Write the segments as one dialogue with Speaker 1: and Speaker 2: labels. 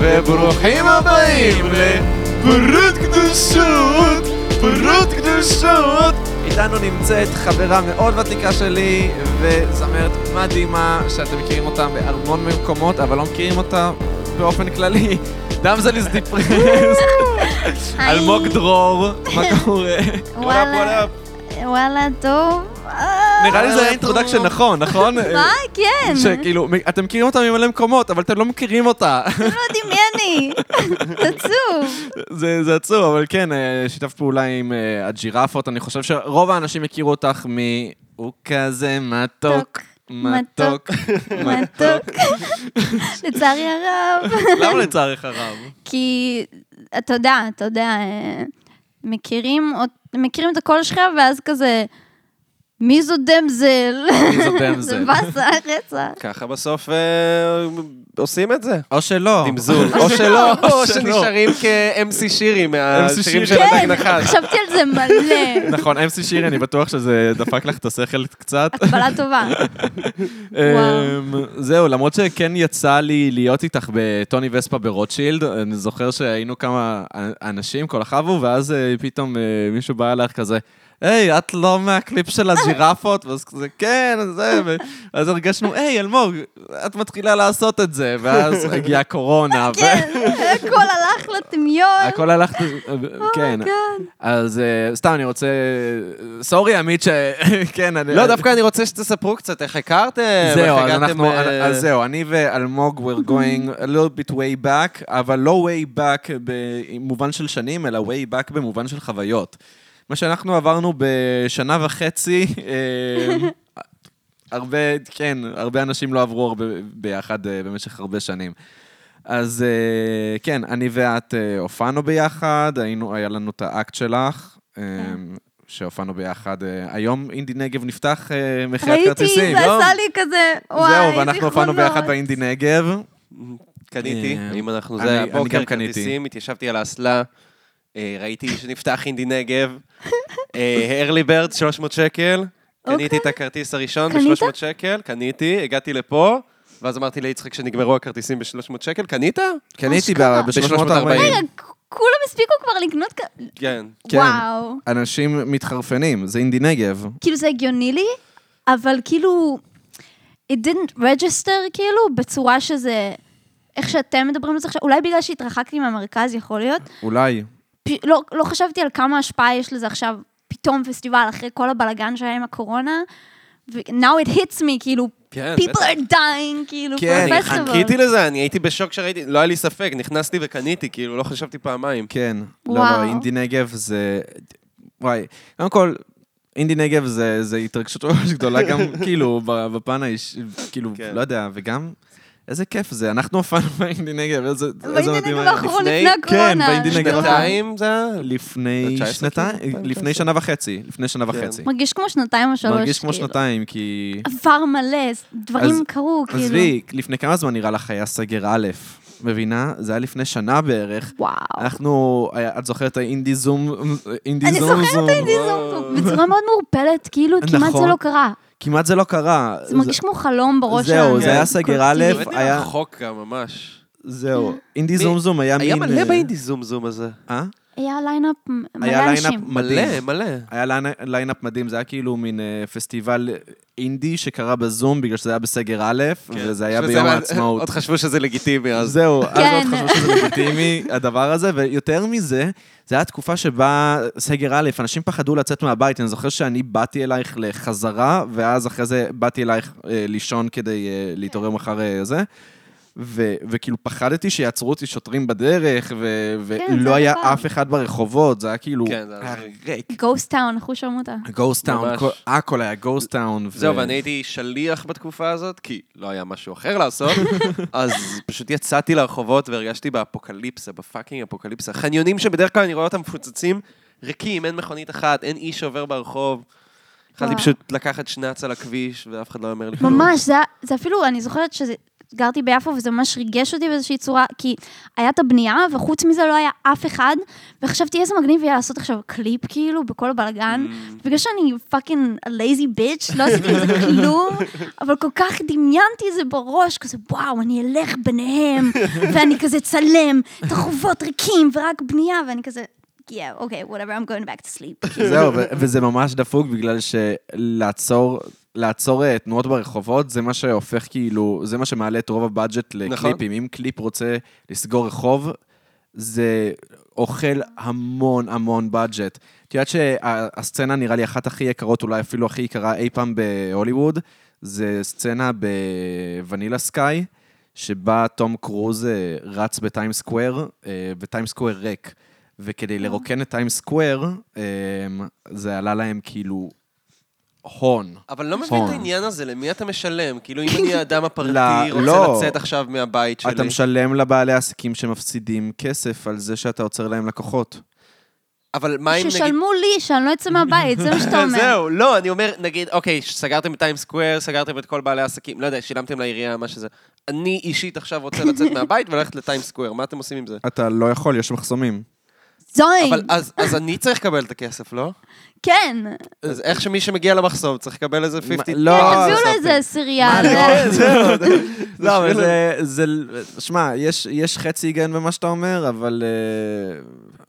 Speaker 1: וברוכים הבאים לפרות קדושות, פרות קדושות. איתנו נמצאת חברה מאוד ותיקה שלי וזמרת מדהימה שאתם מכירים אותה בהמון מקומות, אבל לא מכירים אותה באופן כללי. דמזליס דיפרס,
Speaker 2: היי.
Speaker 1: אלמוג דרור, מה קורה?
Speaker 2: וואלה.
Speaker 1: וואלה, וואלה.
Speaker 2: וואלה, טוב. אה,
Speaker 1: נראה לי זה היה
Speaker 2: וואלה,
Speaker 1: אינטרודקשן
Speaker 2: טוב.
Speaker 1: נכון, נכון?
Speaker 2: מה? כן.
Speaker 1: שכאילו, אתם מכירים אותה ממלא מקומות, אבל אתם לא מכירים אותה.
Speaker 2: אתם לא יודעים מי אני. זה עצוב.
Speaker 1: זה, זה עצוב, אבל כן, אה, שיתף פעולה עם אה, הג'ירפות. אני חושב שרוב האנשים הכירו אותך מ... הוא כזה מתוק, מתוק.
Speaker 2: מתוק. לצערי הרב.
Speaker 1: למה לצערך הרב?
Speaker 2: כי, אתה יודע, אתה יודע, אה, מכירים אות- מכירים את הקול שלך, ואז כזה, מי זו דמזל?
Speaker 1: מי זו דמזל?
Speaker 2: זה באסה, רצח.
Speaker 3: ככה בסוף אה, עושים את זה.
Speaker 1: או שלא.
Speaker 3: זמזול. או שלא,
Speaker 1: או שלא.
Speaker 3: או שנשארים כ-MC שירי
Speaker 1: שירי.
Speaker 3: מהשירים של
Speaker 2: כן,
Speaker 3: הדג נחש.
Speaker 2: חשבתי על זה מלא.
Speaker 1: נכון, MC שירי, אני בטוח שזה דפק לך את השכל קצת.
Speaker 2: הקבלה טובה. וואו.
Speaker 1: אמ, זהו, למרות שכן יצא לי להיות איתך בטוני וספה ברוטשילד, אני זוכר שהיינו כמה אנשים, כל החבו, ואז אה, פתאום אה, מישהו בא אלייך כזה, היי, את לא מהקליפ של הג'ירפות? ואז כזה, כן, אז זה, ו- ואז הרגשנו, היי, אלמוג, את מתחילה לעשות את זה, ואז הגיעה קורונה,
Speaker 2: כן, הכל הלך לטמיון.
Speaker 1: והכל הלך, אה, כן.
Speaker 2: אומייגאד.
Speaker 1: אז אה, סתם, אני רוצה... סורי, עמית, ש... כן, אני...
Speaker 3: לא, דווקא אני רוצה שתספרו קצת איך הכרתם,
Speaker 1: זהו,
Speaker 3: איך
Speaker 1: אז
Speaker 3: הגעתם...
Speaker 1: אנחנו,
Speaker 3: אה,
Speaker 1: אז זהו, אני ואלמוג, we're going a little bit way back, אבל לא way back במובן של שנים, אלא way back במובן של חוויות. מה שאנחנו עברנו בשנה וחצי, אה, הרבה, כן, הרבה אנשים לא עברו הרבה ביחד אה, במשך הרבה שנים. אז אה, כן, אני ואת אה, הופענו ביחד, היינו, היה לנו את האקט שלך. אה,
Speaker 3: כן.
Speaker 1: שהופענו ביחד, אה, היום אינדי נגב נפתח אה, מחיית כרטיסים.
Speaker 2: ראיתי, זה
Speaker 1: לא?
Speaker 2: עשה לי כזה, וואי,
Speaker 1: זהו,
Speaker 2: זיכרונות.
Speaker 1: ואנחנו הופענו ביחד באינדי נגב.
Speaker 3: אה, קניתי,
Speaker 1: אה,
Speaker 3: אם אנחנו
Speaker 1: אני-
Speaker 3: זה היה
Speaker 1: אני
Speaker 3: בוקר
Speaker 1: גם קניתי.
Speaker 3: כרטיסים, התיישבתי על האסלה, אה, ראיתי שנפתח אינדי נגב, אה, ארלי ברד, 300 שקל, קניתי
Speaker 2: אוקיי.
Speaker 3: את הכרטיס הראשון
Speaker 2: קנית?
Speaker 3: ב-300 שקל, קניתי, הגעתי לפה, ואז אמרתי ליצחק שנגמרו הכרטיסים ב-300 שקל, קנית?
Speaker 1: קניתי
Speaker 2: אשכרה.
Speaker 1: ב-340.
Speaker 2: רגע, כ- כולם הספיקו כבר לקנות כ...
Speaker 3: כן.
Speaker 1: כן.
Speaker 2: וואו.
Speaker 1: אנשים מתחרפנים, זה אינדי נגב.
Speaker 2: כאילו זה הגיוני לי, אבל כאילו, it didn't register כאילו, בצורה שזה, איך שאתם מדברים על זה עכשיו, אולי בגלל שהתרחקתי מהמרכז, יכול להיות.
Speaker 1: אולי.
Speaker 2: פ- לא, לא חשבתי על כמה השפעה יש לזה עכשיו, פתאום פסטיבל, אחרי כל הבלגן שהיה עם הקורונה. ו- now it hits me, כאילו,
Speaker 3: כן,
Speaker 2: people
Speaker 3: בטח.
Speaker 2: are dying, כאילו,
Speaker 1: כן,
Speaker 2: for a
Speaker 3: אני
Speaker 2: festival.
Speaker 3: חיכיתי לזה, אני הייתי בשוק כשראיתי, לא היה לי ספק, נכנסתי וקניתי, כאילו, לא חשבתי פעמיים.
Speaker 1: כן. לא, לא,
Speaker 2: וואו.
Speaker 1: אינדי נגב זה... וואי, קודם כל, אינדי נגב זה זה התרגשות ממש גדולה, גם כאילו, ב- בפן האישי, כאילו,
Speaker 3: כן.
Speaker 1: לא יודע, וגם... איזה כיף זה, אנחנו הופענו באינדי נגב, איזה איזה
Speaker 2: באינדי נגב
Speaker 1: היה.
Speaker 2: האחרון, לפני
Speaker 3: לפני-
Speaker 1: כן,
Speaker 2: הקורונה.
Speaker 1: באינדי נגב.
Speaker 2: נורא.
Speaker 3: שנתיים זה היה?
Speaker 1: לפני
Speaker 3: 19
Speaker 1: שנתיים,
Speaker 3: כאילו? כן.
Speaker 1: לפני שנה וחצי, לפני שנה וחצי.
Speaker 2: מרגיש כמו שנתיים או שלוש.
Speaker 1: מרגיש כמו
Speaker 2: כאילו.
Speaker 1: שנתיים, כי...
Speaker 2: עבר מלא, דברים קרו, כאילו.
Speaker 1: עזבי, לפני כמה זמן נראה לך היה סגר א', מבינה? זה היה לפני שנה בערך.
Speaker 2: וואו.
Speaker 1: אנחנו, היה- את זוכרת את האינדי זום, אינדי
Speaker 2: אוקיי. אני
Speaker 1: זום
Speaker 2: זוכרת
Speaker 1: זום?
Speaker 2: את האינדיזום בצורה מאוד מעורפלת, כאילו כמעט זה
Speaker 1: נכון.
Speaker 2: לא קרה.
Speaker 1: כמעט זה לא קרה.
Speaker 2: זה מרגיש כמו חלום בראש
Speaker 1: זהו,
Speaker 2: שלנו.
Speaker 1: זה היה סגר א',
Speaker 3: באמת
Speaker 1: היה-
Speaker 3: היה רחוק גם ממש.
Speaker 1: זהו, אינדי זום זום היה מין...
Speaker 3: היה מלא
Speaker 1: אה,
Speaker 3: באינדי זום זום הזה.
Speaker 1: אה?
Speaker 2: היה ליינאפ מ-
Speaker 1: היה
Speaker 2: מלא
Speaker 1: ליינאפ
Speaker 2: אנשים.
Speaker 1: מדהים.
Speaker 3: מלא, מלא.
Speaker 1: היה ליינ- ליינאפ מדהים, זה היה כאילו מין אה, פסטיבל אינדי שקרה בזום בגלל שזה היה בסגר א', וזה היה
Speaker 3: כן. שזה
Speaker 1: ביום
Speaker 3: היה-
Speaker 1: העצמאות.
Speaker 3: עוד חשבו שזה לגיטימי אז.
Speaker 1: זהו, אז
Speaker 2: כן.
Speaker 1: עוד חשבו שזה לגיטימי, הדבר הזה, ויותר מזה, זו הייתה תקופה שבה סגר א', אנשים פחדו לצאת מהבית. אני זוכר שאני באתי אלייך לחזרה, ואז אחרי זה באתי אלייך אה, לישון כדי אה,
Speaker 2: כן.
Speaker 1: להתעורר מחר אה, זה. ו- וכאילו פחדתי שיעצרו אותי שוטרים בדרך, ו-
Speaker 2: כן, זה
Speaker 1: ולא היה
Speaker 2: הדבר.
Speaker 1: אף אחד ברחובות, זה היה כאילו...
Speaker 3: כן, זה היה
Speaker 1: ריק.
Speaker 2: גוסט טאון, אנחנו שומעים אותה.
Speaker 1: גוסט טאון,
Speaker 3: ממש.
Speaker 1: הכל היה גוסט טאון.
Speaker 3: זהו, ואני הייתי שליח בתקופה הזאת, כי לא היה משהו אחר לעשות, אז פשוט יצאתי לרחובות והרגשתי באפוקליפסה, בפאקינג אפוקליפסה. חניונים שבדרך כלל אני רואה אותם מפוצצים, ריקים, אין מכונית אחת, אין איש שעובר ברחוב. יכלתי
Speaker 2: וואו.
Speaker 3: פשוט לקחת שנץ על הכביש, ואף אחד לא היה אומר לי כלום.
Speaker 2: ממש, זה היה- זה אפילו, אני זוכרת שזה גרתי ביפו, וזה ממש ריגש אותי באיזושהי צורה, כי היה את הבנייה, וחוץ מזה לא היה אף אחד, וחשבתי איזה מגניב יהיה לעשות עכשיו קליפ, כאילו, בכל הבלגן.
Speaker 3: Mm.
Speaker 2: בגלל שאני פאקינג לייזי ביץ', לא עשיתי עם זה כלום, אבל כל כך דמיינתי את זה בראש, כזה, וואו, אני אלך ביניהם, ואני כזה צלם, את הרחובות ריקים, ורק בנייה, ואני כזה... Yeah, okay, whatever, I'm going back to sleep.
Speaker 1: זהו, ו- וזה ממש דפוק בגלל שלעצור... לעצור אה, תנועות ברחובות, זה מה שהופך כאילו, זה מה שמעלה את רוב הבאג'ט
Speaker 3: נכון.
Speaker 1: לקליפים. אם קליפ רוצה לסגור רחוב, זה אוכל המון המון באג'ט. את יודעת שהסצנה נראה לי אחת הכי יקרות, אולי אפילו הכי יקרה אי פעם בהוליווד, זה סצנה בוונילה סקאי, שבה תום קרוז אה, רץ בטיים סקוואר, אה, וטיים סקוואר ריק. וכדי לרוקן את טיים סקוואר, אה, זה עלה להם כאילו הון.
Speaker 3: אבל לא מבין את
Speaker 1: נכון.
Speaker 3: העניין הזה, למי אתה משלם? כאילו, אם אני האדם הפרטי,
Speaker 1: לא,
Speaker 3: רוצה
Speaker 1: לא.
Speaker 3: לצאת עכשיו מהבית
Speaker 1: אתה
Speaker 3: שלי.
Speaker 1: משלם לבעלי עסקים שמפסידים כסף על זה שאתה עוצר להם לקוחות.
Speaker 3: אבל מה אם נגיד...
Speaker 2: ששלמו לי, שאני לא אצא מהבית, זה מה שאתה אומר.
Speaker 3: זהו, לא, אני אומר, נגיד, אוקיי, סגרתם את טיים סקוואר, סגרתם את כל בעלי העסקים, לא יודע, שילמתם לעירייה, מה שזה. אני אישית עכשיו רוצה לצאת מהבית וללכת לטיים סקוואר, מה אתם עושים עם זה?
Speaker 1: אתה לא יכול, יש מחסומים.
Speaker 2: זוין,
Speaker 3: אבל אז אז אני צריך לקבל את הכסף, לא?
Speaker 2: כן.
Speaker 3: אז איך שמי שמגיע למחסום צריך לקבל איזה 50...
Speaker 1: לא,
Speaker 2: כן,
Speaker 1: אה,
Speaker 2: תביאו
Speaker 1: זה
Speaker 2: לו איזה עשירייה.
Speaker 1: מה,
Speaker 2: זה-
Speaker 1: לא?
Speaker 3: זהו,
Speaker 1: לא, אבל זה... זה- שמע, יש- יש חצי היגיון במה שאתה אומר, אבל... אה,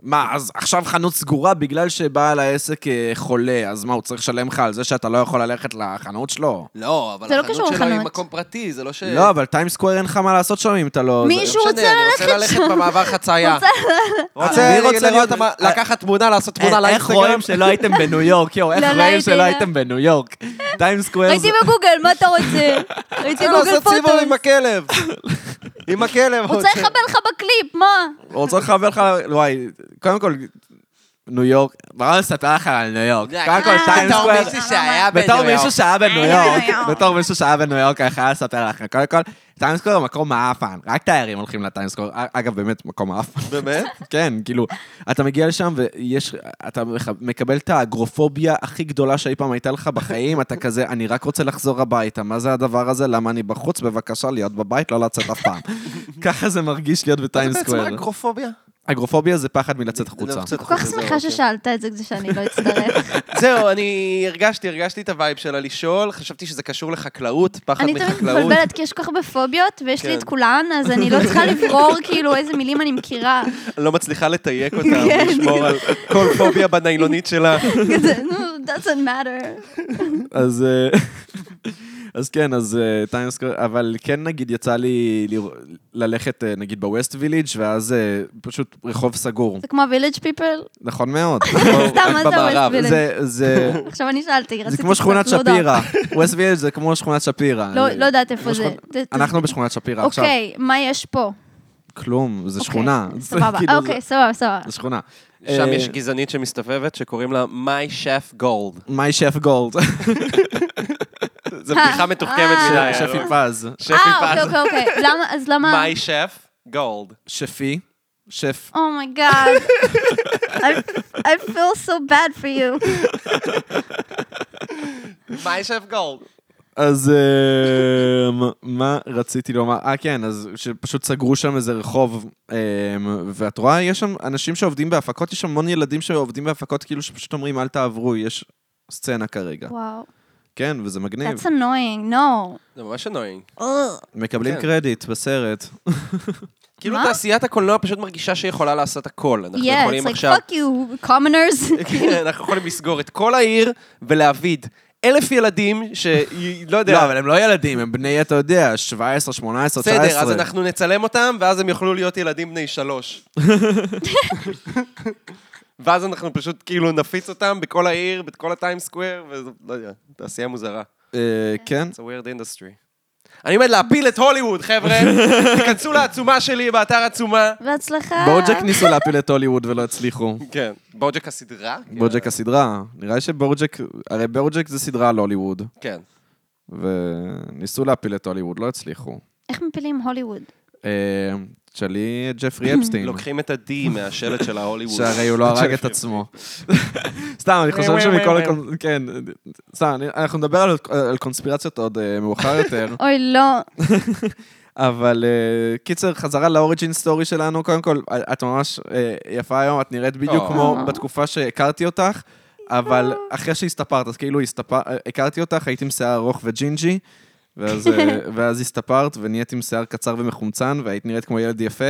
Speaker 1: מה, אז עכשיו חנות סגורה בגלל שבעל העסק אה, חולה, אז מה, הוא צריך לשלם לך על זה שאתה לא יכול ללכת לחנות שלו?
Speaker 3: לא, אבל
Speaker 2: זה לא קשור
Speaker 3: החנות שלו היא
Speaker 2: לחנות.
Speaker 3: מקום פרטי, זה לא ש...
Speaker 1: לא, אבל טיים סקוויר אין לך מה לעשות שם אם אתה לא...
Speaker 2: אה. מישהו-
Speaker 3: לא משנה,
Speaker 2: רוצה
Speaker 3: אני רוצה ללכת במעבר חצייה.
Speaker 2: רוצה-
Speaker 1: אני
Speaker 3: רוצה
Speaker 1: רוצה
Speaker 3: לראות,
Speaker 1: לראות-
Speaker 3: מה- אה, לקחת תמונה, לעשות תמונה לאינסטגרם.
Speaker 1: אה, שלא הייתם בניו יורק, יואו,
Speaker 2: לא, לא הייתי, לא.
Speaker 1: בניו יורק? טיים סקוויר
Speaker 2: ראיתי בגוגל, מה אתה רוצה? ראיתי בגוגל
Speaker 3: אה, לעשות סיבוב עם
Speaker 2: פוטו.
Speaker 3: הכלב. עם הכלב. אוקיי.
Speaker 2: רוצה לחבל לך בקליפ, מה?
Speaker 1: רוצה לחבר לך, וואי, קודם כל, ניו יורק, מה לספר לך על ניו יורק? קודם כל,
Speaker 2: אה,
Speaker 1: טיים
Speaker 2: בתור
Speaker 1: סקוויר,
Speaker 2: מישהו שהיה
Speaker 1: בתור מישהו שהיה בניו
Speaker 2: היה אה, בניו
Speaker 1: יורק,
Speaker 2: יורק.
Speaker 1: בתור מישהו שהיה בניו יורק, אני חייב לספר לכם. קודם כל, טיים סקוויר הוא מקום מעפן, רק תיירים הולכים לטיים סקוויר. אגב, באמת, מקום מעפן.
Speaker 3: באמת?
Speaker 1: כן, כאילו, אתה מגיע לשם ויש, אתה מח- מקבל את האגרופוביה הכי גדולה שאי פעם הייתה לך בחיים, אתה כזה, אני רק רוצה לחזור הביתה, מה זה הדבר הזה? למה אני בחוץ? בבקשה, להיות בבית, לא לצאת אף פעם. ככה זה מרגיש להיות בטיים
Speaker 3: זה בעצם
Speaker 1: סקוויר.
Speaker 3: אגרופוביה.
Speaker 1: אגרופוביה זה פחד מלצאת החוצה.
Speaker 3: לצאת
Speaker 2: כל כך
Speaker 3: החוצה,
Speaker 2: שמחה
Speaker 1: כן.
Speaker 3: אוקיי.
Speaker 2: ששאלת את זה כדי שאני לא אצטרף.
Speaker 3: זהו, אני הרגשתי, הרגשתי את הווייב שלה לשאול, חשבתי שזה קשור לחקלאות, פחד
Speaker 2: אני תמיד
Speaker 3: מחקלאות.
Speaker 2: מתבלבלת, כי יש כל כך הרבה פוביות, ויש לי
Speaker 3: כן.
Speaker 2: את כולן, אז אני לא צריכה לברור כאילו איזה מילים אני מכירה.
Speaker 3: אני לא מצליחה לתייק אותה,
Speaker 2: כן.
Speaker 3: לשמור על כל פוביה בניילונית שלה.
Speaker 2: כזה, "נו, doesn't matter.
Speaker 1: אז... אה, אז כן, אז טיימס סקוויר, אבל כן נגיד יצא לי לרא- ללכת אה, נגיד בווסט ויליג' ואז אה, פשוט רחוב סגור.
Speaker 2: זה כמו village people?
Speaker 1: נכון מאוד.
Speaker 2: סתם, מה זה
Speaker 3: במערב.
Speaker 2: ה-West Village?
Speaker 1: זה- זה...
Speaker 2: עכשיו אני שאלתי,
Speaker 1: זה
Speaker 2: רציתי
Speaker 1: כמו שכונת
Speaker 2: קצת, לא יודעת.
Speaker 1: שפירא. ווסט וילג' זה כמו שכונת שפירא.
Speaker 2: לא- לא יודעת איפה
Speaker 1: כמו
Speaker 2: זה.
Speaker 1: שכונת-
Speaker 2: זה-
Speaker 1: אנחנו בשכונת שפירא עכשיו.
Speaker 2: אוקיי, מה יש פה?
Speaker 1: כלום, זה שכונה.
Speaker 2: אוקיי,
Speaker 1: זה
Speaker 2: סבבה,
Speaker 1: כאילו, זה-
Speaker 2: אוקיי, סבבה, סבבה.
Speaker 1: זה שכונה.
Speaker 3: שם
Speaker 1: אה,
Speaker 3: יש גזענית שמסתובבת שקוראים לה מיי שף גולד.
Speaker 1: מי שף גולד.
Speaker 3: זו בדיחה מתוחכמת
Speaker 2: אה.
Speaker 3: מדי.
Speaker 1: שפי פז.
Speaker 3: שפי
Speaker 2: אה, אוקיי,
Speaker 3: פז.
Speaker 2: אוקיי, אוקיי. למה, אז למה...
Speaker 3: מיי שף גולד.
Speaker 1: שפי. שף.
Speaker 2: אומייגאד. Oh I, I feel so bad for you.
Speaker 3: מיי שף גולד.
Speaker 1: אז אה, מה רציתי לומר? אה, כן, אז שפשוט סגרו שם איזה רחוב, אה, ואת רואה, יש שם אנשים שעובדים בהפקות, יש המון ילדים שעובדים בהפקות, כאילו שפשוט אומרים, אל תעברו, יש סצנה כרגע.
Speaker 2: וואו.
Speaker 1: כן, וזה מגניב.
Speaker 2: That's annoying, no.
Speaker 3: זה ממש אנוינג.
Speaker 2: Ugh.
Speaker 1: מקבלים
Speaker 3: כן.
Speaker 1: קרדיט בסרט.
Speaker 3: כאילו
Speaker 2: מה?
Speaker 3: תעשיית הקולנוע פשוט מרגישה שהיא יכולה לעשות הכל. אנחנו
Speaker 2: Yeah, it's
Speaker 3: יכולים
Speaker 2: like,
Speaker 3: עכשיו...
Speaker 2: fuck you, commoners.
Speaker 3: כן, אנחנו יכולים לסגור את כל העיר ולהעביד אלף ילדים ש... לא
Speaker 1: לא,
Speaker 3: יודע.
Speaker 1: אבל הם לא ילדים, הם בני, אתה יודע, 17, 18, 19.
Speaker 3: בסדר, אז אנחנו נצלם אותם, ואז הם יוכלו להיות ילדים בני שלוש. ואז אנחנו פשוט כאילו נפיץ אותם בכל העיר, בכל הטיים סקוויר, ולא לא יודע, תעשייה מוזרה.
Speaker 1: אה, כן?
Speaker 3: It's a weird industry. אני עומד להפיל את הוליווד, חבר'ה. תיכנסו לעצומה שלי באתר עצומה.
Speaker 2: בהצלחה.
Speaker 1: בורג'ק ניסו להפיל את הוליווד ולא הצליחו.
Speaker 3: כן. בוג'ק הסדרה?
Speaker 1: בורג'ק הסדרה, נראה לי שבורג'ק, הרי בורג'ק זה סדרה על הוליווד,
Speaker 3: כן.
Speaker 1: וניסו להפיל את הוליווד, לא הצליחו.
Speaker 2: איך מפילים הוליווד?
Speaker 1: אה, תשאלי את ג'פרי אפסטין,
Speaker 3: לוקחים את ה-D מהשלט של ההוליווד.
Speaker 1: שהרי הוא לא הרג את עצמו. סתם, אני חושב שמכל הקונ... כן, סתם, אני- אנחנו נדבר על- על קונספירציות עוד אה, מאוחר יותר.
Speaker 2: אוי, לא.
Speaker 1: אבל אה, קיצר, חזרה לאוריג'ין סטורי שלנו, קודם כל, את ממש אה, יפה היום, את נראית בדיוק
Speaker 3: או.
Speaker 1: כמו בתקופה שהכרתי אותך, אבל אחרי שהסתפרת, אז כאילו הסתפר- אה, הכרתי אותך, היית עם שיער ארוך וג'ינג'י. ואז, אה, ואז הסתפרת ונהיית עם שיער קצר ומחומצן, והיית נראית כמו ילד יפה.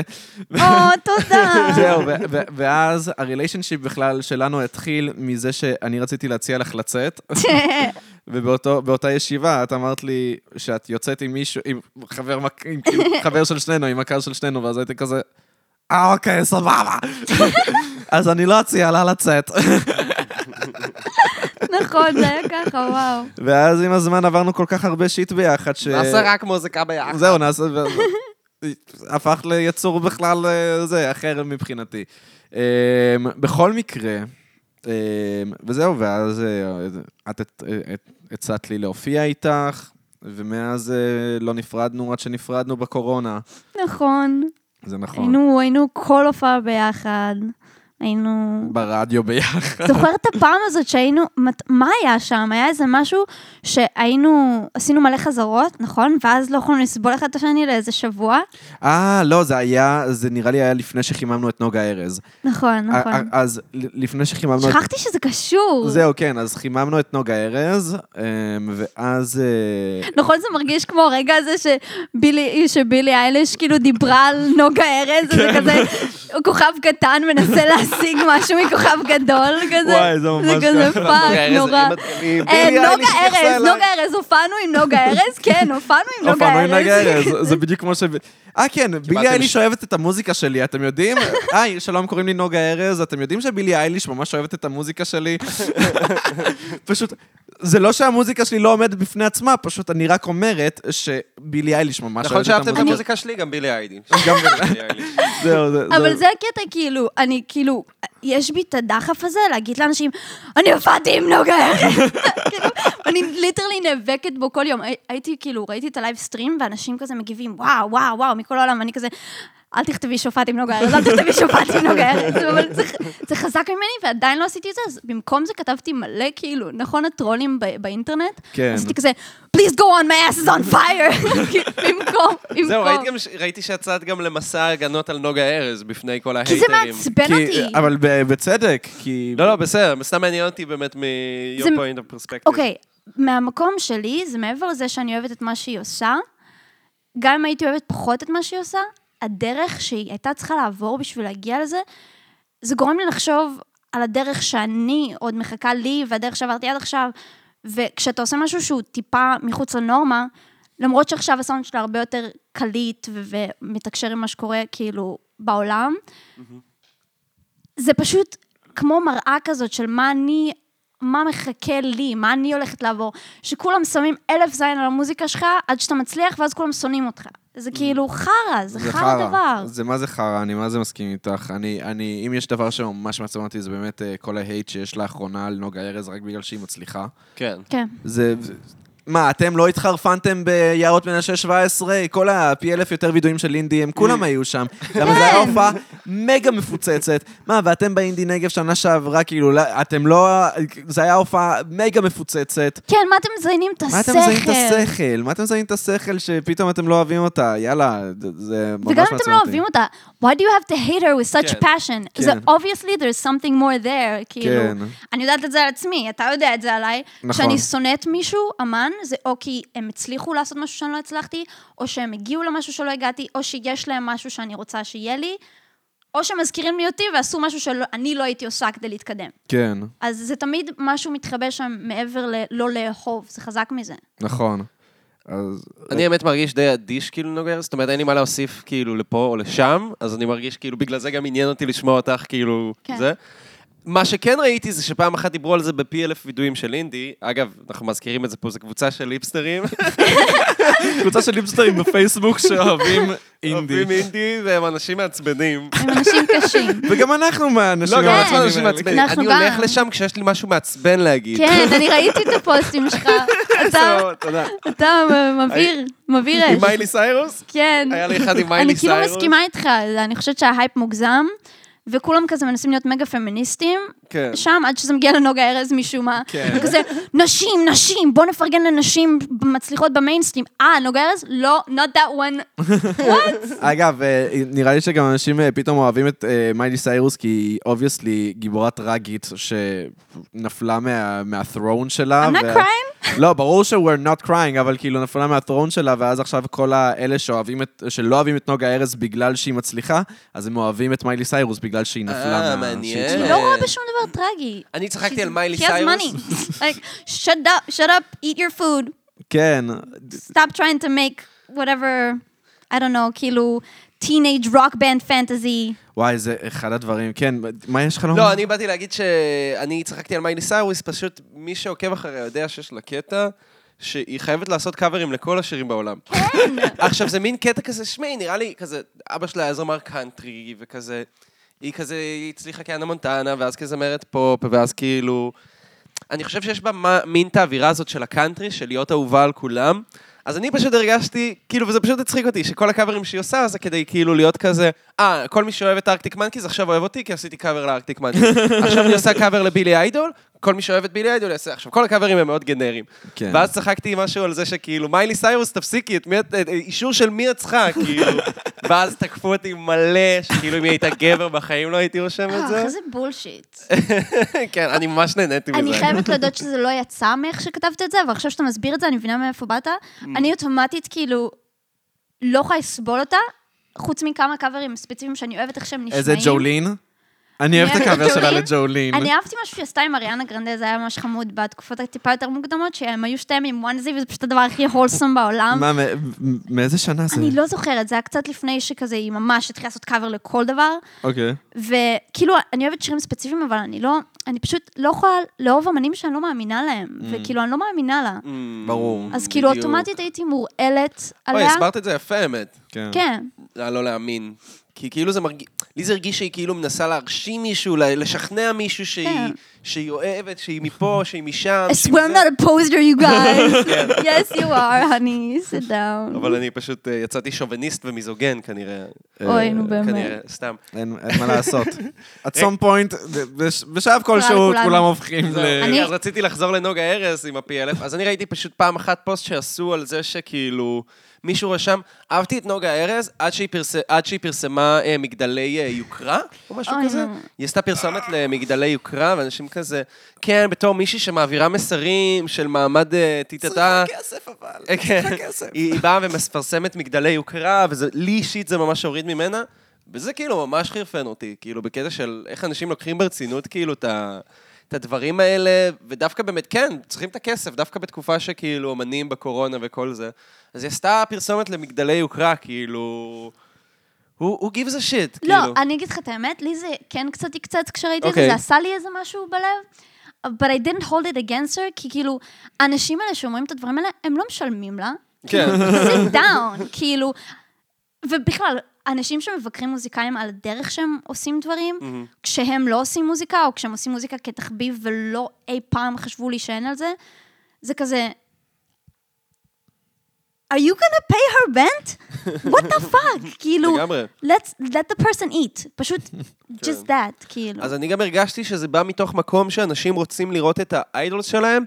Speaker 2: או, תודה.
Speaker 1: זהו, ו- ו- ואז הריליישנשיפ בכלל שלנו התחיל מזה שאני רציתי להציע לך לצאת, ובאותה ישיבה את אמרת לי שאת יוצאת עם מישהו, עם חבר, מק- עם, כאילו, חבר של שנינו, עם מכר של שנינו, ואז הייתי כזה, אה, אוקיי, סבבה. אז אני לא אציע לה לצאת.
Speaker 2: נכון, זה היה ככה, וואו.
Speaker 1: ואז עם הזמן עברנו כל כך הרבה שיט ביחד, ש...
Speaker 3: נעשה רק מוזיקה ביחד.
Speaker 1: זהו, נעשה... ו- ו- הפך ליצור בכלל אה, זה, אחר מבחינתי. אמ, בכל מקרה, אמ, וזהו, ואז אה, את את- את- הצעת לי להופיע איתך, ומאז אה, לא נפרדנו עד שנפרדנו בקורונה.
Speaker 2: נכון.
Speaker 1: זה נכון.
Speaker 2: היינו, היינו כל הופעה ביחד. היינו...
Speaker 1: ברדיו ביחד.
Speaker 2: זוכר את הפעם הזאת שהיינו, מת- מה היה שם? היה איזה משהו שהיינו, עשינו מלא חזרות, נכון? ואז לא יכולנו לסבול אחד את השני לאיזה שבוע.
Speaker 1: אה, לא, זה היה, זה נראה לי היה לפני שחיממנו את נוגה ארז.
Speaker 2: נכון,
Speaker 1: אה, אה,
Speaker 2: נכון.
Speaker 1: אז ל- לפני שחיממנו את...
Speaker 2: שכחתי שזה קשור.
Speaker 1: זהו, כן, אז חיממנו את נוגה ארז, אמ, ואז... אה,
Speaker 2: נכון, זה מרגיש כמו הרגע הזה שבילי, שבילי איילש כאילו דיברה על נוגה ארז, וזה כזה, כוכב קטן מנסה להשיג משהו מכוכב גדול, כזה.
Speaker 1: וואי, זה ממש
Speaker 2: כזה
Speaker 1: ככה.
Speaker 2: פאק,
Speaker 3: ארז,
Speaker 2: נורא.
Speaker 3: אם את- אם-
Speaker 2: אה,
Speaker 3: בילי
Speaker 2: נוגה
Speaker 3: אייליש התייחסה
Speaker 2: ארז,
Speaker 3: אליי.
Speaker 2: נוגה ארז, הופענו עם נוגה ארז? כן, הופענו עם נוגה ארז.
Speaker 1: אופנועים נגע ארז, זה בדיוק כמו ש... אה, כן, בילי אייליש אוהבת את המוזיקה שלי, אתם יודעים? היי, שלום, קוראים לי נוגה ארז, אתם יודעים שבילי אייליש ממש אוהבת את המוזיקה שלי? פשוט, זה לא שהמוזיקה שלי לא עומדת בפני עצמה, פשוט אני רק אומרת שבילי אייליש ממש
Speaker 3: נכון
Speaker 1: אוהבת את
Speaker 3: שאהבת את
Speaker 1: המוזיקה.
Speaker 3: המוזיקה שלי? גם בילי אייליש.
Speaker 1: גם-
Speaker 3: בילי אייליש.
Speaker 1: זהו, זה-
Speaker 2: אבל
Speaker 1: זהו.
Speaker 2: זה הקטע, כאילו, אני כאילו, יש בי את הדחף הזה להגיד לאנשים, אני הופעתי עם נוגה ארז. כאילו, אני ליטרלי נאבקת בו כל יום. הי- הייתי, כאילו, ראיתי את הלייב סטרים, ואנשים כזה מגיבים, וואו, וואו, וואו, מכל העולם, ואני כזה... אל תכתבי שופט עם נוגה ארז, אל תכתבי שופט עם נוגה ארז, אבל זה, זה חזק ממני ועדיין לא עשיתי את זה, אז במקום זה כתבתי מלא, כאילו, נכון הטרולים ב- באינטרנט?
Speaker 1: כן.
Speaker 2: עשיתי כזה, please go on my ass is on fire, כאילו, במקום, במקום.
Speaker 3: זהו, ראית גם ש- ראיתי שיצאת גם למסע הגנות על נוגה ארז בפני כל
Speaker 2: כי זה
Speaker 3: ההייטרים.
Speaker 2: מעצבן
Speaker 1: כי-
Speaker 2: אותי.
Speaker 1: אבל ב- בצדק, כי...
Speaker 3: לא, לא, בסדר, סתם מעניין אותי באמת מ-your
Speaker 2: זה-
Speaker 3: point of perspective.
Speaker 2: אוקיי, מהמקום שלי, זה מעבר לזה שאני אוהבת את מה שהיא עושה, גם אם הייתי אוהבת פחות את מה שהיא עושה, הדרך שהיא הייתה צריכה לעבור בשביל להגיע לזה, זה גורם לי לחשוב על הדרך שאני עוד מחכה לי, והדרך שעברתי עד עכשיו, וכשאתה עושה משהו שהוא טיפה מחוץ לנורמה, למרות שעכשיו הסאונד שלה הרבה יותר קליט ו- ומתקשר עם מה שקורה כאילו בעולם, זה פשוט כמו מראה כזאת של מה אני, מה מחכה לי, מה אני הולכת לעבור, שכולם שמים אלף זין על המוזיקה שלך עד שאתה מצליח ואז כולם שונאים אותך. זה כאילו חרא, זה חרא דבר.
Speaker 1: זה מה זה חרא, אני מה זה מסכים איתך. אני, אני, אם יש דבר שממש מעצבן אותי, זה באמת אה, כל ההייט שיש לאחרונה על נוגה ארז, רק בגלל שהיא מצליחה.
Speaker 3: כן.
Speaker 2: כן.
Speaker 1: זה... זה- מה, אתם לא התחרפנתם ביערות מנשה 17? כל הפי אלף יותר וידועים של אינדי, הם כולם היו שם. גם זו
Speaker 2: כן.
Speaker 1: הייתה הופעה מגה מפוצצת. מה, ואתם באינדי נגב שנה שעברה, כאילו, לא- אתם לא... זו הייתה הופעה מגה מפוצצת.
Speaker 2: כן, מה אתם מזיינים את השכל?
Speaker 1: מה אתם מזיינים את השכל? מה אתם מזיינים את השכל שפתאום אתם לא אוהבים אותה? יאללה, זה- זה ממש
Speaker 2: וגם
Speaker 1: מעצבן
Speaker 2: אם
Speaker 1: אותי.
Speaker 2: אתם לא אוהבים אותה, why do you have to hate her with such
Speaker 3: כן,
Speaker 2: passion?
Speaker 1: כן.
Speaker 2: זה obviously there's something more there, כאילו.
Speaker 1: כן.
Speaker 2: אני יודעת את זה על עצמי, אתה יודע את זה עליי.
Speaker 1: נכון.
Speaker 2: כשאני שונאת מישהו, אמן, זה או כי הם הצליחו לעשות משהו שאני לא הצלחתי, או שהם הגיעו למשהו שלא הגעתי, או שיש להם משהו שאני רוצה שיהיה לי, או שמזכירים לי אותי ועשו משהו שאני לא הייתי עושה כדי להתקדם.
Speaker 1: כן,
Speaker 2: אז זה תמיד משהו מתחבא שם מעבר ללא לאהוב, זה חזק מזה.
Speaker 1: נכון. אז...
Speaker 3: אני האמת מרגיש די אדיש כאילו נוגר, זאת אומרת אין לי מה להוסיף כאילו לפה או לשם, אז אני מרגיש כאילו, בגלל זה גם עניין אותי לשמוע אותך כאילו,
Speaker 2: כן.
Speaker 3: זה. מה שכן ראיתי זה שפעם אחת דיברו על זה בפי אלף וידויים של אינדי, אגב, אנחנו מזכירים את זה פה, זו קבוצה של ליפסטרים,
Speaker 1: קבוצה של ליפסטרים בפייסבוק שאוהבים אינדי.
Speaker 3: אוהבים אינדי, והם אנשים מעצבנים.
Speaker 2: הם אנשים קשים.
Speaker 1: וגם אנחנו מהאנשים
Speaker 3: לא, גם
Speaker 2: כן.
Speaker 3: עצמם אנשים מעצבנים.
Speaker 2: אנחנו
Speaker 3: אני
Speaker 2: גם.
Speaker 3: הולך לשם כשיש לי משהו מעצבן להגיד.
Speaker 2: כן, אני ראיתי את הפוסטים שלך. אתה
Speaker 3: סבבה, תודה.
Speaker 2: אתה אה, מבהיר, מבהיר
Speaker 3: אה, עם
Speaker 2: אש.
Speaker 3: מיילי סיירוס?
Speaker 2: כן.
Speaker 3: היה לי אחד עם מיילי
Speaker 2: אני כאילו
Speaker 3: סיירוס.
Speaker 2: מסכימה איתך, אני חושבת שההייפ מוגזם, וכולם כזה מנסים להיות מגה פמיניסטים,
Speaker 3: כן.
Speaker 2: שם, עד שזה מגיע לנוגה ארז משום מה.
Speaker 1: כן.
Speaker 2: וכזה, נשים, נשים, בוא נפרגן לנשים מצליחות במיינסטרים. אה, נוגה ארז? לא, not that one.
Speaker 1: אגב, אה, נראה לי שגם אנשים אה, פתאום אוהבים את אה, מיילי סיירוס, כי היא אובייסלי גיבורה טראגית שנפלה מה- מהת'רון שלה.
Speaker 2: I'm not
Speaker 1: ו-
Speaker 2: crying?
Speaker 1: לא, ברור ש- we're not crying, אבל כאילו נפלה מהת'רון שלה, ואז עכשיו כל האלה שאוהבים את, שלא אוהבים את נוגה ארז בגלל שהיא מצליחה, אז הם אוהבים את מיילי סיירוס בגלל שהיא נפלה
Speaker 3: אה,
Speaker 1: מהשיט
Speaker 3: מעניין.
Speaker 1: שלה.
Speaker 2: היא לא רואה בשום דבר טרגי.
Speaker 3: אני צחקתי
Speaker 2: She's-
Speaker 3: על מיילי
Speaker 2: she has
Speaker 3: סיירוס.
Speaker 2: money. Like, shut up, shut up, eat your food.
Speaker 1: כן,
Speaker 2: stop trying to make whatever, I don't know, כאילו, teenage rock band fantasy.
Speaker 1: וואי, זה אחד הדברים. כן, מה יש לך לומר?
Speaker 3: לא, אני באתי להגיד שאני צחקתי על מיילי סיירוס, פשוט מי שעוקב אחריה יודע שיש לה קטע. שהיא חייבת לעשות קאברים לכל השירים בעולם.
Speaker 2: כן.
Speaker 3: עכשיו, זה מין קטע כזה, שמעי, נראה לי כזה, אבא שלה היה זמר קאנטרי, וכזה, היא כזה, היא הצליחה כאנה מונטנה, ואז כזמרת פופ, ואז כאילו... אני חושב שיש בה מה- מין את האווירה הזאת של הקאנטרי, של להיות אהובה על כולם. אז אני פשוט הרגשתי, כאילו, וזה פשוט הצחיק אותי, שכל הקאברים שהיא עושה זה כדי כאילו להיות כזה, אה, כל מי שאוהב את ארקטיק מנקיז עכשיו אוהב אותי, כי עשיתי קאבר לארקטיק מנקיז. עכשיו אני עושה קאבר לבילי איידול, כל מי שאוהב את בילי איידול יעשה. עכשיו, כל הקאברים הם מאוד גנריים.
Speaker 1: כן.
Speaker 3: ואז צחקתי משהו על זה שכאילו, מיילי סיירוס, תפסיקי, את מי את, את- אישור של מי את צריכה, כאילו. ואז תקפו אותי מלא, שכאילו אם היא הייתה גבר בחיים לא הייתי רושם את
Speaker 2: אה,
Speaker 3: זה.
Speaker 2: איזה בולשיט.
Speaker 3: כן, אני ממש נהניתי מזה.
Speaker 2: אני חייבת להודות שזה לא יצא מאיך שכתבת את זה, אבל עכשיו שאתה מסביר את זה, אני מבינה מאיפה באת.
Speaker 1: Mm.
Speaker 2: אני אוטומטית, כאילו, לא יכולה לסבול אותה, חוץ מכמה קאברים ספציפיים שאני אוהבת איך שהם נשמעים.
Speaker 1: איזה ג'ולין? אני אוהב את
Speaker 2: אוהבת
Speaker 1: הקאבר שלה
Speaker 2: ג'ולין.
Speaker 1: לג'ולין.
Speaker 2: אני אהבתי משהו שהיא עשתה עם אריאנה גרנדה, זה היה ממש חמוד בתקופות הטיפה יותר מוקדמות, שהם היו שתיהם עם וואנזי, וזה פשוט הדבר הכי הולסום בעולם.
Speaker 1: מה, מ- מ- מאיזה שנה זה?
Speaker 2: אני לא זוכרת, זה היה קצת לפני שכזה היא ממש התחילה לעשות קאבר לכל דבר,
Speaker 1: אוקיי.
Speaker 2: וכאילו, אני אוהבת שירים ספציפיים, אבל אני לא, אני פשוט לא יכולה לאהוב אמנים שאני לא מאמינה להם, וכאילו, אני לא מאמינה לה.
Speaker 1: ברור.
Speaker 2: אז כאילו,
Speaker 3: Mm. בדיוק.
Speaker 2: אוטומטית הייתי מורעלת
Speaker 3: אוי,
Speaker 2: עליה.
Speaker 3: הסברת את זה יפה, האמת.
Speaker 2: כן.
Speaker 3: לא, לא להאמין. כי כאילו זה מרגיש, לי זה הרגיש שהיא כאילו מנסה להרשים מישהו, ל- לשכנע מישהו שהיא,
Speaker 2: כן.
Speaker 3: שהיא אוהבת, שהיא מפה, שהיא משם.
Speaker 2: I
Speaker 3: שהיא
Speaker 2: swear I'm
Speaker 3: לא, זה. כן.
Speaker 2: not a poser, you guys. yes, you are, honey, sit down.
Speaker 3: אבל אני פשוט אה, יצאתי שוביניסט ומיזוגן כנראה.
Speaker 2: אוי, נו
Speaker 3: אה,
Speaker 2: באמת.
Speaker 3: כנראה, סתם.
Speaker 1: אין אין מה לעשות. at some point, בש- בשלב כלשהו,
Speaker 2: כולנו.
Speaker 1: כולם הופכים ל...
Speaker 3: זהו,
Speaker 2: אני-
Speaker 3: אז רציתי לחזור לנוגה ארז עם ה-PLF, אז אני ראיתי פשוט פעם אחת פוסט שעשו על זה שכאילו, מישהו רשם, אהבתי את נוגה ארז עד שהיא, פרס... עד שהיא פרסמה אה, מגדלי אה, יוקרה, או משהו
Speaker 2: אוי,
Speaker 3: כזה.
Speaker 2: נו.
Speaker 3: היא עשתה פרסומת למגדלי יוקרה, ואנשים כזה, כן, בתור מישהי שמעבירה מסרים של מעמד אה, טיטטה.
Speaker 1: כסף אבל.
Speaker 3: אה, כן. היא היא באה ומפרסמת מגדלי יוקרה, וזה, לי אישית זה ממש הוריד ממנה, וזה כאילו ממש חירפן אותי, כאילו בקטע של איך אנשים לוקחים ברצינות כאילו את ה... את הדברים האלה, ודווקא באמת, כן, צריכים את הכסף, דווקא בתקופה שכאילו אמנים בקורונה וכל זה. אז היא עשתה פרסומת למגדלי יוקרה, כאילו... הוא, הוא gives a shit,
Speaker 2: לא,
Speaker 3: כאילו.
Speaker 2: אני אגיד לך את האמת, לי זה כן קצת יקצץ כשראיתי את זה,
Speaker 3: אוקיי.
Speaker 2: זה עשה לי איזה משהו בלב. But I didn't hold it against her, כי כאילו, האנשים האלה שאומרים את הדברים האלה, הם לא משלמים לה.
Speaker 3: כן.
Speaker 2: sit down, כאילו, ובכלל, אנשים שמבקרים מוזיקאים על הדרך שהם עושים דברים, כשהם לא עושים מוזיקה, או כשהם עושים מוזיקה כתחביב ולא אי פעם חשבו להישען על זה, זה כזה... are you gonna pay her rent? what the fuck? כאילו,
Speaker 3: לגמרי. כן.
Speaker 2: let's let the person eat, פשוט just that, כאילו.
Speaker 3: אז אני גם הרגשתי שזה בא מתוך מקום שאנשים רוצים לראות את האיידולס שלהם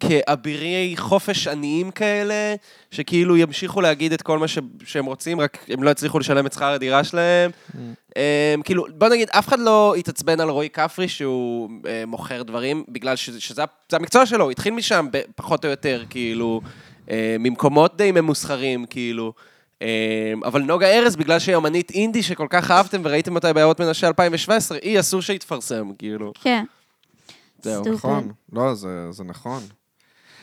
Speaker 3: כאבירי חופש עניים כאלה, שכאילו ימשיכו להגיד את כל מה ש... שהם רוצים, רק הם לא יצליחו לשלם את שכר הדירה שלהם. הם, כאילו, בוא נגיד, אף אחד לא התעצבן על רועי כפרי שהוא אה, מוכר דברים, בגלל ש... שזה זה המקצוע שלו, הוא התחיל משם ב... פחות או יותר, כאילו, אה, ממקומות די ממוסחרים, כאילו. אמ, אבל נוגה ארז, בגלל שהיא אמנית אינדי שכל כך אהבתם וראיתם אותה בהערות מנשה 2017, היא אסור שיתפרסם, כאילו.
Speaker 2: כן.
Speaker 3: זהו,
Speaker 2: Stupid.
Speaker 1: נכון, לא, זה, זה נכון.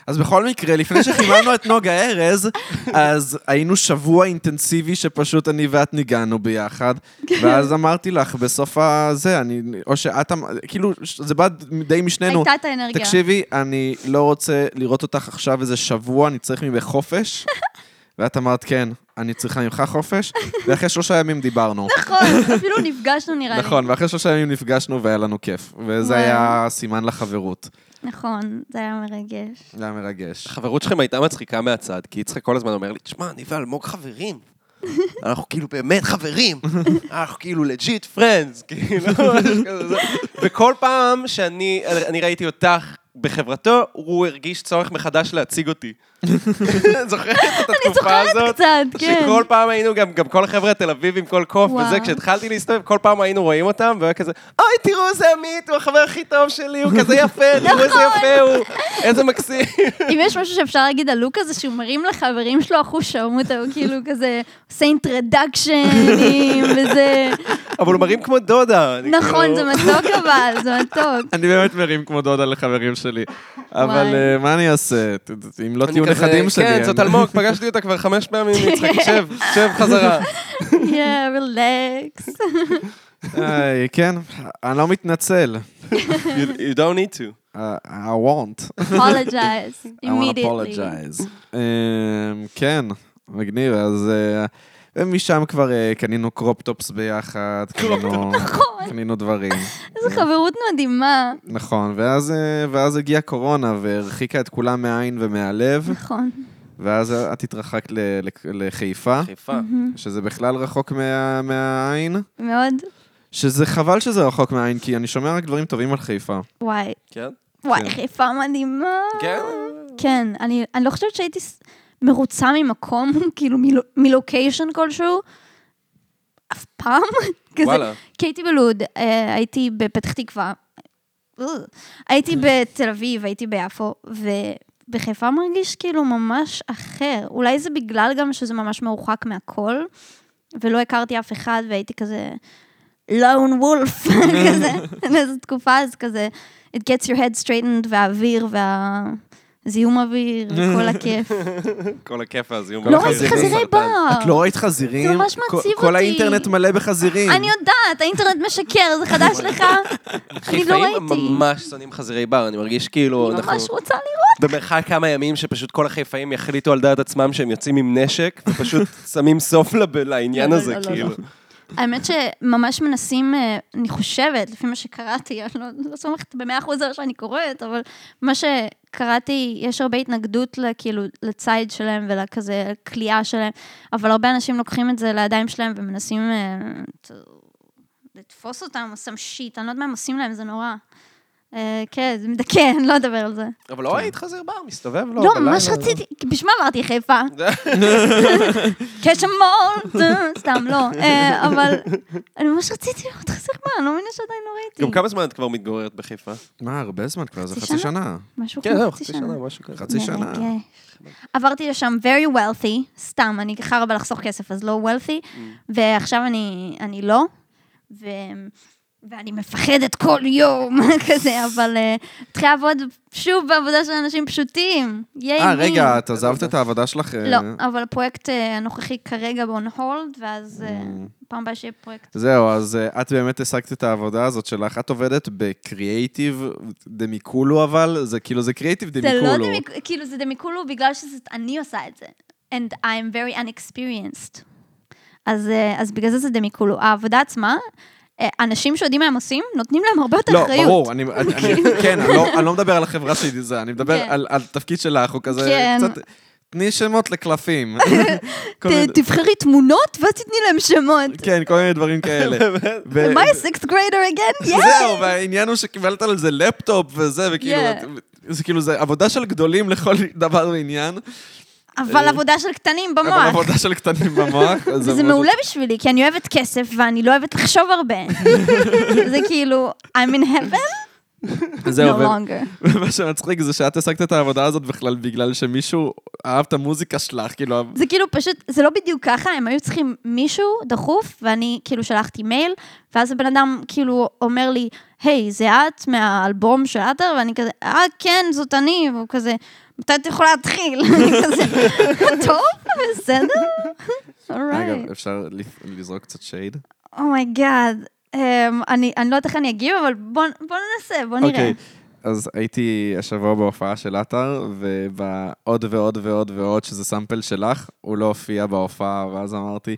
Speaker 1: אז בכל מקרה, לפני שחיממנו את נוגה ארז, אז היינו שבוע אינטנסיבי שפשוט אני ואת ניגענו ביחד,
Speaker 2: כן.
Speaker 1: ואז אמרתי לך, בסוף הזה, אני, או שאת אמרת, כאילו, ש- זה בא די משנינו.
Speaker 2: הייתה את האנרגיה.
Speaker 1: תקשיבי, אני לא רוצה לראות אותך עכשיו איזה שבוע, אני צריך ממך חופש. ואת אמרת, כן, אני צריכה ממך חופש, ואחרי שלושה ימים דיברנו.
Speaker 2: נכון, אפילו נפגשנו נראה לי.
Speaker 1: נכון, ואחרי שלושה ימים נפגשנו והיה לנו כיף, וזה
Speaker 2: וואו.
Speaker 1: היה סימן לחברות.
Speaker 2: נכון, זה היה מרגש.
Speaker 1: זה היה מרגש.
Speaker 3: החברות שלכם הייתה מצחיקה מהצד, כי יצחק כל הזמן אומר לי, תשמע, אני ואלמוג חברים. אנחנו כאילו באמת חברים, אנחנו כאילו לג'יט פרנדס, כאילו, משהו כזה. וכל פעם שאני אני ראיתי אותך בחברתו, הוא הרגיש צורך מחדש להציג אותי. זוכרת את התקופה הזאת?
Speaker 2: זוכרת קצת, כן.
Speaker 3: שכל פעם היינו, גם, גם כל החבר'ה תל אביב עם כל קוף
Speaker 2: וואו.
Speaker 3: וזה, כשהתחלתי להסתובב, כל פעם היינו רואים אותם, והוא היה כזה, אוי, תראו איזה עמית, הוא החבר הכי טוב שלי, הוא כזה יפה, תראו
Speaker 2: נכון.
Speaker 3: איזה יפה הוא, איזה מקסים.
Speaker 2: אם יש משהו שאפשר להגיד על לוק הזה, שהוא מרים לחברים שלו אחוש שרמוטה, הוא כאילו כזה עושה אינטרדקשנים וזה...
Speaker 3: אבל הוא מרים כמו דודה. אני
Speaker 2: נכון,
Speaker 3: כאילו-
Speaker 2: זה מתוק אבל, זה מתוק.
Speaker 1: אני באמת מרים כמו דודה לחברים שלי. אבל
Speaker 2: וואי.
Speaker 1: אה, מה אני אעשה? ת- ת- אם לא
Speaker 3: אני
Speaker 1: תהיו
Speaker 3: כזה,
Speaker 1: נכדים שלי...
Speaker 3: כן,
Speaker 1: אני-
Speaker 3: זאת אלמוג, פגשתי אותה כבר חמש פעמים,
Speaker 2: כן.
Speaker 3: יצחק, שב, שב חזרה.
Speaker 2: Yeah, relax.
Speaker 1: איי, כן, אני לא מתנצל.
Speaker 3: You you don't need to.
Speaker 1: I I won't. I
Speaker 2: apologize
Speaker 1: want to
Speaker 2: immediately.
Speaker 1: apologize. אמ, כן, מגניב, אז... אה, ומשם כבר אה, קנינו קרופטופס ביחד, קנינו-
Speaker 3: נכון.
Speaker 1: קנינו דברים.
Speaker 2: איזו חברות מדהימה.
Speaker 1: נכון, ואז, אה, ואז הגיעה קורונה והרחיקה את כולם מהעין ומהלב,
Speaker 2: נכון.
Speaker 1: ואז את התרחקת ל- לק- לחיפה,
Speaker 3: חיפה.
Speaker 1: שזה בכלל רחוק מה, מהעין,
Speaker 2: Mm-hmm. מאוד.
Speaker 1: שזה חבל שזה רחוק מהעין, כי אני שומע רק דברים טובים על חיפה.
Speaker 2: וואי.
Speaker 3: כן?
Speaker 1: כן.
Speaker 2: וואי, חיפה מדהימה.
Speaker 3: כן?
Speaker 2: כן, אני, אני לא חושבת שהייתי ס- מרוצה ממקום, כאילו מלו- מלוקיישן כלשהו, אף פעם. כזה.
Speaker 3: כן. וואלה.
Speaker 2: כי הייתי בלוד, אה, הייתי בפתח תקווה, אה, הייתי בתל אביב, הייתי ביפו, ובחיפה מרגיש כאילו ממש אחר. אולי זה בגלל גם שזה ממש מרוחק מהכל, ולא הכרתי אף אחד, והייתי כזה לון וולף, כזה, לאיזו תקופה, אז כזה, it gets your head straightened, והאוויר, והזיהום אוויר, וכל הכיף.
Speaker 3: כל הכיף והזיהום.
Speaker 1: לא
Speaker 2: לא
Speaker 1: ראיתי
Speaker 2: ראיתי
Speaker 1: חזירים,
Speaker 2: חזירי
Speaker 3: סרטן.
Speaker 2: בר.
Speaker 1: את לא ראית חזירים?
Speaker 2: אה, זה ממש
Speaker 1: כל-
Speaker 2: מעציב
Speaker 1: כל
Speaker 2: אותי.
Speaker 1: האינטרנט מלא בחזירים.
Speaker 2: אני יודעת, האינטרנט משקר, זה חדש לך? אני לא
Speaker 3: חיפאים
Speaker 2: ראיתי.
Speaker 3: ממש שונאים חזירי בר, אני מרגיש כאילו
Speaker 2: אני
Speaker 3: אנחנו
Speaker 2: ממש רוצה לראות.
Speaker 3: במרחק כמה ימים שפשוט כל החיפאים יחליטו על דעת עצמם שהם יוצאים עם נשק, ופשוט שמים סוף לב- לעניין
Speaker 2: לא,
Speaker 3: הזה,
Speaker 2: לא, לא,
Speaker 3: כאילו.
Speaker 2: לא. האמת שממש מנסים, אה, אני חושבת, לפי מה שקראתי, אני לא- לא סומכת במאה אחוז על מה שאני קוראת, אבל מה שקראתי, יש הרבה התנגדות לכאילו, לציד שלהם ולכזה כליאה שלהם, אבל הרבה אנשים לוקחים את זה לידיים שלהם ומנסים אה, ת- לתפוס אותם, או סם שיט, אני לא יודעת מה הם עושים להם, זה נורא. אה, כן, זה מדכא, אני לא אדבר על זה.
Speaker 3: אבל לא היית חזיר בר, מסתובב לו.
Speaker 2: לא,
Speaker 3: בלילה.
Speaker 2: ממש רציתי, בשביל מה אמרתי חיפה? קשע מול, סתם, לא. אה, אבל אני ממש רציתי לראות חסר מה, אני לא מבינה שעדיין לא
Speaker 3: גם
Speaker 2: ראיתי.
Speaker 3: כמה זמן את כבר מתגוררת בחיפה?
Speaker 1: מה, הרבה זמן כבר, זה
Speaker 2: חצי
Speaker 1: חצי
Speaker 2: שנה? כן,
Speaker 1: שנה.
Speaker 2: משהו
Speaker 3: כן, זהו,
Speaker 2: כמו חצי
Speaker 3: חצי
Speaker 2: שנה.
Speaker 3: שנה, משהו כזה.
Speaker 1: חצי שנה.
Speaker 2: מרגש. עברתי לשם very wealthy, סתם, אני חרא בלחסוך כסף, אז לא wealthy, ועכשיו אני, אני לא, ו... ואני מפחדת כל יום, כזה, אבל אה, התחיל לעבוד שוב בעבודה של אנשים פשוטים. ייי,
Speaker 1: אה,
Speaker 2: מי?
Speaker 1: רגע, את עזבת את העבודה שלך? אה,
Speaker 2: לא, אבל הפרויקט אה, הנוכחי כרגע ב-on hold, ואז אה, פעם הבאה שיהיה פרויקט.
Speaker 1: זהו, אז אה, את באמת השגת את העבודה הזאת שלך. את עובדת בקריאייטיב דמיקולו, אבל זה כאילו, זה קריאייטיב
Speaker 2: זה לא
Speaker 1: דמיקולו.
Speaker 2: דמיקולו, כאילו זה דמיקולו בגלל שאני עושה את זה. And I'm very unexperienced. אז, אה, אז בגלל זה זה דמיקולו. העבודה עצמה, אה, אנשים שיודעים מה הם עושים, נותנים להם הרבה יותר
Speaker 1: לא,
Speaker 2: אחריות.
Speaker 1: ברור, אני, אני, אני, כן, אני לא, אני לא מדבר על החברה שלי, זה, אני מדבר
Speaker 2: אוקיי. כן.
Speaker 1: על, על תפקיד שלך, הוא כזה
Speaker 2: כן.
Speaker 1: קצת... תני שמות לקלפים. כל
Speaker 2: ת-
Speaker 1: מיני-
Speaker 2: תבחרי תמונות ואז תתני להם שמות.
Speaker 1: כן, כל מיני דברים כאלה. ו-
Speaker 2: Am I a sixth grader again? Yeah!
Speaker 1: אה, זהו, והעניין הוא שקיבלת על זה לפטופ וזה, וכאילו,
Speaker 2: Yeah.
Speaker 1: את- זה כאילו, זה עבודה של גדולים לכל דבר ועניין,
Speaker 2: אבל עבודה של קטנים
Speaker 1: אבל
Speaker 2: במוח.
Speaker 1: עבודה של קטנים במוח. אז
Speaker 2: וזה
Speaker 1: עבודה-
Speaker 2: מעולה בשבילי, כי אני אוהבת כסף ואני לא אוהבת לחשוב הרבה. זה כאילו, I'm in heaven,
Speaker 1: זהו,
Speaker 2: no
Speaker 1: ו-
Speaker 2: longer.
Speaker 1: ומה שמצחיק זה שאת השגת את העבודה הזאת בכלל בגלל שמישהו אהב את המוזיקה שלך, כאילו...
Speaker 2: זה כאילו פשוט, זה לא בדיוק ככה, הם היו צריכים מישהו דחוף, ואני כאילו שלחתי מייל, ואז הבן אדם כאילו אומר לי, היי, זה את מהאלבום של עטר? ואני כזה, אה, כן, זאת אני, והוא כזה, מתי את יכולה להתחיל? אני כזה, טוב, בסדר,
Speaker 1: אגב,
Speaker 2: אורייט.
Speaker 1: אפשר לפ- לזרוק קצת שייד?
Speaker 2: Oh אומייגאד. אני אני לא יודעת איך אני אגיב, אבל בוא בוא ננסה, בוא נראה.
Speaker 1: אוקיי, אז הייתי השבוע בהופעה של עטר, ובעוד ועוד ועוד ועוד, שזה סאמפל שלך, הוא לא הופיע בהופעה, ואז אמרתי,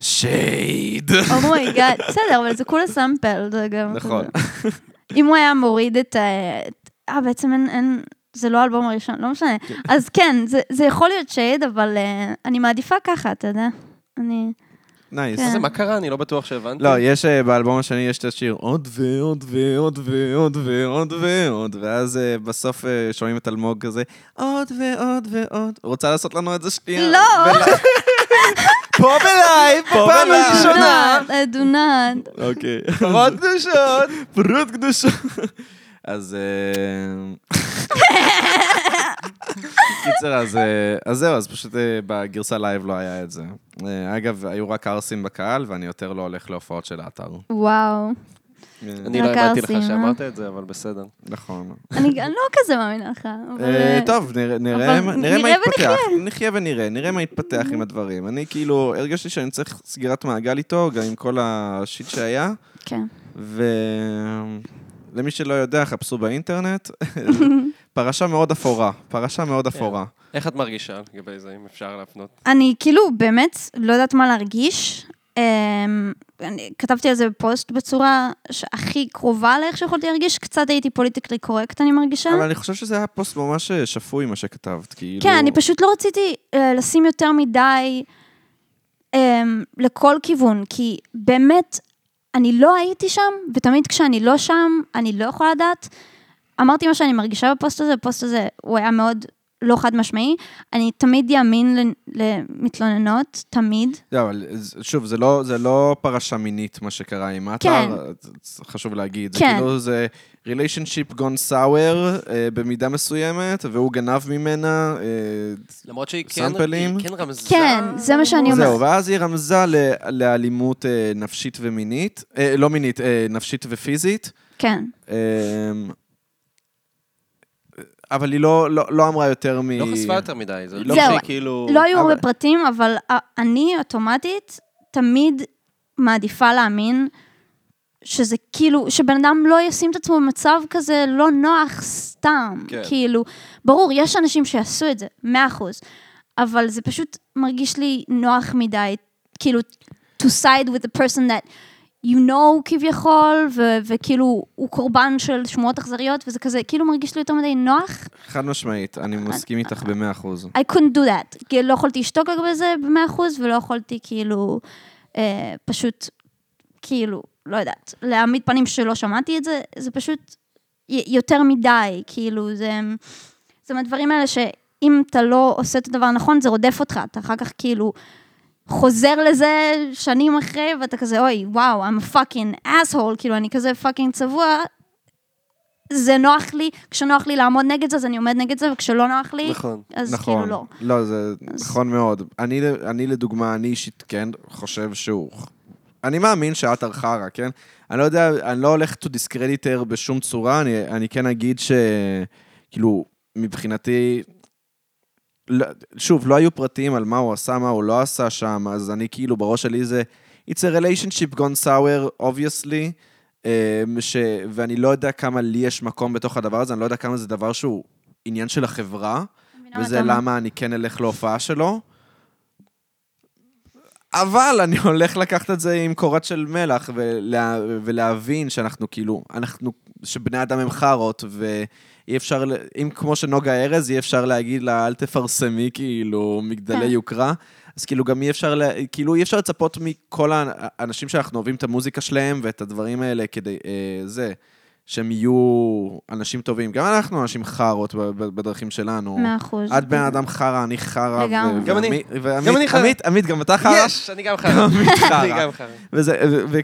Speaker 1: שייד!
Speaker 2: אוקיי. אומייגאד, Oh בסדר, אבל זה כולה סאמפל, זה גם...
Speaker 1: נכון.
Speaker 2: אם הוא היה מוריד את ה... את- אה, בעצם אין, אין, זה לא כן, האלבום הראשון, לא משנה. אז כן, זה, זה יכול להיות שייד, אבל אה, אני מעדיפה ככה, אתה יודע. אני...
Speaker 1: נייס.
Speaker 2: כן.
Speaker 3: זה, מה קרה? אני לא בטוח שהבנתי.
Speaker 1: לא, יש אה, באלבום השני, יש את השיר עוד ועוד ועוד ועוד ועוד ועוד, ואז אה, בסוף אה, שומעים את אלמוג כזה, עוד ועוד ועוד. רוצה לעשות לנו את זה שנייה?
Speaker 2: לא!
Speaker 1: פה בלייב, פה
Speaker 3: בפעם
Speaker 1: בלייב.
Speaker 3: ראשונה.
Speaker 2: Do not, I do not.
Speaker 1: אוקיי.
Speaker 3: פרות קדושות.
Speaker 1: פרות קדושה. אז... אה, קיצר, אז, אה, אז זהו, אז פשוט אה, בגרסה לייב לא היה את זה. אה, אגב, היו רק ערסים בקהל, ואני יותר לא הולך להופעות של האתר.
Speaker 2: וואו.
Speaker 3: אני לא האמנתי לך
Speaker 2: לקרסים, אה?
Speaker 3: שאמרת את זה, אבל בסדר.
Speaker 1: נכון.
Speaker 2: אני אני לא כזה מאמינה לך. אבל,
Speaker 1: אה,
Speaker 2: אה,
Speaker 1: טוב, נראה- נראה
Speaker 2: אבל
Speaker 1: מה
Speaker 2: נראה
Speaker 1: נראה מה יתפתח.
Speaker 2: ונחיה.
Speaker 1: נחיה ונראה, נראה מה יתפתח עם הדברים. אני כאילו, הרגשתי שאני צריך סגירת מעגל איתו, גם עם כל השיט שהיה,
Speaker 2: כן.
Speaker 1: ולמי שלא יודע, חפשו באינטרנט. פרשה מאוד אפורה, פרשה מאוד אפורה.
Speaker 3: איך את מרגישה לגבי זה, אם אפשר להפנות?
Speaker 2: אני כאילו באמת לא יודעת מה להרגיש. אמ, אני כתבתי על זה בפוסט בצורה שהכי קרובה לאיך שיכולתי להרגיש, קצת הייתי פוליטיקלי קורקט, אני מרגישה.
Speaker 1: אבל אני חושב שזה היה פוסט ממש אה, שפוי, מה שכתבת, כאילו...
Speaker 2: כן, אני פשוט לא רציתי אה, לשים יותר מדי אה, לכל כיוון, כי באמת, אני לא הייתי שם, ותמיד כשאני לא שם, אני לא יכולה לדעת. אמרתי מה שאני מרגישה בפוסט הזה, הפוסט הזה, הוא היה מאוד לא חד משמעי. אני תמיד יאמין ל- למתלוננות, תמיד.
Speaker 1: לא, אבל זה- שוב, זה לא, זה לא פרשה מינית, מה שקרה עם האתר,
Speaker 2: כן.
Speaker 1: אז חשוב להגיד.
Speaker 2: כן.
Speaker 1: זה כאילו, זה ריליישנשיפ גון סאואר אה, במידה מסוימת, והוא גנב ממנה. אה,
Speaker 3: למרות שהיא כן
Speaker 1: סאמפלים?
Speaker 3: היא כן רמזה.
Speaker 2: כן, זה מה שאני אומרת.
Speaker 1: זהו, ואז היא רמזה ל- לאלימות אה, נפשית ומינית, אה, לא מינית, אה, נפשית ופיזית.
Speaker 2: כן.
Speaker 1: אה, אבל היא לא, לא, לא אמרה יותר מ...
Speaker 3: לא חשפה יותר מדי, זה לא
Speaker 2: זהו,
Speaker 3: שהיא כאילו...
Speaker 2: לא היו הרבה
Speaker 1: אבל-
Speaker 2: פרטים, אבל אה, אני אוטומטית תמיד מעדיפה להאמין שזה כאילו, שבן אדם לא ישים את עצמו במצב כזה לא נוח סתם.
Speaker 3: כן.
Speaker 2: כאילו, ברור, יש אנשים שיעשו את זה, מאה אחוז, אבל זה פשוט מרגיש לי נוח מדי, כאילו, to side with the person that you know כביכול, ו- וכאילו, הוא קורבן של שמועות אכזריות, וזה כזה, כאילו מרגיש לי יותר מדי נוח.
Speaker 1: חד משמעית, אני מסכים איתך במאה אחוז.
Speaker 2: I couldn't do that. כאילו, לא יכולתי לשתוק לגבי זה במאה אחוז, ולא יכולתי כאילו, אה, פשוט, כאילו, לא יודעת, להעמיד פנים שלא שמעתי את זה, זה פשוט י- יותר מדי, כאילו, זה, זה מהדברים האלה שאם אתה לא עושה את הדבר הנכון, זה רודף אותך, אתה אחר כך כאילו... חוזר לזה שנים אחרי, ואתה כזה, אוי, וואו, I'm a fucking asshole, כאילו, אני כזה fucking צבוע. זה נוח לי, כשנוח לי לעמוד נגד זה, אז אני עומד נגד זה, וכשלא נוח לי,
Speaker 3: נכון.
Speaker 2: אז
Speaker 1: נכון,
Speaker 2: כאילו לא.
Speaker 1: לא, זה נכון מאוד. אני, אני לדוגמה, אני אישית כן חושב שהוא... אני מאמין שעטר חרא, כן? אני לא יודע, אני לא הולך to discredit her בשום צורה, אני, אני כן אגיד ש... כאילו, מבחינתי... לא, שוב, לא היו פרטים על מה הוא עשה, מה הוא לא עשה שם, אז אני כאילו, בראש שלי זה... It's a relationship gone sour, obviously, אמ, ש... ואני לא יודע כמה לי יש מקום בתוך הדבר הזה, אני לא יודע כמה זה דבר שהוא עניין של החברה.
Speaker 2: מבינה מה
Speaker 1: וזה
Speaker 2: אתה אומר.
Speaker 1: למה אני כן אלך להופעה שלו. אבל אני הולך לקחת את זה עם קורת של מלח ולה, ולהבין שאנחנו כאילו, אנחנו, שבני אדם הם חארות, ואי אפשר, ל- אם כמו שנוגה ארז, אי אפשר להגיד לה, אל תפרסמי כאילו מגדלי
Speaker 2: כן.
Speaker 1: יוקרה, אז כאילו גם אי אפשר, לה, כאילו אי אפשר לצפות מכל האנשים שאנחנו אוהבים את המוזיקה שלהם ואת הדברים האלה כדי, אה, זה, שהם יהיו אנשים טובים. גם אנחנו אנשים חארות ב- ב- בדרכים שלנו.
Speaker 2: מאה אחוז.
Speaker 1: את בן אדם חרא, אני חרא. ו-
Speaker 2: לגמרי.
Speaker 3: גם אני.
Speaker 1: ועמית-
Speaker 3: גם אני
Speaker 1: ועמית,
Speaker 3: חרא.
Speaker 1: עמית, עמית, גם אתה חרא?
Speaker 3: יש, אני גם חרא.
Speaker 1: חרא.
Speaker 3: אני גם חרא.
Speaker 1: וזה- ו- ו-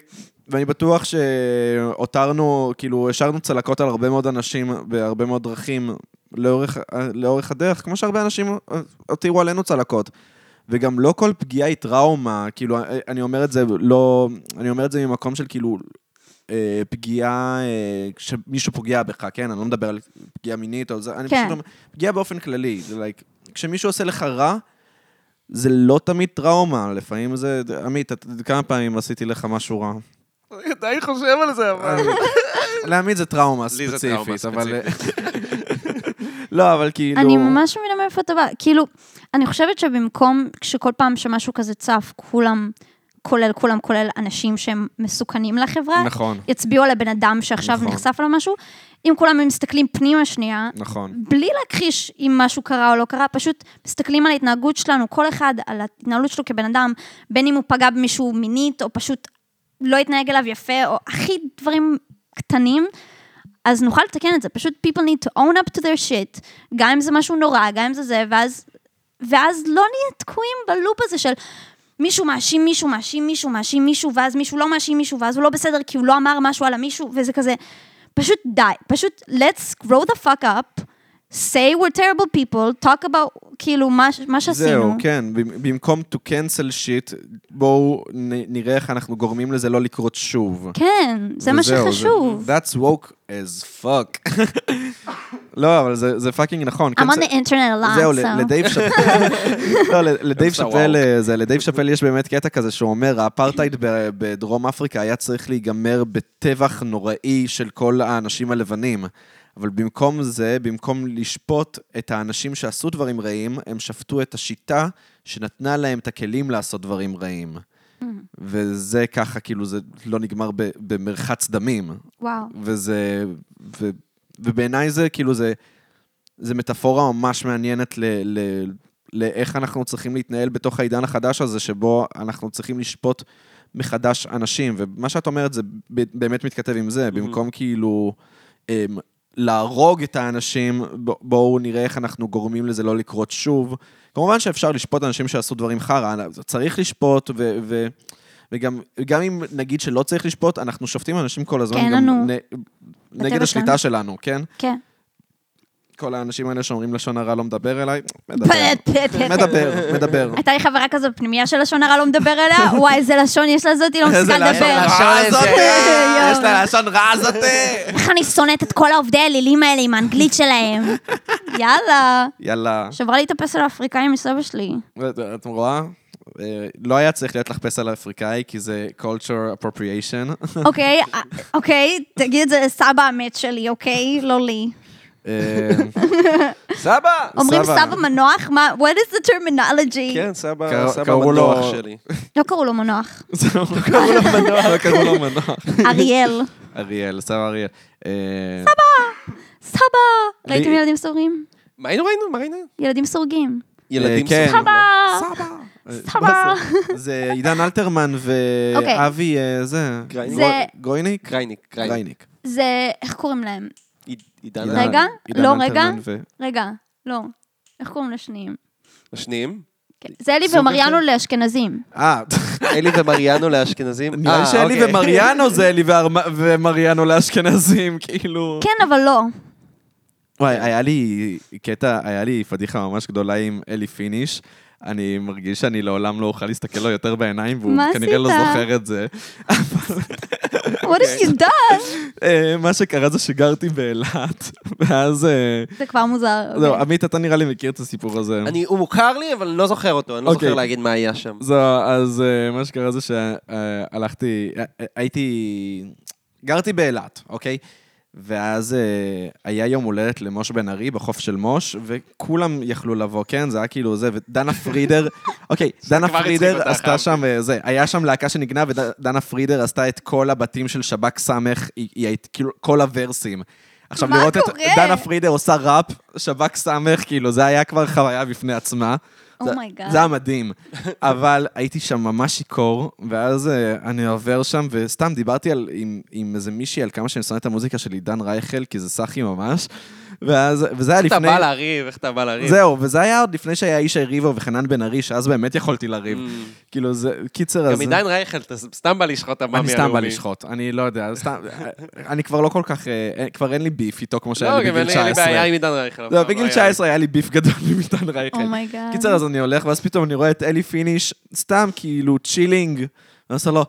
Speaker 1: ואני בטוח שהותרנו, כאילו, השארנו צלקות על הרבה מאוד אנשים בהרבה מאוד דרכים לאורך, לאורך הדרך, כמו שהרבה אנשים הותירו עלינו צלקות. וגם לא כל פגיעה היא טראומה, כאילו, אני אומר את זה לא... אני אומר את זה ממקום של כאילו... אה, פגיעה, אה, כשמישהו פוגע בך, כן? אני לא מדבר על פגיעה מינית או זה, אני
Speaker 2: כן.
Speaker 1: פשוט אומר, פגיעה באופן כללי, זה like, כשמישהו עושה לך רע, זה לא תמיד טראומה, לפעמים זה... עמית, את- כמה פעמים עשיתי לך משהו רע?
Speaker 3: אני עדיין חושב על זה, אבל...
Speaker 1: אה, לעמית זה טראומה
Speaker 3: לי זה טראומה
Speaker 1: ספציפית, אבל... לא, אבל כאילו...
Speaker 2: אני ממש מבינה מאיפה אתה בא. כאילו, אני חושבת שבמקום שכל פעם שמשהו כזה צף, כולם כולל כולם, כולל אנשים שהם מסוכנים לחברה,
Speaker 1: נכון,
Speaker 2: יצביעו על הבן אדם שעכשיו
Speaker 1: נכון.
Speaker 2: נחשף עליו משהו. אם כולם מסתכלים פנימה שנייה,
Speaker 1: נכון.
Speaker 2: בלי להכחיש אם משהו קרה או לא קרה, פשוט מסתכלים על ההתנהגות שלנו, כל אחד על ההתנהלות שלו כבן אדם, בין אם הוא פגע במישהו מינית, או פשוט לא התנהג אליו יפה, או הכי דברים קטנים, אז נוכל לתקן את זה. פשוט people need to own up to their shit, גם אם זה משהו נורא, גם אם זה זה, ואז, ואז לא נהיה תקועים בלופ הזה של... מישהו מאשים מישהו, מאשים מישהו, מאשים מישהו, ואז מישהו לא מאשים מישהו, ואז הוא לא בסדר כי הוא לא אמר משהו על המישהו, וזה כזה, פשוט די, פשוט let's grow the fuck up, say we're terrible people, talk about כאילו מה, ש- מה שעשינו.
Speaker 1: זהו, כן, במ- במקום to cancel shit, בואו נ- נראה איך אנחנו גורמים לזה לא לקרות שוב.
Speaker 2: כן, זה מה
Speaker 1: וזהו,
Speaker 2: שחשוב.
Speaker 1: זה- That's woke as fuck. לא, אבל זה זה פאקינג נכון.
Speaker 2: I'm on
Speaker 1: cancel-
Speaker 2: the internet a lot,
Speaker 1: זהו,
Speaker 2: so...
Speaker 1: ל- לדייב שאפל, לא, ל- לדייב
Speaker 3: I'm so
Speaker 1: שאפל, אה, זה, לדייב שאפל יש באמת קטע כזה שהוא אומר, האפרטהייד ב- בדרום אפריקה היה צריך להיגמר בטבח נוראי של כל האנשים הלבנים. אבל במקום זה, במקום לשפוט את האנשים שעשו דברים רעים, הם שפטו את השיטה שנתנה להם את הכלים לעשות דברים רעים. וזה ככה, כאילו, זה לא נגמר ב- במרחץ דמים.
Speaker 2: וואו.
Speaker 1: וזה... ו, ובעיניי זה, כאילו, זה... זה מטאפורה ממש מעניינת ל, ל, לאיך אנחנו צריכים להתנהל בתוך העידן החדש הזה, שבו אנחנו צריכים לשפוט מחדש אנשים. ומה שאת אומרת, זה ב- באמת מתכתב עם זה. במקום כאילו אמ, להרוג את האנשים, ב- בואו נראה איך אנחנו גורמים לזה לא לקרות שוב. כמובן שאפשר לשפוט אנשים שעשו דברים חרא, צריך לשפוט, ו... ו וגם גם אם נגיד שלא צריך לשפוט, אנחנו שופטים אנשים כל הזמן,
Speaker 2: כן,
Speaker 1: גם
Speaker 2: לנו.
Speaker 1: נ- נגד
Speaker 2: בטבע
Speaker 1: השליטה שלנו, כן?
Speaker 2: כן.
Speaker 1: כל האנשים האלה שאומרים לשון הרע לא מדבר אליי, מדבר.
Speaker 2: פ- פ- פ-
Speaker 1: מדבר, מדבר.
Speaker 2: הייתה לי חברה כזו בפנימייה שלשון הרע לא מדבר אליה, וואי, איזה לשון יש לזאתי, לא
Speaker 1: איזה
Speaker 2: מפסיקה
Speaker 1: לשון
Speaker 2: לדבר.
Speaker 1: רע
Speaker 3: אה, איזה-
Speaker 1: זאת,
Speaker 2: יואו.
Speaker 1: יש לה לשון רע זאת.
Speaker 2: איך אני שונאת את כל העובדי האלילים האלה עם האנגלית שלהם. יאללה.
Speaker 1: יאללה,
Speaker 2: שברה לי את הפסל האפריקאי מסבא שלי.
Speaker 1: את רואה? אה, לא היה צריך להיות לך פסל אפריקאי, כי זה culture appropriation.
Speaker 2: אוקיי, אה, אוקיי, תגיד את זה לסבא המת שלי, אוקיי? לא לי.
Speaker 1: אה,
Speaker 3: סבא!
Speaker 2: אומרים
Speaker 1: סבא.
Speaker 2: סבא מנוח? מה? What is the terminology?
Speaker 3: כן, סבא,
Speaker 1: קרא-
Speaker 3: סבא
Speaker 1: קראו לו-
Speaker 3: המנוח שלי.
Speaker 2: לא קראו לו מנוח.
Speaker 1: זהו, לא קראו לו מנוח. לא קראו לו מנוח.
Speaker 2: אריאל.
Speaker 1: אריאל, סבא אריאל. אה, סבא.
Speaker 2: סבא! ראיתם
Speaker 1: לי-
Speaker 2: ילדים סורגים?
Speaker 3: מה היינו ראינו? מה ראינו?
Speaker 2: ילדים סורגים.
Speaker 3: ילדים
Speaker 1: כן.
Speaker 3: סבא.
Speaker 1: סבא.
Speaker 2: סבא.
Speaker 1: אה, זה עידן אלתרמן
Speaker 2: אוקיי.
Speaker 1: ואבי, אה, זה...
Speaker 3: גרייניק.
Speaker 2: זה-
Speaker 1: גרויניק?
Speaker 3: גרייניק, גרייניק.
Speaker 1: גרייניק.
Speaker 2: זה, איך קוראים להם?
Speaker 3: עיד- עידן
Speaker 1: עידן-
Speaker 2: רגע,
Speaker 1: עידן
Speaker 2: לא,
Speaker 1: אלתרמן
Speaker 2: רגע.
Speaker 1: ו-
Speaker 2: רגע, לא. איך קוראים לשניים?
Speaker 3: אה, השניים.
Speaker 2: כן, זה אלי
Speaker 3: סוג
Speaker 2: ומריאנו
Speaker 3: אחר?
Speaker 2: לאשכנזים.
Speaker 1: אה,
Speaker 3: אלי ומריאנו לאשכנזים.
Speaker 1: נראה לי
Speaker 3: אה,
Speaker 1: שאלי
Speaker 3: אוקיי.
Speaker 1: ומריאנו זה אלי והר- ומריאנו לאשכנזים, כאילו.
Speaker 2: כן, אבל לא.
Speaker 1: וואי, היה לי קטע, היה לי פדיחה ממש גדולה עם אלי פיניש. אני מרגיש שאני לעולם לא אוכל להסתכל לו יותר בעיניים, והוא
Speaker 2: מה
Speaker 1: כנראה לא
Speaker 2: עשית?
Speaker 1: זוכר את זה.
Speaker 2: What have
Speaker 1: כן.
Speaker 2: you done?
Speaker 1: אה, מה שקרה זה שגרתי באילת, ואז... אה,
Speaker 2: זה כבר מוזר.
Speaker 1: לא,
Speaker 2: אוקיי.
Speaker 1: עמית, אתה נראה לי מכיר את הסיפור הזה.
Speaker 3: אני- הוא מוכר לי, אבל אני לא זוכר אותו, אני לא
Speaker 1: אוקיי.
Speaker 3: זוכר להגיד מה היה שם.
Speaker 1: זו, אז אה, מה שקרה זה שהלכתי, אה, הייתי, גרתי באילת, אוקיי? ואז אה, היה יום הולדת למוש בן ארי בחוף של מוש, וכולם יכלו לבוא, כן? זה היה כאילו זה, ודנה פרידר, אוקיי, דנה
Speaker 3: כבר הצחיק
Speaker 1: פרידר
Speaker 3: אותך,
Speaker 1: עשתה
Speaker 3: אהבתי.
Speaker 1: שם אה, זה, היה שם להקה שניגנה, ודנה פרידר עשתה את כל הבתים של שב"כ סמך, היא היא הייתה, כאילו, כל הוורסים. עכשיו,
Speaker 2: מה
Speaker 1: לראות את
Speaker 2: קורה?
Speaker 1: דנה פרידר עושה ראפ, שב"כ סמך, כאילו, זה היה כבר חוויה בפני עצמה.
Speaker 2: Oh
Speaker 1: זה-
Speaker 2: my God.
Speaker 1: זה היה מדהים. אבל הייתי שם ממש שיכור, ואז אה, אני עובר שם, וסתם דיברתי על, עם, עם איזה מישהי על כמה שאני שונא את המוזיקה של עידן רייכל, כי זה סאחי ממש. ואז, וזה היה
Speaker 3: איך אתה
Speaker 1: לפני...
Speaker 3: בא לריב, איך אתה בא לריב.
Speaker 1: זהו, וזה היה עוד לפני שהיה ישי ריבו וחנן בן ארי, שאז באמת יכולתי לריב.
Speaker 3: Mm.
Speaker 1: כאילו, זה... קיצר, אז...
Speaker 3: גם עידן רייכל, אתה סתם בא לשחוט את המאמי
Speaker 1: אני
Speaker 3: הלאומי.
Speaker 1: סתם בא לשחוט, אני לא יודע, סתם... אני כבר לא כל כך... אה, אה, כבר אין לי ביף איתו כמו שהיה
Speaker 3: לא,
Speaker 1: לי
Speaker 3: גם
Speaker 1: בגיל
Speaker 3: אין לי- אין לי
Speaker 1: 19.
Speaker 3: בעיה עם עידן רייכל. אף
Speaker 1: לא,
Speaker 3: פעם
Speaker 1: בגיל
Speaker 3: היה לי.
Speaker 1: 19 היה לי ביף גדול עם עידן
Speaker 3: כן.
Speaker 1: רייכל.
Speaker 2: אומייגאד.
Speaker 1: קיצר, אז אני הולך, ואז פתאום אני רואה את אלי פיניש, סתם כאילו צ'ילינג, ואני עושה לו,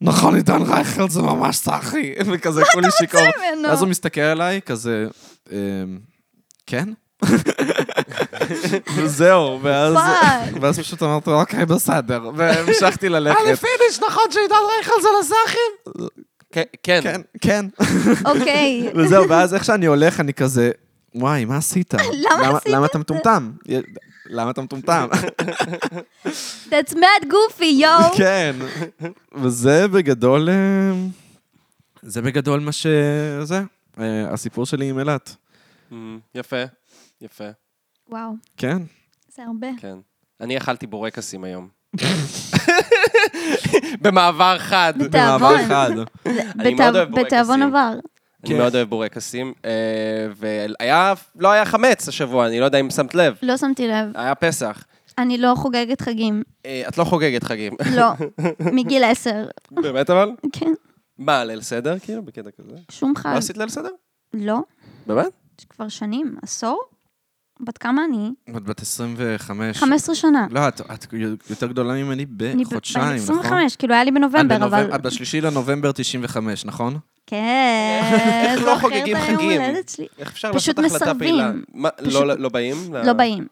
Speaker 1: נכון, עידן רייכל זה ממש סאחי, וכזה כולי שיכור.
Speaker 2: ממנו?
Speaker 1: ואז הוא מסתכל עליי, כזה, אמ, כן? וזהו, ואז
Speaker 2: פאק.
Speaker 1: ואז פשוט אמרתי, לו, אוקיי, בסדר, והמשכתי
Speaker 3: אלי
Speaker 1: ללכת.
Speaker 3: פיניש, אה, נכון שעידן רייכל זה לסאחים? כן,
Speaker 1: כן,
Speaker 3: כן.
Speaker 1: כן.
Speaker 2: אוקיי.
Speaker 1: וזהו, ואז איך שאני הולך, אני כזה, וואי, מה עשית?
Speaker 2: למה עשית
Speaker 1: למה אתה מטומטם? למה אתה מטומטם?
Speaker 2: That's mad goofy, yo!
Speaker 1: כן. וזה בגדול... אה, זה בגדול מה שזה. אה, הסיפור שלי עם אילת.
Speaker 3: אמ, יפה, יפה,
Speaker 2: וואו,
Speaker 1: כן.
Speaker 2: זה הרבה.
Speaker 3: כן. אני אכלתי בורקסים היום. במעבר חד.
Speaker 2: בתא- תיאבון.
Speaker 1: במעבר חד.
Speaker 3: אני מאוד אוהב בורקסים.
Speaker 2: בתיאבון עבר.
Speaker 3: אני
Speaker 1: כן.
Speaker 3: מאוד אוהב בורקסים, אה, והיה, לא היה חמץ השבוע, אני לא יודע אם שמת לב.
Speaker 2: לא שמתי לב,
Speaker 3: היה פסח.
Speaker 2: אני לא חוגגת חגים.
Speaker 3: אה, את לא חוגגת חגים.
Speaker 2: לא, מגיל עשר.
Speaker 3: באמת אבל?
Speaker 2: כן,
Speaker 3: מה, ליל סדר? כאילו, בקטע כזה.
Speaker 2: שום חג.
Speaker 3: לא עשית ליל סדר?
Speaker 2: לא,
Speaker 3: באמת?
Speaker 2: כבר שנים, עשור? בת כמה אני?
Speaker 1: את בת 25.
Speaker 2: 15 שנה.
Speaker 1: לא, את- את יותר גדולה ממני
Speaker 2: אני ב-
Speaker 1: בחודשיים,
Speaker 2: בת
Speaker 1: נכון?
Speaker 2: 25, כאילו היה לי
Speaker 3: אה,
Speaker 1: את
Speaker 2: בנובמבר,
Speaker 1: בנובמב-
Speaker 2: אבל...
Speaker 1: את בשלישי לנובמבר 95, נכון?
Speaker 2: כן,
Speaker 3: איך לא
Speaker 2: זוכרת
Speaker 3: חוגגים
Speaker 2: את היום
Speaker 3: חגים?
Speaker 2: הולדת שלי.
Speaker 3: איך אפשר
Speaker 2: פשוט
Speaker 3: לעשות החלטה
Speaker 2: מסרבים.
Speaker 3: פעילה? מה,
Speaker 2: פשוט-
Speaker 3: לא- לא באים?
Speaker 2: לא באים.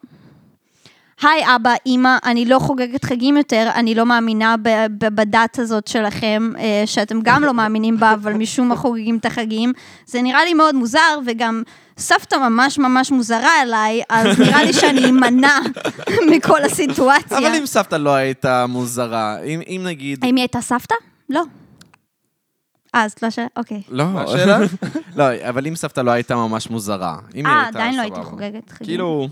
Speaker 2: היי אבא, אימא, אני לא חוגגת חגים יותר, אני לא מאמינה ב- ב- בדת הזאת שלכם, אה, שאתם גם לא מאמינים בה, אבל משום מה חוגגים את החגים. זה נראה לי מאוד מוזר, וגם סבתא ממש ממש מוזרה אליי, אז נראה לי שאני אמנע מכל הסיטואציה.
Speaker 1: אבל אם סבתא לא הייתה מוזרה, אם אם נגיד...
Speaker 2: האם היא הייתה סבתא? לא. אה, אז את לא ש... אוקיי.
Speaker 1: לא,
Speaker 3: מה השאלה?
Speaker 1: לא, אבל אם סבתא לא הייתה ממש מוזרה. אם היא
Speaker 2: אה,
Speaker 1: הייתה
Speaker 2: עדיין לא
Speaker 1: סבבה.
Speaker 2: הייתי חוגגת חגים.
Speaker 1: כאילו,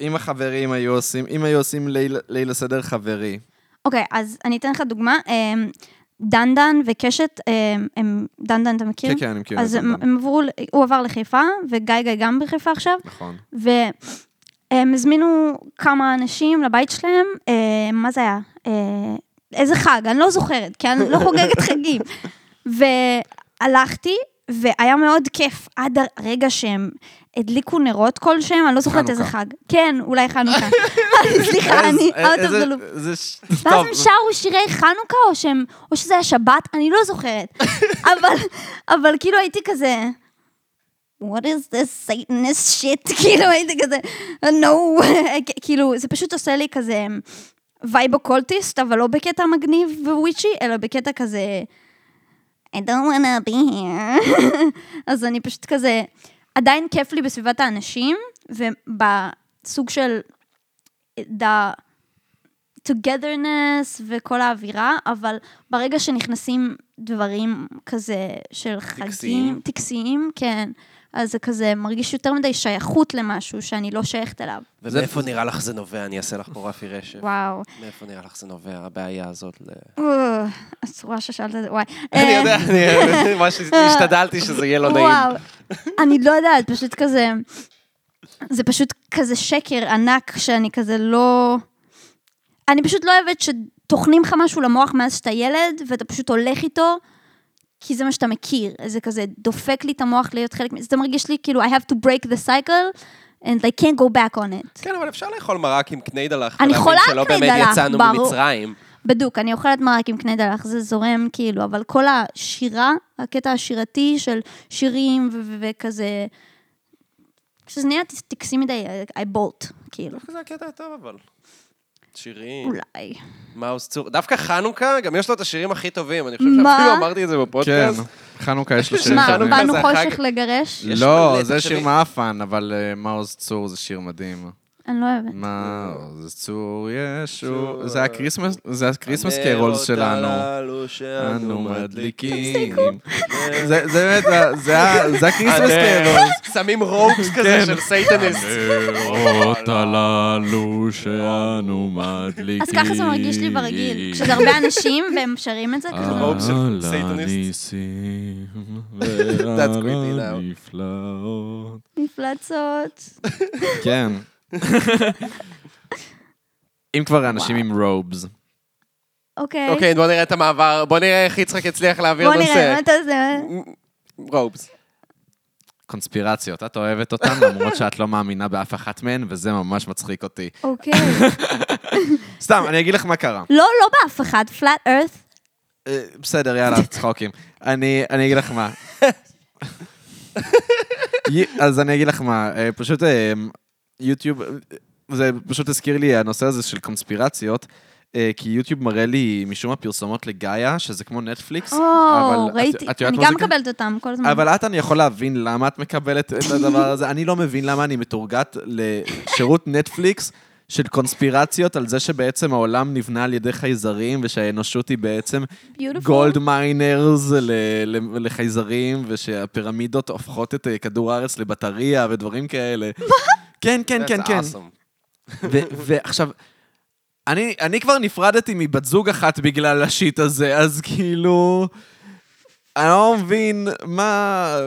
Speaker 1: אם החברים היו עושים, אם היו עושים ליל- ליל הסדר חברי,
Speaker 2: אוקיי, אז אני אתן לך דוגמה. אמ, דנדן וקשת, אמ, הם, דנדן אתה מכיר?
Speaker 1: כן, כן, אני מכיר את
Speaker 2: אז אה, הם,
Speaker 1: דנדן.
Speaker 2: הם עברו, ל- הוא עבר לחיפה, וגיא גיא גם בחיפה עכשיו,
Speaker 1: נכון.
Speaker 2: והם הזמינו כמה אנשים לבית שלהם, אה, מה זה היה? אה, איזה חג, אני לא זוכרת, כי אני לא חוגגת חגים. והלכתי, והיה מאוד כיף עד הרגע שהם הדליקו נרות כלשהם, אני לא זוכרת איזה
Speaker 1: חנוכה.
Speaker 2: חג. כן, אולי חנוכה. סליחה, אני
Speaker 1: איזה-
Speaker 2: out of
Speaker 1: אה, איזה-
Speaker 2: the loop.
Speaker 1: זה ש-
Speaker 2: ואז
Speaker 1: טוב.
Speaker 2: הם שרו שירי חנוכה, או, שהם, או שזה היה שבת, אני לא זוכרת. אבל, אבל כאילו הייתי כזה, What is this Satanist shit? כאילו הייתי כזה, no. כ- כאילו, זה פשוט עושה לי כזה וייב אוקולטיסט, אבל לא בקטע מגניב ווויצ'י, אלא בקטע כזה, I don't wanna be here. אז אני פשוט כזה, עדיין כיף לי בסביבת האנשים, ובסוג של... אה, the togetherness וכל האווירה, אבל ברגע שנכנסים דברים כזה של חגים,
Speaker 3: טקסיים.
Speaker 2: טקסיים, כן, אז זה כזה מרגיש יותר מדי שייכות למשהו שאני לא שייכת אליו.
Speaker 3: ומאיפה נראה לך זה נובע? אני אעשה לך פה רפי רשף.
Speaker 2: וואו.
Speaker 3: מאיפה נראה לך זה נובע, הבעיה הזאת? ל-
Speaker 2: אה, הצורה ששאלת את זה, וואי.
Speaker 3: אני
Speaker 2: אה,
Speaker 3: יודע, אני ממש השתדלתי שזה יהיה לא נעים.
Speaker 2: וואו, אני לא יודעת, פשוט כזה... זה פשוט כזה שקר ענק שאני כזה לא... אני פשוט לא אוהבת שטוחנים לך משהו למוח מאז שאתה ילד, ואתה פשוט הולך איתו, כי זה מה שאתה מכיר. זה כזה דופק לי את המוח להיות חלק מזה. זה מרגיש לי כאילו, I have to break the cycle, and I can't go back on it.
Speaker 3: כן, אבל אפשר לאכול מרק עם קניידלח.
Speaker 2: אני
Speaker 3: ולהבין
Speaker 2: חולה על
Speaker 3: שלא באמת
Speaker 2: קניידלח,
Speaker 3: יצאנו
Speaker 2: ברור.
Speaker 3: ממצרים.
Speaker 2: בדוק, אני אוכלת מרק עם קנה דלח, זה זורם כאילו, אבל כל השירה, הקטע השירתי של שירים ו- ו- וכזה, כשזה נהיה ט- טקסי מדי, I bolt, כאילו,
Speaker 3: דווקא זה הקטע הטוב, אבל. שירים,
Speaker 2: אולי.
Speaker 3: מאוס צור. דווקא חנוכה, גם יש לו את השירים הכי טובים. אני חושב
Speaker 2: מה?
Speaker 3: שאפילו אמרתי את זה
Speaker 1: כן,
Speaker 3: בפודקאסט.
Speaker 1: חנוכה יש לו שירים
Speaker 2: מה,
Speaker 3: חנוכה
Speaker 1: שונים.
Speaker 2: באנו
Speaker 3: זה החג-
Speaker 2: חושך לגרש?
Speaker 3: יש
Speaker 1: לא,
Speaker 3: מלא,
Speaker 1: זה
Speaker 3: תחשבי.
Speaker 1: שיר מאפן, אבל אה, מעוז צור זה שיר מדהים.
Speaker 2: אני לא אוהבת.
Speaker 1: מעוז צור ישו...
Speaker 3: צור,
Speaker 1: זה הקריסמס, זה הקריסמס קרולס שלנו. אנו מדליקים.
Speaker 3: כן.
Speaker 1: זה זה באמת, זה ה- זה הקריסמס קרולס.
Speaker 3: שמים רוקס כזה
Speaker 1: כן.
Speaker 3: של סייטניסט.
Speaker 2: אוקיי.
Speaker 4: הנרות הללו שאנו
Speaker 1: אה,
Speaker 4: מדליקים.
Speaker 2: אז ככה זה מרגיש לי ברגיל, כשזה הרבה אנשים והם שרים את זה, כזה
Speaker 1: אה.
Speaker 2: זה
Speaker 3: רוק
Speaker 4: רוק
Speaker 3: של
Speaker 4: של
Speaker 3: סייטניסט.
Speaker 4: הניסים
Speaker 3: That's creepy
Speaker 4: ועל
Speaker 3: now.
Speaker 4: הנפלאות.
Speaker 2: מפלצות.
Speaker 1: כן. אם כבר אנשים עם רובס.
Speaker 2: אוקיי.
Speaker 3: אוקיי, בוא נראה את המעבר, בוא נראה איך יצחק יצליח להעביר
Speaker 2: בוא
Speaker 3: את
Speaker 2: נראה,
Speaker 3: הנושא.
Speaker 2: מה אתה עושה?
Speaker 3: רובס.
Speaker 1: קונספירציות, את אוהבת אותן למרות שאת לא מאמינה באף אחת מהן, וזה ממש מצחיק אותי.
Speaker 2: אוקיי.
Speaker 1: סתם, אני אגיד לך מה קרה.
Speaker 2: לא, לא באף אחד, flat earth.
Speaker 1: אה, בסדר, יאללה, צחוקים. אני אני אגיד לך מה. י- אז אני אגיד לך מה, אה, פשוט אה, יוטיוב, אה, זה פשוט הזכיר לי הנושא הזה של קונספירציות. אה, כי יוטיוב מראה לי משום מה פרסומות לגאיה, שזה כמו נטפליקס.
Speaker 2: או,
Speaker 1: אבל את-
Speaker 2: ראיתי.
Speaker 1: את יודעת
Speaker 2: אני
Speaker 1: מה
Speaker 2: גם
Speaker 1: זה?
Speaker 2: מקבלת אותם כל הזמן.
Speaker 1: אבל את, אני יכול להבין למה את מקבלת את הדבר הזה. אני לא מבין למה אני מתורגת לשירות נטפליקס של קונספירציות על זה שבעצם העולם נבנה על ידי חייזרים, ושהאנושות היא בעצם
Speaker 2: Beautiful.
Speaker 1: גולד מיינרס ל- ל- לחייזרים, ושהפירמידות הופכות את אה, כדור הארץ לבטריה ודברים כאלה. כן, כן, כן,
Speaker 3: That's
Speaker 1: כן.
Speaker 3: awesome.
Speaker 1: ו- ועכשיו, אני, אני כבר נפרדתי מבת זוג אחת בגלל השיט הזה, אז כאילו... אני לא מבין מה,
Speaker 3: מה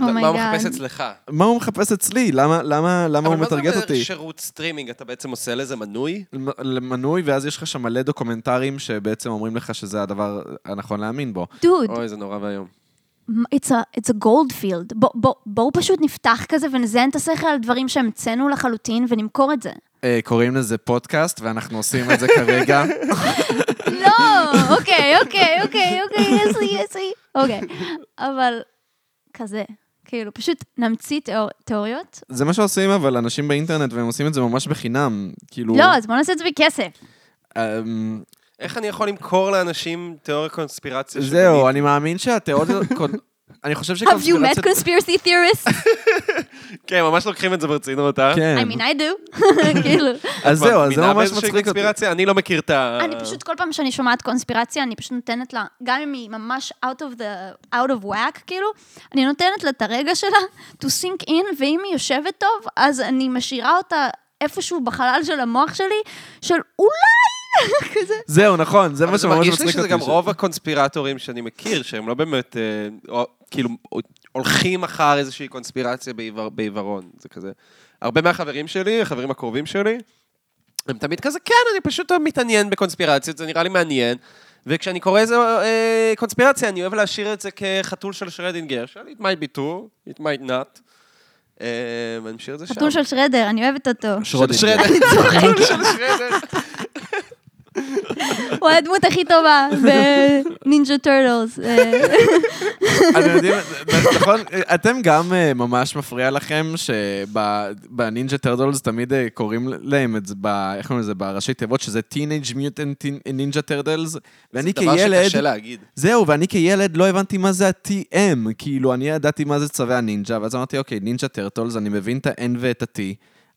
Speaker 3: הוא
Speaker 2: אומייגאד.
Speaker 3: מחפש אצלך?
Speaker 1: מה הוא מחפש אצלי, למה, למה, למה הוא
Speaker 3: אבל מה זה
Speaker 1: מטרגט
Speaker 3: אומר
Speaker 1: אותי.
Speaker 3: שירות סטרימינג, אתה בעצם עושה לזה מנוי?
Speaker 1: למ- למנוי, ואז יש לך שם מלא דוקומנטרים שבעצם אומרים לך שזה הדבר הנכון להאמין בו.
Speaker 2: דוד,
Speaker 3: אוי, זה נורא ואיום.
Speaker 2: it's a- it's a gold field. בוא- בוא- בואו פשוט נפתח כזה ונזיין את השכל על דברים שהמצאנו לחלוטין ונמכור את זה.
Speaker 1: אה, קוראים לזה פודקאסט, ואנחנו עושים את זה כרגע.
Speaker 2: לא, אוקיי, אוקיי, אוקיי, אוקיי, יש לי, יש לי. אוקיי, אבל כזה, כאילו, פשוט נמציא תיאור- תיאוריות.
Speaker 1: זה מה שעושים אבל אנשים באינטרנט, והם עושים את זה ממש בחינם. כאילו...
Speaker 2: לא, אז בואו נעשה את זה בכסף.
Speaker 1: אמ,
Speaker 3: איך אני יכול למכור לאנשים תיאוריה קונספירציה?
Speaker 1: זהו, אני מאמין שהתיאוריות... קונ- אני חושב
Speaker 2: Have you met
Speaker 1: שקונספירציות...
Speaker 2: conspiracy theorists?
Speaker 3: שבאמת- כן, ממש לוקחים את זה ברצינות, אה?
Speaker 2: I
Speaker 1: כן,
Speaker 2: mean, I do. כאילו,
Speaker 1: אז
Speaker 3: את
Speaker 1: זהו, אז זה
Speaker 3: מאמינה
Speaker 1: ממש
Speaker 3: באיזושהי
Speaker 1: מצחיק אותי.
Speaker 3: קונספירציה? אני לא מכיר את ה...
Speaker 2: אני פשוט, כל פעם שאני שומעת קונספירציה, אני פשוט נותנת לה, גם אם היא ממש out of the, out of whack, כאילו, אני נותנת לה את הרגע שלה to sink in, ואם היא יושבת טוב, אז אני משאירה אותה איפשהו בחלל של המוח שלי, של אולי, כזה.
Speaker 1: זהו, נכון, זה
Speaker 3: אבל
Speaker 1: מה
Speaker 3: זה
Speaker 1: שממש מצחיק
Speaker 3: מרגיש
Speaker 1: אותי.
Speaker 3: לי שזה גם
Speaker 1: ש-
Speaker 3: רוב הקונספירטורים שאני מכיר, שהם לא באמת, אה, או- כאילו, הולכים אחר איזושהי קונספירציה בעיוור- בעיוורון. זה כזה. הרבה מהחברים שלי, החברים הקרובים שלי, הם תמיד כזה, כן, אני פשוט מתעניין בקונספירציות, זה נראה לי מעניין. וכשאני קורא איזה אה, קונספירציה, אני אוהב להשאיר את זה כחתול של שרדינגר, של it might be too, it might not. אה, אני משאיר את זה שם.
Speaker 2: חתול של שרדר, אני אוהבת אותו.
Speaker 1: שרודינגר.
Speaker 3: שרדינגר. חתול של שרדינגר.
Speaker 2: הוא הדמות הכי טובה בנינג'ה טורטלס.
Speaker 1: אתם יודעים, נכון, אתם גם אה, ממש מפריע לכם שבנינג'ה טרדולס תמיד אה, קוראים להם את זה, ב- איך קוראים לזה, בראשי תיבות, שזה Teenage Mutant נינג'ה טרדלס, ואני כילד...
Speaker 3: דבר שקשה להגיד.
Speaker 1: זהו, ואני כילד לא הבנתי מה זה ה-TM, כאילו, אני ידעתי מה זה צווי הנינג'ה, ואז אמרתי, אוקיי, נינג'ה טרטולס, אני מבין את ה-N ואת ה-T,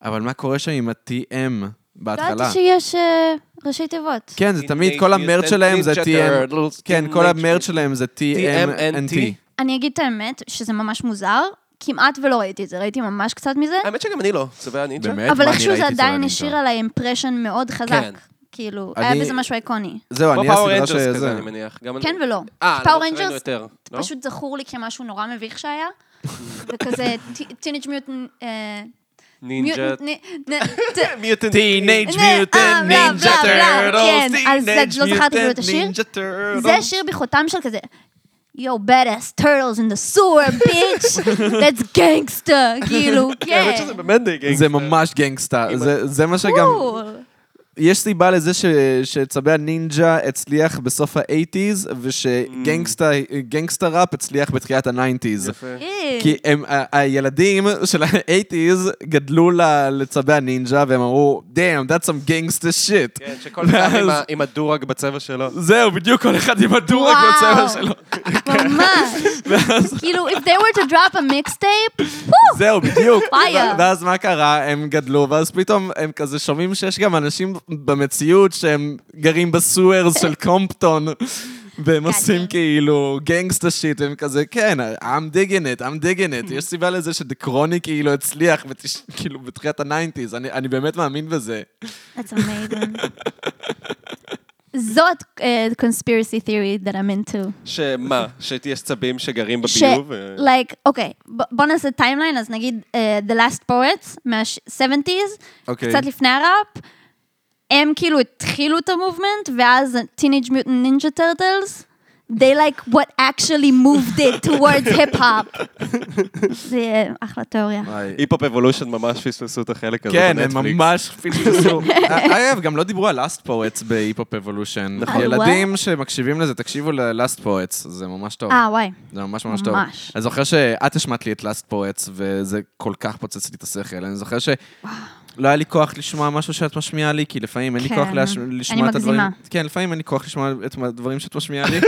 Speaker 1: אבל מה קורה שם עם ה-TM
Speaker 2: ידעתי
Speaker 1: בהתחלה?
Speaker 2: שיש אה, ראשי תיבות.
Speaker 1: כן, זה תמיד, כל
Speaker 3: Teenage
Speaker 1: המרץ
Speaker 3: Mutant
Speaker 1: שלהם זה
Speaker 3: Ninja
Speaker 1: TM,
Speaker 3: Turtles,
Speaker 1: כן,
Speaker 3: Teenage
Speaker 1: כל המרץ
Speaker 3: Mutant-
Speaker 1: שלהם זה TMNT.
Speaker 3: TMNT.
Speaker 2: אני אגיד את האמת, שזה ממש מוזר, כמעט ולא ראיתי את זה, ראיתי ממש קצת מזה,
Speaker 3: האמת שגם אני לא, צווי הנינג'ה.
Speaker 1: באמת?
Speaker 2: אבל
Speaker 1: מה, אני
Speaker 2: איכשהו זה
Speaker 1: ראיתי את
Speaker 2: עדיין
Speaker 1: אני
Speaker 2: השאיר
Speaker 1: שם.
Speaker 2: עליי אימפרשן מאוד חזק.
Speaker 3: כן.
Speaker 2: כאילו,
Speaker 1: אני-
Speaker 2: היה בזה משהו איקוני.
Speaker 1: זהו,
Speaker 3: כמו
Speaker 1: לא, אני
Speaker 3: פאוור
Speaker 1: הסדרה
Speaker 3: רנג'רס כזה,
Speaker 1: שזה...
Speaker 3: אני מניח. גם
Speaker 2: כן
Speaker 3: אני-
Speaker 2: ולא.
Speaker 3: אה,
Speaker 2: פאוור
Speaker 3: למרות שראינו
Speaker 2: רנג'רס
Speaker 3: יותר, לא?
Speaker 2: פשוט זכור לי כמשהו נורא מביך שהיה, וכזה טינג' מיוטן...
Speaker 3: נינג'ה... מיוטנט.
Speaker 1: Teenage
Speaker 2: אה,
Speaker 1: Mutant
Speaker 2: בלה,
Speaker 1: Ninja
Speaker 2: בלה, בלה, כן,
Speaker 1: Turtles,
Speaker 2: אז זה-
Speaker 1: Teenage
Speaker 2: לא זכרתי כאילו את
Speaker 1: Mutant
Speaker 2: השיר.
Speaker 1: Ninja Turtles.
Speaker 2: זה שיר בחותם של כזה, יו, badass turtles in the sewer, bitch, that's gangster, כאילו,
Speaker 3: האמת
Speaker 2: כן.
Speaker 3: שזה באמת די גנגסטר.
Speaker 1: זה ממש גנגסטה, זה- זה מה שגם...
Speaker 2: קול.
Speaker 1: יש סיבה לזה ש- שצבי הנינג'ה הצליח בסוף ה-80's, ושגנגסטה ראפ הצליח בתחילת ה-90's.
Speaker 3: Mm. יפה.
Speaker 2: אה.
Speaker 1: כי הם, ה- הילדים של ה-80's גדלו ל- לצבי הנינג'ה, והם אמרו, damn, that's some gangster shit.
Speaker 3: כן, שכל אחד עם ה-
Speaker 1: ואז-
Speaker 3: עם הדורג בצבע שלו.
Speaker 1: זהו, בדיוק כל אחד עם הדורק
Speaker 2: וואו.
Speaker 1: בצבע שלו.
Speaker 2: ממש. כאילו, if they were to drop a mixtape, וואו,
Speaker 1: זהו, בדיוק.
Speaker 2: Fire.
Speaker 1: ואז מה קרה? הם גדלו, ואז פתאום הם כזה שומעים שיש גם אנשים במציאות שהם גרים בסוורס של קומפטון, והם עושים כאילו גנגסטה שיט, והם כזה, כן, I'm digging it, I'm digging it. יש סיבה לזה שדקרוני כאילו הצליח, בתש- כאילו, בתחילת הניינטיז, אני באמת מאמין בזה.
Speaker 2: That's amazing. זאת אה, conspiracy theory that I'm into.
Speaker 3: שמה? שיש צבים שגרים
Speaker 2: ש...
Speaker 3: בביוב? אה,
Speaker 2: like, אוקיי, ב- בוא נעשה טיימליין, אז נגיד אה, The Last Poets מה-70's,
Speaker 1: אוקיי.
Speaker 2: קצת לפני הראפ, הם כאילו התחילו את המובמנט, ואז Teenage Mutant Ninja Turtles, they like what actually moved it towards hip-hop. זה אה, אחלה תיאוריה.
Speaker 3: היפ-הופ אבולושן ממש פספסו את החלק הזה
Speaker 1: כן,
Speaker 3: בנטפליקס.
Speaker 1: הם ממש פספסו. אגב, גם לא דיברו על last poets בהיפ-הופ אבולושן.
Speaker 3: נכון.
Speaker 1: ילדים שמקשיבים לזה, תקשיבו ל-last poets, זה ממש טוב.
Speaker 2: אה, וואי.
Speaker 1: זה ממש ממש טוב.
Speaker 2: ממש.
Speaker 1: אני זוכר שאת השמעת לי את last poets, וזה כל כך פוצץ לי את השכל. אני זוכר ש... לא היה לי כוח לשמוע משהו שאת משמיעה לי, כי לפעמים אין לי
Speaker 2: כן.
Speaker 1: כוח להש- לשמוע
Speaker 2: אני
Speaker 1: את הדברים.
Speaker 2: מגזימה.
Speaker 1: כן, לפעמים אין לי כוח לשמוע את הדברים שאת משמיעה לי.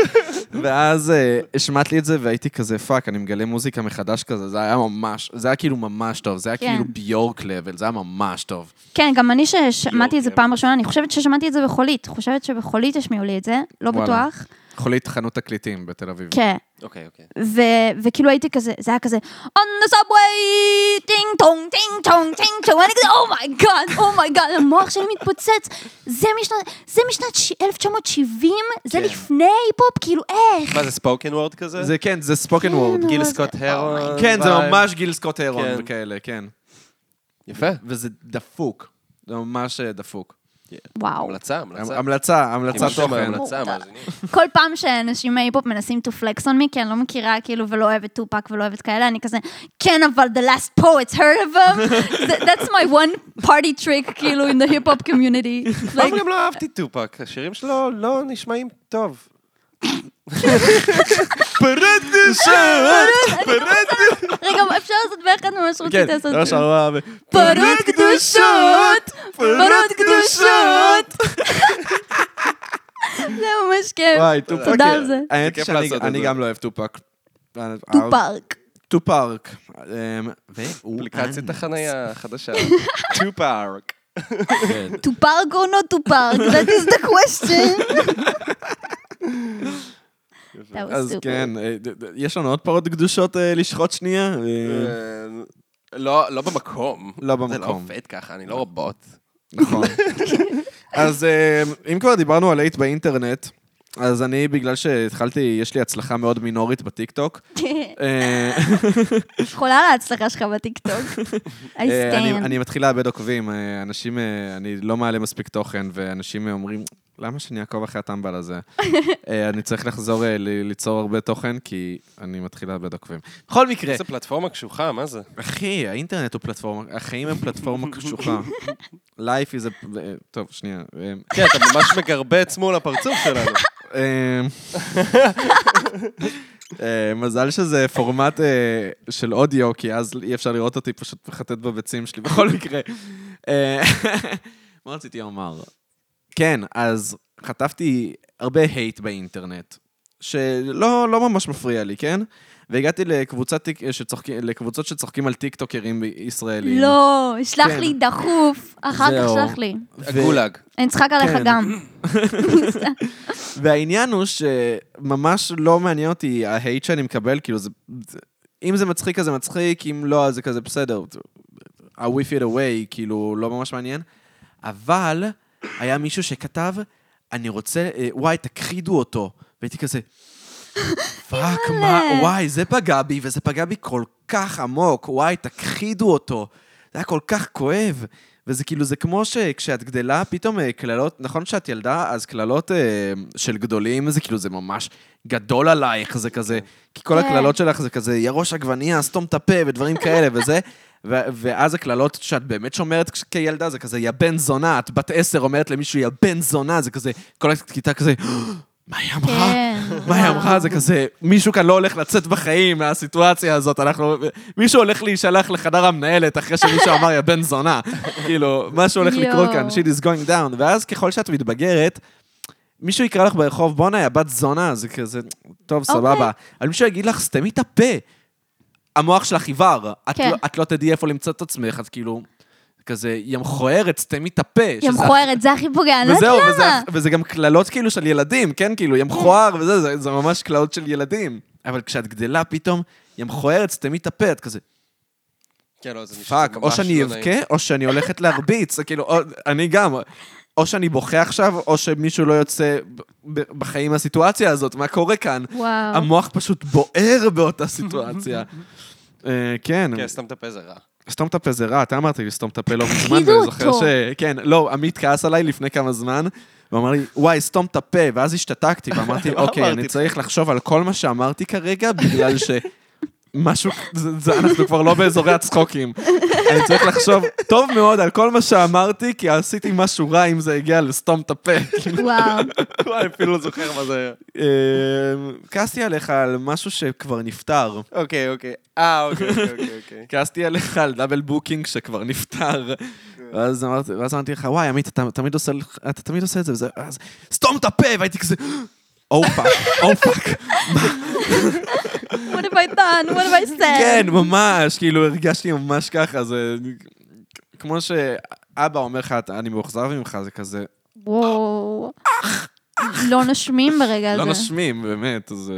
Speaker 1: ואז אה, השמעת לי את זה, והייתי כזה, פאק, אני מגלה מוזיקה מחדש כזה, זה היה ממש, זה היה כאילו ממש טוב, זה היה
Speaker 2: כן.
Speaker 1: כאילו ביורק לבל, זה היה ממש טוב.
Speaker 2: כן, גם אני ששמעתי את זה
Speaker 3: כן.
Speaker 2: פעם ראשונה, אני חושבת ששמעתי את זה בחולית. חושבת שבחולית השמיעו לי את זה, לא
Speaker 1: וואלה.
Speaker 2: בטוח.
Speaker 1: חולית חנות תקליטים בתל אביב.
Speaker 2: כן.
Speaker 3: אוקיי, אוקיי.
Speaker 2: ו- וכאילו הייתי כזה, זה היה כזה, on the subway, טינג טונג, טינג טונג, טינג טונג, ואני כזה, "Oh אומייגאד, אומייגאד, המוח שלי מתפוצץ. זה משנת, זה משנת ש- 1970, זה
Speaker 3: כן.
Speaker 2: לפני היפ-הופ, כאילו, איך?
Speaker 3: מה זה ספוקן וורד כזה?
Speaker 1: זה כן, זה ספוקן וורד.
Speaker 2: נו,
Speaker 3: גיל
Speaker 2: זה-
Speaker 3: סקוט הרון.
Speaker 1: כן, זה
Speaker 3: וייב.
Speaker 1: ממש גיל סקוט הרון
Speaker 3: כן.
Speaker 1: וכאלה, כן.
Speaker 3: יפה.
Speaker 1: וזה דפוק. זה ממש אה, דפוק.
Speaker 2: וואו.
Speaker 3: המלצה, המלצה.
Speaker 1: המלצה, המלצה
Speaker 3: אם יש לכם
Speaker 1: תוכן.
Speaker 3: המלצה, מאזינים.
Speaker 2: כל פעם שאנשים מההיפ-הופ מנסים to flex on me, כי אני לא מכירה, כאילו, ולא אוהבת טופק ולא אוהבת כאלה, אני כזה, כן, אבל the last poets heard of them, That- that's my one party trick, כאילו, in the hip-hop community.
Speaker 3: פעם
Speaker 2: Like,
Speaker 3: גם לא אהבתי טופק, השירים שלו לא נשמעים טוב.
Speaker 1: פרדס!
Speaker 2: רגע, אפשר לעשות ביחד ממש
Speaker 1: כן,
Speaker 2: רציתי לעשות.
Speaker 1: לא שרה ו...
Speaker 2: פרות קדושות! פרות קדושות! זה ממש כיף.
Speaker 1: וואי, טופק.
Speaker 2: תודה על זה.
Speaker 1: האמת היא
Speaker 3: כיף
Speaker 1: שאני
Speaker 3: לעשות את
Speaker 1: אני
Speaker 3: זה.
Speaker 1: גם לא אוהב טופק.
Speaker 2: טופרק.
Speaker 1: טופארק. אמ,
Speaker 3: אפליקציית החנייה החדשה. טופק.
Speaker 2: טופרק או לא טופרק? That is the question. That was
Speaker 1: אז
Speaker 2: stupid.
Speaker 1: כן, אה, ד- ד- יש לנו עוד פרות קדושות אה, לשחוט שנייה? אה,
Speaker 3: לא, לא במקום.
Speaker 1: לא
Speaker 3: זה לא
Speaker 1: במקום.
Speaker 3: עובד ככה, אני לא רובוט.
Speaker 1: נכון. אז אה, אם כבר דיברנו על אייט באינטרנט, אז אני, בגלל שהתחלתי, יש לי הצלחה מאוד מינורית בטיקטוק. אה,
Speaker 2: חולה על ההצלחה שלך בטיקטוק. I
Speaker 1: אה, אני-
Speaker 2: stand.
Speaker 1: אני מתחיל לאבד עוקבים, אה, אנשים, אה, אני לא מעלה מספיק תוכן, ואנשים אה, אומרים, למה שאני אעקוב אחרי הטמבל הזה? אה, אני צריך לחזור אה, ל- ליצור הרבה תוכן, כי אני מתחיל לאבד עוקבים. בכל מקרה,
Speaker 3: איזה פלטפורמה קשוחה, מה זה?
Speaker 1: אחי, האינטרנט הוא פלטפורמה, החיים הם פלטפורמה קשוחה. Life is a... אה, טוב, שנייה. אה,
Speaker 3: כן, אתה ממש מגרבץ מול הפרצוף שלנו.
Speaker 1: אה, אה, מזל שזה פורמט אה, של אודיו, כי אז אי אפשר לראות אותי פשוט מחטט בביצים שלי בכל מקרה. אה, מה רציתי לומר? כן, אז חטפתי הרבה הייט באינטרנט, שלא לא ממש מפריע לי, כן? והגעתי לקבוצת, טיק- אה, שצוחק- לקבוצות שצוחקים על טיקטוקרים ישראלים.
Speaker 2: לא, שלח
Speaker 1: כן.
Speaker 2: לי דחוף. אחר כך
Speaker 1: זהו.
Speaker 2: שלח לי.
Speaker 1: ו-
Speaker 3: הגולאג.
Speaker 2: אני אצחק עליך
Speaker 1: כן.
Speaker 2: גם.
Speaker 1: והעניין הוא שממש לא מעניין אותי ההייט שאני מקבל, כאילו זה... זה- אם זה מצחיק אז זה מצחיק, אם לא אז זה כזה בסדר. I whiff it away, כאילו, לא ממש מעניין. אבל היה מישהו שכתב, אני רוצה, אה, וואי, תכחידו אותו. והייתי כזה, פאק, מה, וואי, זה פגע בי, וזה פגע בי כל כך עמוק, וואי, תכחידו אותו. זה היה כל כך כואב. וזה כאילו, זה כמו שכשאת גדלה, פתאום אה, קללות, נכון שאת ילדה, אז קללות אה, של גדולים, זה כאילו, זה ממש גדול עלייך, זה כזה, כי כל
Speaker 2: כן.
Speaker 1: הקללות שלך זה כזה, יא ראש עגבנייה, סתום את הפה, ודברים כאלה וזה. ו- ואז הקללות שאת באמת שומרת כש- כילדה, זה כזה, יא בן זונה, את בת עשר אומרת למישהו, יא בן זונה, זה כזה, כל הכיתה כזה, מה היא אמרה?
Speaker 2: כן.
Speaker 1: מה היא
Speaker 2: וואו.
Speaker 1: אמרה? זה כזה, מישהו כאן לא הולך לצאת בחיים מהסיטואציה הזאת, אנחנו... מישהו הולך להישלח לחדר המנהלת אחרי שמישהו אמר, יא בן זונה. כאילו, משהו הולך לקרות כאן,
Speaker 2: יואו.
Speaker 1: shit is going down. ואז ככל שאת מתבגרת, מישהו יקרא לך ברחוב, בואנה, יא בת זונה, זה כזה, טוב, סבבה.
Speaker 2: אוקיי.
Speaker 1: אבל מישהו יגיד לך, סתמי את הפה. המוח שלך עיוור, את
Speaker 2: כן.
Speaker 1: לא- את לא תדעי איפה למצוא את עצמך, את כאילו, כזה, יא מכוערת, סתמי את הפה.
Speaker 2: יא
Speaker 1: שזה
Speaker 2: מכוערת, זה הכי פוגע, אני לא
Speaker 1: וזהו,
Speaker 2: יודעת
Speaker 1: וזה,
Speaker 2: למה.
Speaker 1: וזה גם קללות כאילו של ילדים, כן? כאילו, יא מכוער וזה, זה, זה ממש קללות של ילדים. אבל כשאת גדלה פתאום, יא מכוערת, סתמי את הפה, את כזה,
Speaker 3: כן, לא, זה נשמע
Speaker 1: פאק, או
Speaker 3: ממש
Speaker 1: שאני
Speaker 3: לא נעים.
Speaker 1: אבכה, או שאני הולכת להרביץ, זה כאילו, או, אני גם, או שאני בוכה עכשיו, או שמישהו לא יוצא ב- ב- בחיים מהסיטואציה הזאת, מה קורה כאן?
Speaker 2: וואו.
Speaker 1: המוח פשוט בוער באותה סיטואציה. אה, כן,
Speaker 3: כן, סתם את הפה זה רע.
Speaker 1: סתום את הפה זה רע, אתה אמרת לי לסתום את הפה לא מזמן,
Speaker 2: הפחידו
Speaker 1: ואני זוכר
Speaker 2: אותו.
Speaker 1: ש... כן, לא, עמית כעס עליי לפני כמה זמן, והוא אמר לי, וואי, סתום את הפה, ואז השתתקתי, ואמרתי,
Speaker 3: מה
Speaker 1: אוקיי,
Speaker 3: אמרתי?
Speaker 1: אני צריך לחשוב על כל מה שאמרתי כרגע, בגלל ש... משהו, זה, זה, אנחנו כבר לא באזורי הצחוקים. אני צריך לחשוב טוב מאוד על כל מה שאמרתי, כי עשיתי משהו רע אם זה הגיע לסתום את הפה.
Speaker 2: וואו.
Speaker 3: וואי, אפילו לא זוכר מה זה היה.
Speaker 1: אה, כעסתי עליך על משהו שכבר נפתר.
Speaker 3: אוקיי, אוקיי. אה, אוקיי, אוקיי, אוקיי. כן.
Speaker 1: כעסתי עליך על דאבל בוקינג שכבר נפטר, ואז אמרתי, ואז אמרתי לך, וואי, עמית, אתה תמיד עושה, לך- אתה תמיד עושה את זה, וזה, אז, סתום את הפה, והייתי כזה, "Oh או פאק, או פאק,
Speaker 2: What have I done? What have I said?
Speaker 1: כן, ממש, כאילו, הרגשתי ממש ככה, זה כמו שאבא אומר לך, "אתה- אני מאוכזב ממך, זה כזה,
Speaker 2: וואו. לא נושמים ברגע הזה.
Speaker 1: לא נושמים, באמת, אה, זה...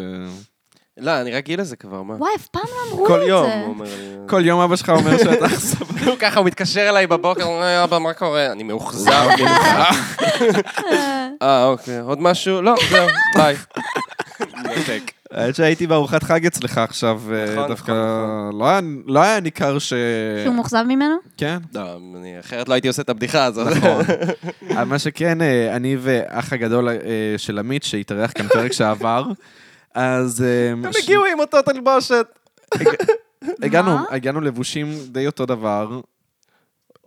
Speaker 3: לא, אני רגיל לזה כבר, מה?
Speaker 2: וואי, אף פעם לא אמרו לי את זה.
Speaker 3: כל יום, הוא אומר לי.
Speaker 1: כל יום אבא שלך אומר שאתה אכזב.
Speaker 3: הוא ככה, הוא מתקשר אליי בבוקר, הוא אומר, אבא, מה קורה? אני מאוכזב ממך. אה, אוקיי, עוד משהו? לא, זהו, ביי. מנתק.
Speaker 1: האמת שהייתי בארוחת חג אצלך עכשיו, אה,
Speaker 3: נכון,
Speaker 1: דווקא
Speaker 3: נכון,
Speaker 1: לא היה- לא היה ניכר ש...
Speaker 2: שהוא מאוכזב ממנו?
Speaker 1: כן.
Speaker 3: לא, אני- אחרת לא הייתי עושה את הבדיחה הזאת.
Speaker 1: נכון. אבל מה שכן, אה, אני ואח הגדול אה, של עמית, שהתארח כאן פרק שעבר, אז אה,
Speaker 3: הם
Speaker 1: ש-
Speaker 3: הגיעו עם אותו תלבושת.
Speaker 1: הגענו-
Speaker 2: מה?
Speaker 1: הגענו לבושים די אותו דבר.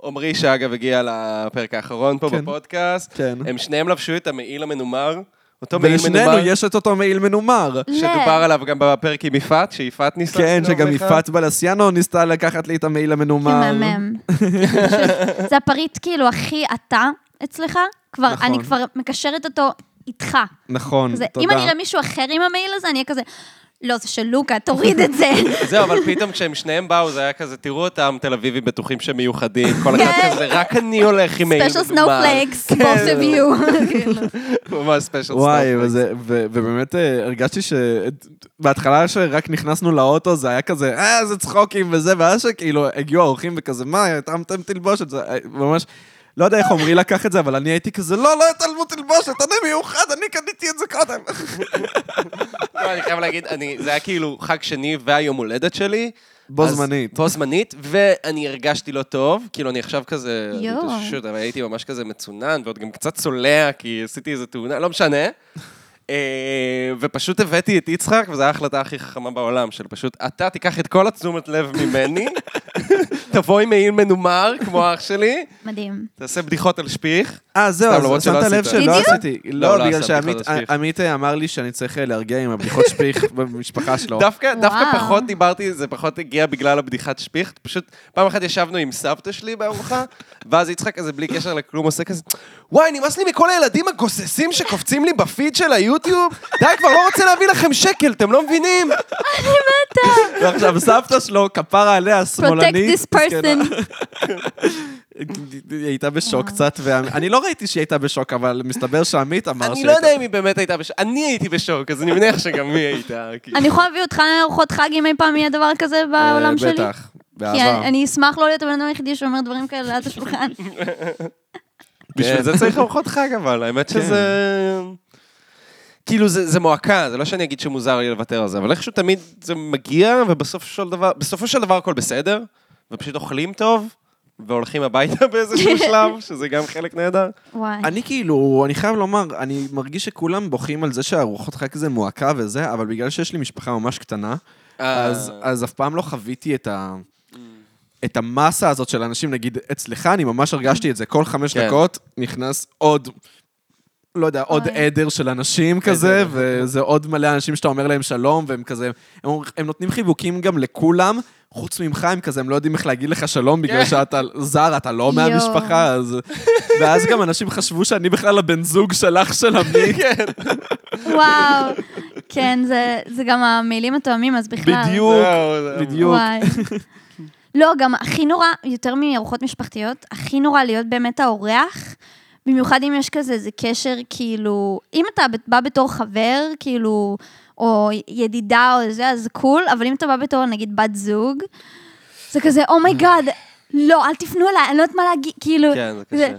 Speaker 3: עמרי, שאגב, הגיע לפרק האחרון פה
Speaker 1: כן.
Speaker 3: בפודקאסט.
Speaker 1: כן.
Speaker 3: הם שניהם לבשו את המעיל המנומר. אותו מעיל
Speaker 1: ולשנינו
Speaker 3: מנומר.
Speaker 1: יש את אותו מעיל מנומר.
Speaker 3: שדובר
Speaker 2: לב.
Speaker 3: עליו גם בפרק עם יפעת, שיפעת ניסתה.
Speaker 1: כן,
Speaker 3: לנאום
Speaker 1: שגם
Speaker 3: לך.
Speaker 1: יפעת בלסיאנו ניסתה לקחת לי את המעיל המנומר.
Speaker 2: זה מהמם. פשוט, זה הפריט כאילו הכי אתה אצלך, כבר,
Speaker 1: נכון.
Speaker 2: אני כבר מקשרת אותו איתך.
Speaker 1: נכון,
Speaker 2: זה- אם אני
Speaker 1: תודה.
Speaker 2: אראה מישהו אחר עם המעיל הזה, אני אהיה כזה, לא, זה של לוקה, תוריד את זה.
Speaker 3: זהו, אבל פתאום כשהם שניהם באו, זה היה כזה, תראו אותם, תל אביבים בטוחים שהם מיוחדים, כל אחד
Speaker 2: כן.
Speaker 3: כזה, רק אני הולך עם מעיל.
Speaker 2: ספיישל
Speaker 3: מנומר."
Speaker 2: סנופלקס,
Speaker 3: כן.
Speaker 2: both of you. כאילו.
Speaker 3: ממש ספיישל
Speaker 1: וואי,
Speaker 3: סנופלקס.
Speaker 1: וזה- ו- ובאמת אה, הרגשתי שבהתחלה שרק נכנסנו לאוטו, זה היה כזה, אה, זה צחוקים וזה, ואז שכאילו הגיעו האורחים וכזה, מה, התאמתם תלבושת, זה אה, ממש... לא יודע איך עמרי לקח את זה, אבל אני הייתי כזה, לא, לא התעלמו תלבושת, אני מיוחד, אני קניתי את זה קודם.
Speaker 3: לא, אני חייב להגיד, אני- זה היה כאילו חג שני והיום הולדת שלי.
Speaker 1: בו
Speaker 3: אז-
Speaker 1: זמנית.
Speaker 3: בו זמנית, ואני הרגשתי לא טוב, כאילו אני עכשיו כזה,
Speaker 2: יואו.
Speaker 3: פשוט, אבל הייתי ממש כזה מצונן, ועוד גם קצת צולע, כי עשיתי איזה תאונה, לא משנה. אה, ופשוט הבאתי את יצחק, וזו ההחלטה הכי חכמה בעולם, של פשוט, אתה תיקח את כל התשומת לב ממני, תבוא עם מעיל מנומר, כמו אח שלי,
Speaker 2: מדהים.
Speaker 3: תעשה בדיחות על שפיך.
Speaker 1: אה, זהו,
Speaker 3: סתם,
Speaker 1: אז
Speaker 3: למרות שלא
Speaker 1: שמת לב
Speaker 3: עשית.
Speaker 1: שלא
Speaker 2: בדיוק.
Speaker 1: עשיתי.
Speaker 3: לא,
Speaker 1: לא,
Speaker 3: לא
Speaker 1: בגלל
Speaker 3: עשה בדיחות
Speaker 1: שעמית
Speaker 3: שפיך.
Speaker 1: עמית, אה, אמר לי שאני צריך אה, להרגיע עם הבדיחות שפיך במשפחה שלו.
Speaker 3: דווקא, דווקא
Speaker 2: וואו.
Speaker 3: פחות דיברתי, זה פחות הגיע בגלל הבדיחת שפיך. פשוט פעם אחת ישבנו עם סבתא שלי בארוחה, ואז יצחק כזה בלי קשר לכלום עושה כזה, וואי, נמאס לי מכל הילדים הגוססים שקופצים לי בפיד של היוטיוב, די, כבר לא רוצה להביא לכם שקל, אתם לא מבינים?
Speaker 1: ועכשיו סבתא שלו, כפרה עליה,
Speaker 2: Protect
Speaker 1: שמאלנית.
Speaker 2: this person.
Speaker 1: היא הייתה בשוק
Speaker 2: וואו.
Speaker 1: קצת, ואני לא ראיתי שהיא הייתה בשוק, אבל מסתבר שעמית אמר
Speaker 3: אני לא יודע אם היא באמת הייתה בשוק, אני הייתי בשוק, אז אני מניח שגם היא הייתה. כאילו.
Speaker 2: אני יכולה להביא אותך לארוחות חג אם אי פעם יהיה דבר כזה בעולם שלי?
Speaker 1: אה, בטח,
Speaker 2: כי אני-
Speaker 1: בעבר.
Speaker 2: אני אשמח לא להיות הבן אדם היחידי שאומר דברים כאלה ליד השולחן.
Speaker 3: בשביל
Speaker 1: כן.
Speaker 3: זה צריך ארוחות חג, אבל האמת שזה... כאילו, זה, זה מועקה, זה לא שאני אגיד שמוזר לי לוותר על זה, אבל איכשהו תמיד זה מגיע, ובסופו של דבר, בסופו של דבר הכל בסדר, ופשוט אוכלים טוב, והולכים הביתה
Speaker 1: כן.
Speaker 3: באיזשהו שלב, שזה גם חלק נהדר.
Speaker 2: וואי.
Speaker 1: אני כאילו, אני חייב לומר, אני מרגיש שכולם בוכים על זה שהארוחות חג זה מועקה וזה, אבל בגלל שיש לי משפחה ממש קטנה, אז,
Speaker 3: אה.
Speaker 1: אז אף פעם לא חוויתי את ה... את המסה הזאת של אנשים, נגיד, אצלך, אני ממש הרגשתי את זה. כל חמש
Speaker 3: כן.
Speaker 1: דקות נכנס עוד, לא יודע, עוד
Speaker 2: אוי.
Speaker 1: עדר של אנשים כזה,
Speaker 3: אוקיי.
Speaker 1: וזה עוד מלא אנשים שאתה אומר להם שלום, והם כזה, הם, אומר- הם נותנים חיבוקים גם לכולם, חוץ ממך, הם כזה, הם לא יודעים איך להגיד לך שלום, בגלל
Speaker 3: כן.
Speaker 1: שאתה זר, אתה לא
Speaker 2: יואו.
Speaker 1: מהמשפחה, אז... ואז גם אנשים חשבו שאני בכלל הבן זוג שלך של עמי.
Speaker 3: כן,
Speaker 2: וואו. כן, זה- זה גם המילים התואמים, אז בכלל.
Speaker 1: בדיוק,
Speaker 3: זהו, זהו.
Speaker 1: בדיוק.
Speaker 2: וואי. לא, גם הכי נורא, יותר מארוחות משפחתיות, הכי נורא להיות באמת האורח, במיוחד אם יש כזה איזה קשר, כאילו, אם אתה ב- בא בתור חבר, כאילו, או ידידה או זה, אז קול, אבל אם אתה בא בתור, נגיד, בת זוג, זה כזה, אומייגאד, לא, אל תפנו אליי, אני לא יודעת מה להגיד, כאילו,
Speaker 3: כן, זה קשה.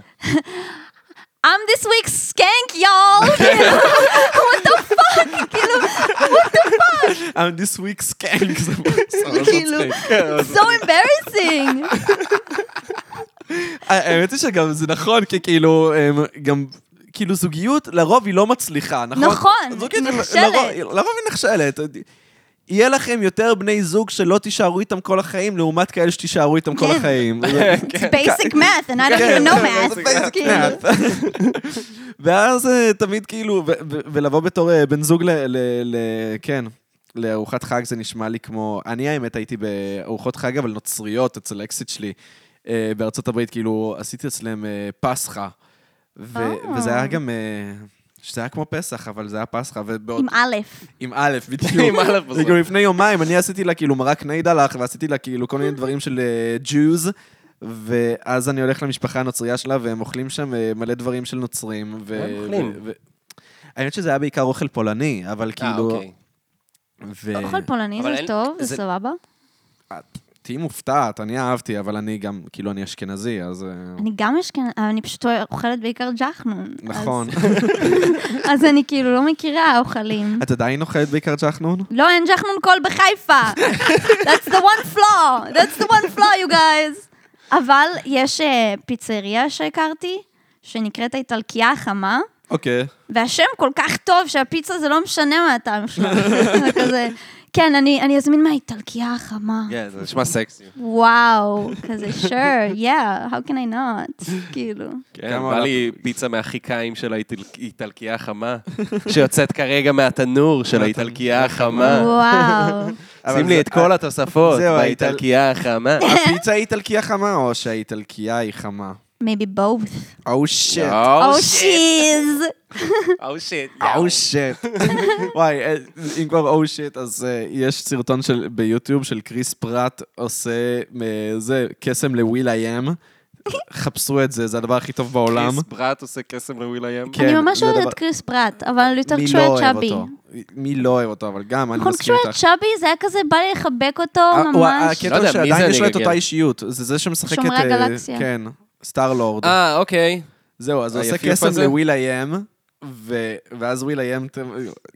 Speaker 2: I'm this week's skank, y'all! כאילו,
Speaker 1: I'm this week's skank. זה
Speaker 2: כאילו,
Speaker 3: כן,
Speaker 2: so embarrassing!
Speaker 1: האמת היא שגם זה נכון, כי כאילו, אמ, גם, כאילו זוגיות לרוב היא לא מצליחה, נכון?
Speaker 2: נכון,
Speaker 1: זוגיות ל-
Speaker 2: נכשלת.
Speaker 1: לרוב- לרוב היא נכשלת. יהיה לכם יותר בני זוג שלא תישארו איתם כל החיים, לעומת כאלה שתישארו איתם כל
Speaker 2: כן.
Speaker 1: החיים.
Speaker 2: It's basic math, and I don't
Speaker 1: כן,
Speaker 2: even know
Speaker 1: כן,
Speaker 2: math.
Speaker 1: זה
Speaker 2: אז כאילו.
Speaker 1: ואז אה, תמיד כאילו, ו- ו- ולבוא בתור אה, בן זוג ל... ל- ל- כן. לארוחת חג זה נשמע לי כמו... אני האמת הייתי בארוחות חג, אבל נוצריות, אצל אקסיט שלי. אה, בארצות הברית, כאילו, עשיתי אצלם אה, פסחא. ו-
Speaker 2: אה.
Speaker 1: וזה היה גם... אה, שזה היה כמו פסח, אבל זה היה פסחא, ובעוד...
Speaker 2: עם א',
Speaker 1: עם א', בדיוק.
Speaker 3: עם א' בסוף.
Speaker 1: כאילו לפני יומיים, אני עשיתי לה כאילו מרק ניידה לך, ועשיתי לה כאילו כל מיני דברים של ג'וז, ואז אני הולך למשפחה הנוצרייה שלה, והם אוכלים שם אה, מלא דברים של נוצרים. ו-
Speaker 3: מה הם אוכלים?
Speaker 1: ו- ו- האמת שזה היה בעיקר אוכל פולני, אבל
Speaker 3: אה,
Speaker 1: כאילו...
Speaker 3: אוקיי. לא
Speaker 1: ו-
Speaker 2: אוכל פולני
Speaker 3: אבל
Speaker 2: זה
Speaker 3: אין-
Speaker 2: טוב, זה
Speaker 3: זה-
Speaker 2: סבבה.
Speaker 1: תהיי מופתעת, אני אהבתי, אבל אני גם, כאילו, אני אשכנזי, אז... אה,
Speaker 2: אני גם אשכנז... אני פשוט אוכלת בעיקר ג'חנון. אז-
Speaker 1: נכון.
Speaker 2: אז אני כאילו לא מכירה אוכלים.
Speaker 1: את עדיין אוכלת בעיקר צ'חנון?
Speaker 2: לא, אין ג'חנון קול בחיפה. That's the one flaw. That's the one flaw, you guys. אבל יש אה, פיצריה שהכרתי, שנקראת האיטלקייה החמה,
Speaker 1: אוקיי.
Speaker 2: והשם כל כך טוב שהפיצה זה לא משנה מה הטעם שלה. זה כזה, כן, אני אני אזמין מהאיטלקייה החמה.
Speaker 3: כן, זה נשמע סקסי.
Speaker 2: וואו, כזה, sure, yeah, how can I not? כאילו.
Speaker 3: כן,
Speaker 1: כמה
Speaker 3: בא
Speaker 1: עלה-
Speaker 3: לי פיצה מהחיקיים של האיטלקייה החמה, שיוצאת כרגע מהתנור של האיטלקייה החמה.
Speaker 2: וואו.
Speaker 1: אבל
Speaker 3: שים
Speaker 1: זה-
Speaker 3: לי את כל התוספות
Speaker 1: זהו, האיטל- Oh,
Speaker 3: באיטלקייה החמה.
Speaker 1: הפיצה היא איטלקיה חמה, או שהאיטלקייה היא חמה?
Speaker 2: Maybe both.
Speaker 1: או
Speaker 3: לא,
Speaker 1: שיט.
Speaker 2: Oh, shiz.
Speaker 3: או שיט.
Speaker 1: או שיט. Oh, וואי, אה, אם כבר או שיט, אז אה, יש סרטון של- ביוטיוב של קריס פרט עושה אה, זה, קסם לוויל איי אם. חפשו את זה, זה הדבר הכי טוב בעולם.
Speaker 3: קריס ברט עושה קסם לוויל איים.
Speaker 1: כן.
Speaker 2: אני ממש
Speaker 1: זה
Speaker 2: אוהבת
Speaker 1: דבר-
Speaker 2: את קריס פרט, אבל יותר
Speaker 1: מי
Speaker 2: כשהוא
Speaker 1: לא
Speaker 2: היה
Speaker 1: אוהב
Speaker 2: צ'אבי.
Speaker 1: אותו? מי לא אוהב אותו, אבל גם, אני
Speaker 2: נכון,
Speaker 1: מסכים
Speaker 2: כשהוא היה
Speaker 1: איתך.
Speaker 2: צ'אבי זה היה כזה, בא לי לחבק אותו
Speaker 1: אה, הוא-
Speaker 2: ממש.
Speaker 3: לא
Speaker 1: הקטע
Speaker 3: יודע,
Speaker 1: הוא
Speaker 3: מי זה
Speaker 1: שעדיין
Speaker 3: אני
Speaker 1: יש לו את אותה
Speaker 3: אגגל?
Speaker 1: אישיות, זה זה שמשחק את...
Speaker 2: שומרי
Speaker 1: אה,
Speaker 2: הגלקסיה.
Speaker 1: כן, סטארלורד.
Speaker 3: אה, אוקיי.
Speaker 1: זהו, אז הוא עושה
Speaker 3: היפיוף
Speaker 1: קסם
Speaker 3: הזה?
Speaker 1: לוויל איי-אם, ואז וויל איי-אם,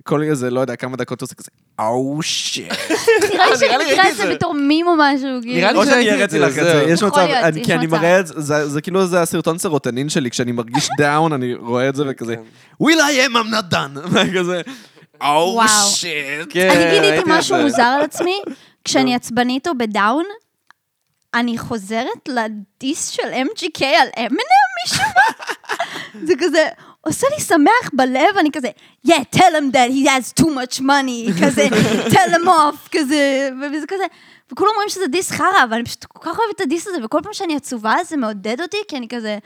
Speaker 1: כל איזה, לא יודע, כמה דקות הוא עושה כזה, oh, אאו שיט.
Speaker 2: נראה לי
Speaker 1: אה,
Speaker 3: נראה לי
Speaker 2: שאני
Speaker 3: ראיתי
Speaker 2: אקרא את
Speaker 3: את
Speaker 2: זה
Speaker 3: זה.
Speaker 2: בתור מים או משהו,
Speaker 3: נראה
Speaker 2: כאילו.
Speaker 3: לי
Speaker 1: או שאני
Speaker 3: שראיתי את
Speaker 1: אראה את זה
Speaker 3: זה,
Speaker 1: לך את זה,
Speaker 3: זהו.
Speaker 1: יש
Speaker 2: יכול
Speaker 1: מצב,
Speaker 2: להיות,
Speaker 1: אני-
Speaker 2: יש
Speaker 1: כי אני
Speaker 2: מצב.
Speaker 1: מראה את זה, זה- זה כאילו זה הסרטון סרוטנין שלי, כשאני מרגיש דאון, אני רואה את זה וכזה, will I am I'm not done, "Oh, כזה, אאו
Speaker 2: וואו.
Speaker 1: שיט.
Speaker 3: כן,
Speaker 2: אני גיליתי
Speaker 3: ראיתי את
Speaker 2: משהו
Speaker 3: זה.
Speaker 2: מוזר על עצמי, כשאני עצבנית או בדאון, אני חוזרת לדיס של MGK על M&M מישהו? זה כזה, עושה לי שמח בלב, אני כזה, yeah, tell him that he has too much money, כזה, tell him off, כזה, וזה כזה. וכולם אומרים שזה דיס חרא, אבל אני פשוט כל כך אוהבת את הדיס הזה, וכל פעם שאני עצובה זה מעודד אותי, כי אני כזה...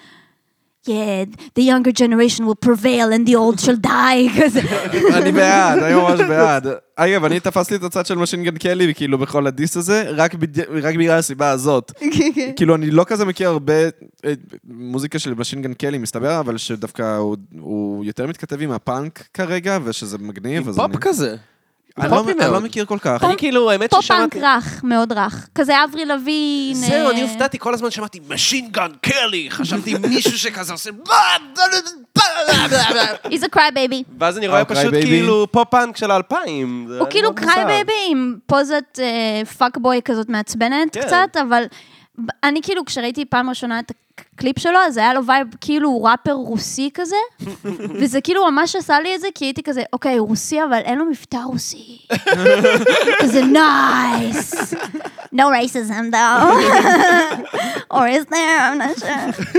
Speaker 2: Yeah, the younger generation will prevail and the old shall die, כזה.
Speaker 1: כן, אני בעד, אני ממש בעד. אגב, אני תפסתי את הצד של משינגן קלי, כאילו, בכל הדיס הזה, רק בד- רק בגלל הסיבה הזאת. כאילו, אני לא כזה מכיר הרבה אה, מוזיקה של משינגן קלי, מסתבר, אבל שדווקא הוא- הוא יותר מתכתב עם הפאנק כרגע, ושזה מגניב, אז אני...
Speaker 3: פופ כזה.
Speaker 1: אני לא-
Speaker 3: פופי
Speaker 1: אני לא
Speaker 3: מאוד.
Speaker 1: מכיר כל כך.
Speaker 3: אני כאילו, האמת
Speaker 2: פופ פאנק
Speaker 3: ששמעתי...
Speaker 2: רך, מאוד רך. כזה אברי לוין.
Speaker 3: זהו,
Speaker 2: אה,
Speaker 3: אני הופתעתי, כל הזמן שמעתי משין גן קלי, חשבתי מישהו שכזה עושה...
Speaker 2: He's a cry baby.
Speaker 3: ואז אני רואה
Speaker 1: אה,
Speaker 3: פשוט
Speaker 1: Cry Baby.
Speaker 3: כאילו פופ פאנק של האלפיים. לא
Speaker 2: הוא
Speaker 1: לא
Speaker 2: כאילו קריי בייבי עם פוזת פאק בוי אה, כזאת מעצבנת
Speaker 3: כן.
Speaker 2: קצת, אבל ב- אני כאילו, כשראיתי פעם ראשונה את הקליפ שלו, אז היה לו וייב כאילו הוא ראפר רוסי כזה, וזה כאילו ממש עשה לי את זה, כי הייתי כזה, אוקיי, הוא רוסי, אבל אין לו מבטא רוסי. כזה נייס. No racism though. Or is there? I'm not sure.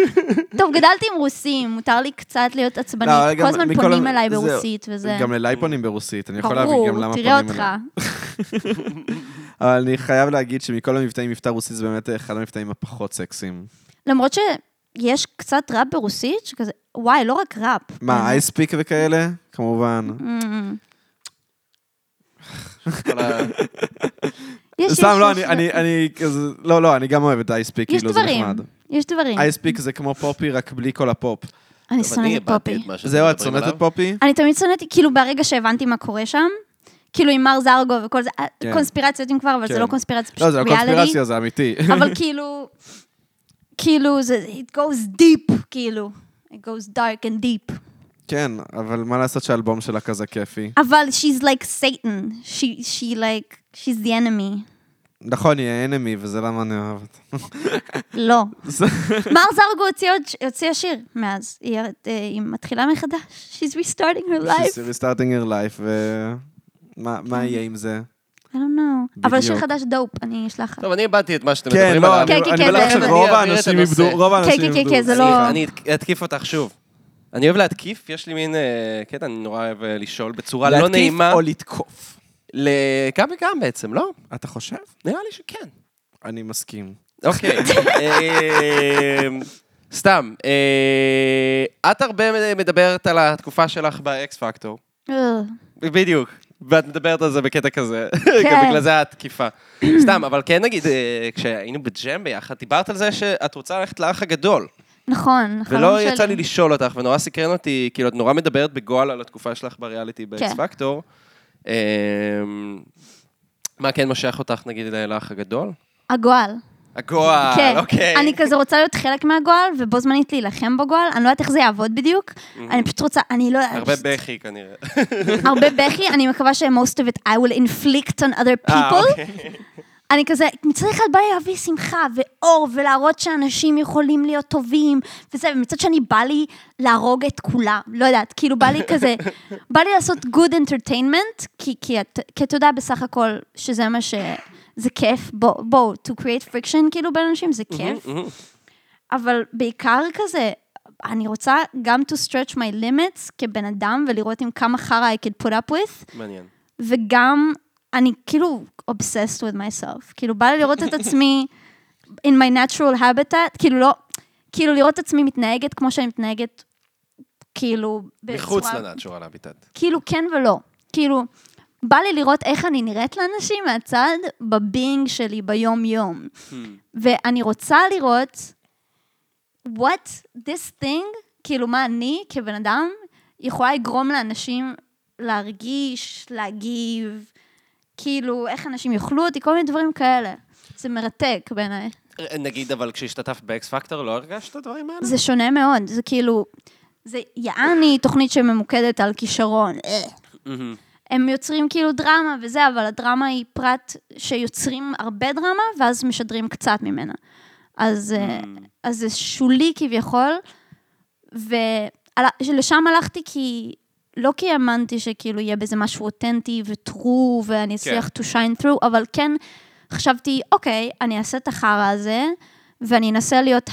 Speaker 2: טוב, גדלתי עם רוסים, מותר לי קצת להיות עצבנית.
Speaker 1: לא, אבל
Speaker 2: כל
Speaker 1: גם-
Speaker 2: הזמן
Speaker 1: מכל
Speaker 2: פונים
Speaker 1: ה-
Speaker 2: אליי
Speaker 1: זהו.
Speaker 2: ברוסית וזה.
Speaker 1: גם אליי פונים ברוסית, אני יכול להבין גם למה
Speaker 2: ברור,
Speaker 1: פונים
Speaker 2: תראה אותך.
Speaker 1: אליי. אבל אני חייב להגיד שמכל המבטאים, מבטא רוסי זה באמת אחד המבטאים הפחות סקסיים.
Speaker 2: למרות שיש קצת ראפ ברוסית, שכזה, וואי, לא רק ראפ.
Speaker 1: מה, אייספיק וכאלה? כמובן.
Speaker 2: Mm. יש- יש-
Speaker 1: סתם, לא,
Speaker 2: יש-
Speaker 1: אני- אני אני כזה... לא, לא, אני גם אוהב את אייספיק,
Speaker 2: יש
Speaker 1: כאילו, זה
Speaker 2: דברים, כן.
Speaker 1: נחמד.
Speaker 2: יש דברים.
Speaker 1: אייספיק זה כמו פופי, רק בלי כל הפופ.
Speaker 2: אני שונאת את פופי.
Speaker 1: זהו, את שונאת את פופי?
Speaker 2: אני תמיד שנאתי, כאילו ברגע שהבנתי מה קורה שם, כאילו עם מר זרגו וכל זה, אה,
Speaker 1: כן.
Speaker 2: קונספירציות אם כבר, אבל זה
Speaker 1: כן.
Speaker 2: לא קונספירציה,
Speaker 1: לא,
Speaker 2: פשוט
Speaker 1: זה לא
Speaker 2: ריאליטי,
Speaker 1: קונספירציה, זה אמיתי.
Speaker 2: אבל כאילו, כאילו זה, it goes deep, כאילו, it goes dark and deep.
Speaker 1: כן, אבל מה לעשות שהאלבום שלה כזה כיפי?
Speaker 2: אבל she's like Satan, she, she like, she's the enemy.
Speaker 1: נכון, היא האנמי, וזה למה אני אוהב אותה.
Speaker 2: לא.
Speaker 1: זה-
Speaker 2: מר זרגו הוציאה עוד- הוציאה שיר מאז, היא, אה, היא מתחילה מחדש, she's restarting her life.
Speaker 1: She's restarting her life, ומה מה יהיה עם זה?
Speaker 2: I don't know. אבל השיר
Speaker 1: בדיוק.
Speaker 2: חדש דופ, אני אשלח לך.
Speaker 3: טוב, אני הבעתי את מה שאתם
Speaker 1: כן,
Speaker 3: מדברים
Speaker 1: לא,
Speaker 3: עליו.
Speaker 1: אני
Speaker 2: כן,
Speaker 1: אני
Speaker 2: כן,
Speaker 1: בטוח
Speaker 2: זה-
Speaker 1: שרוב
Speaker 3: אני אעביר את
Speaker 1: האנשים
Speaker 3: הנושא.
Speaker 1: איבדו, רוב האנשים
Speaker 2: כן, כן,
Speaker 1: איבדו.
Speaker 2: כן, זה לא-
Speaker 3: סליחה, אני את- אתקיף אותך שוב. אני אוהב להתקיף, יש לי מין אה, קטע, אני נורא אוהב אה, לשאול בצורה לא נעימה.
Speaker 1: או לתקוף.
Speaker 3: ל- גם וגם בעצם, לא?
Speaker 1: אתה חושב?
Speaker 3: נראה לי שכן.
Speaker 1: אני מסכים.
Speaker 3: אוקיי. אמ, סתם, אה, את הרבה מדברת על התקופה שלך באקס פקטור.
Speaker 2: אה,
Speaker 3: בדיוק. ואת מדברת על זה בקטע כזה.
Speaker 2: כן.
Speaker 3: כן. בגלל זה התקיפה. סתם, אבל כן נגיד, אה, כשהיינו בג'ם ביחד, דיברת על זה שאת רוצה ללכת לאח הגדול.
Speaker 2: נכון, חלום
Speaker 3: ולא
Speaker 2: שלי.
Speaker 3: יצא לי לשאול אותך, ונורא סקרן אותי, כאילו, את נורא מדברת בגועל על התקופה שלך בריאליטי באקס
Speaker 2: כן.
Speaker 3: פקטור. אמ, מה כן משך אותך, נגיד, לאח הגדול?
Speaker 2: הגועל.
Speaker 3: הגועל,
Speaker 2: כן.
Speaker 3: אוקיי.
Speaker 2: אני כזה רוצה להיות חלק מהגועל, ובו זמנית להילחם בגועל. אני לא יודעת איך זה יעבוד בדיוק. אני פשוט רוצה, אני לא יודעת.
Speaker 3: Mm. הרבה
Speaker 2: פשוט-
Speaker 3: בכי כנראה.
Speaker 2: הרבה בכי. אני מקווה ש-most of it I will inflict on other
Speaker 3: אה,
Speaker 2: people.
Speaker 3: אוקיי.
Speaker 2: אני כזה, מצד אחד בא לי להביא שמחה ואור ולהראות שאנשים יכולים להיות טובים וזה, ומצד שני בא לי להרוג את כולם, לא יודעת, כאילו בא לי כזה, בא לי לעשות good entertainment, כי, כי, את- כי אתה יודע בסך הכל שזה מה ש... זה כיף, בואו, בוא, to create friction כאילו בין אנשים זה כיף, אבל בעיקר כזה, אני רוצה גם to stretch my limits כבן אדם ולראות עם כמה חרא I could put up with,
Speaker 3: מעניין.
Speaker 2: וגם אני כאילו obsessed with myself. כאילו, בא לי לראות את עצמי in my natural habitat, כאילו לא, כאילו לראות את עצמי מתנהגת כמו שאני מתנהגת, כאילו,
Speaker 3: מחוץ לנאצ'ורל הביטט.
Speaker 2: כאילו כן ולא. כאילו, בא לי לראות איך אני נראית לאנשים מהצד בבינג שלי ביום-יום. ואני רוצה לראות what this thing, כאילו מה אני כבן אדם יכולה לגרום לאנשים להרגיש, להגיב, כאילו איך אנשים יאכלו אותי, כל מיני דברים כאלה. זה מרתק בעיניי.
Speaker 3: אה, נגיד, אבל כשהשתתפת באקס פקטור, לא הרגשת את הדברים האלה?
Speaker 2: זה שונה מאוד, זה כאילו, זה יעני תוכנית שממוקדת על כישרון. אה.
Speaker 3: מהמם.
Speaker 2: הם יוצרים כאילו דרמה וזה, אבל הדרמה היא פרט שיוצרים הרבה דרמה, ואז משדרים קצת ממנה. אז, אה, אז זה שולי כביכול, ולשם הלכתי כי... לא כי האמנתי שכאילו יהיה בזה משהו אותנטי וטרו ואני אצליח to shine through, אבל כן חשבתי, אוקיי, אני אעשה את החרא הזה, ואני אנסה להיות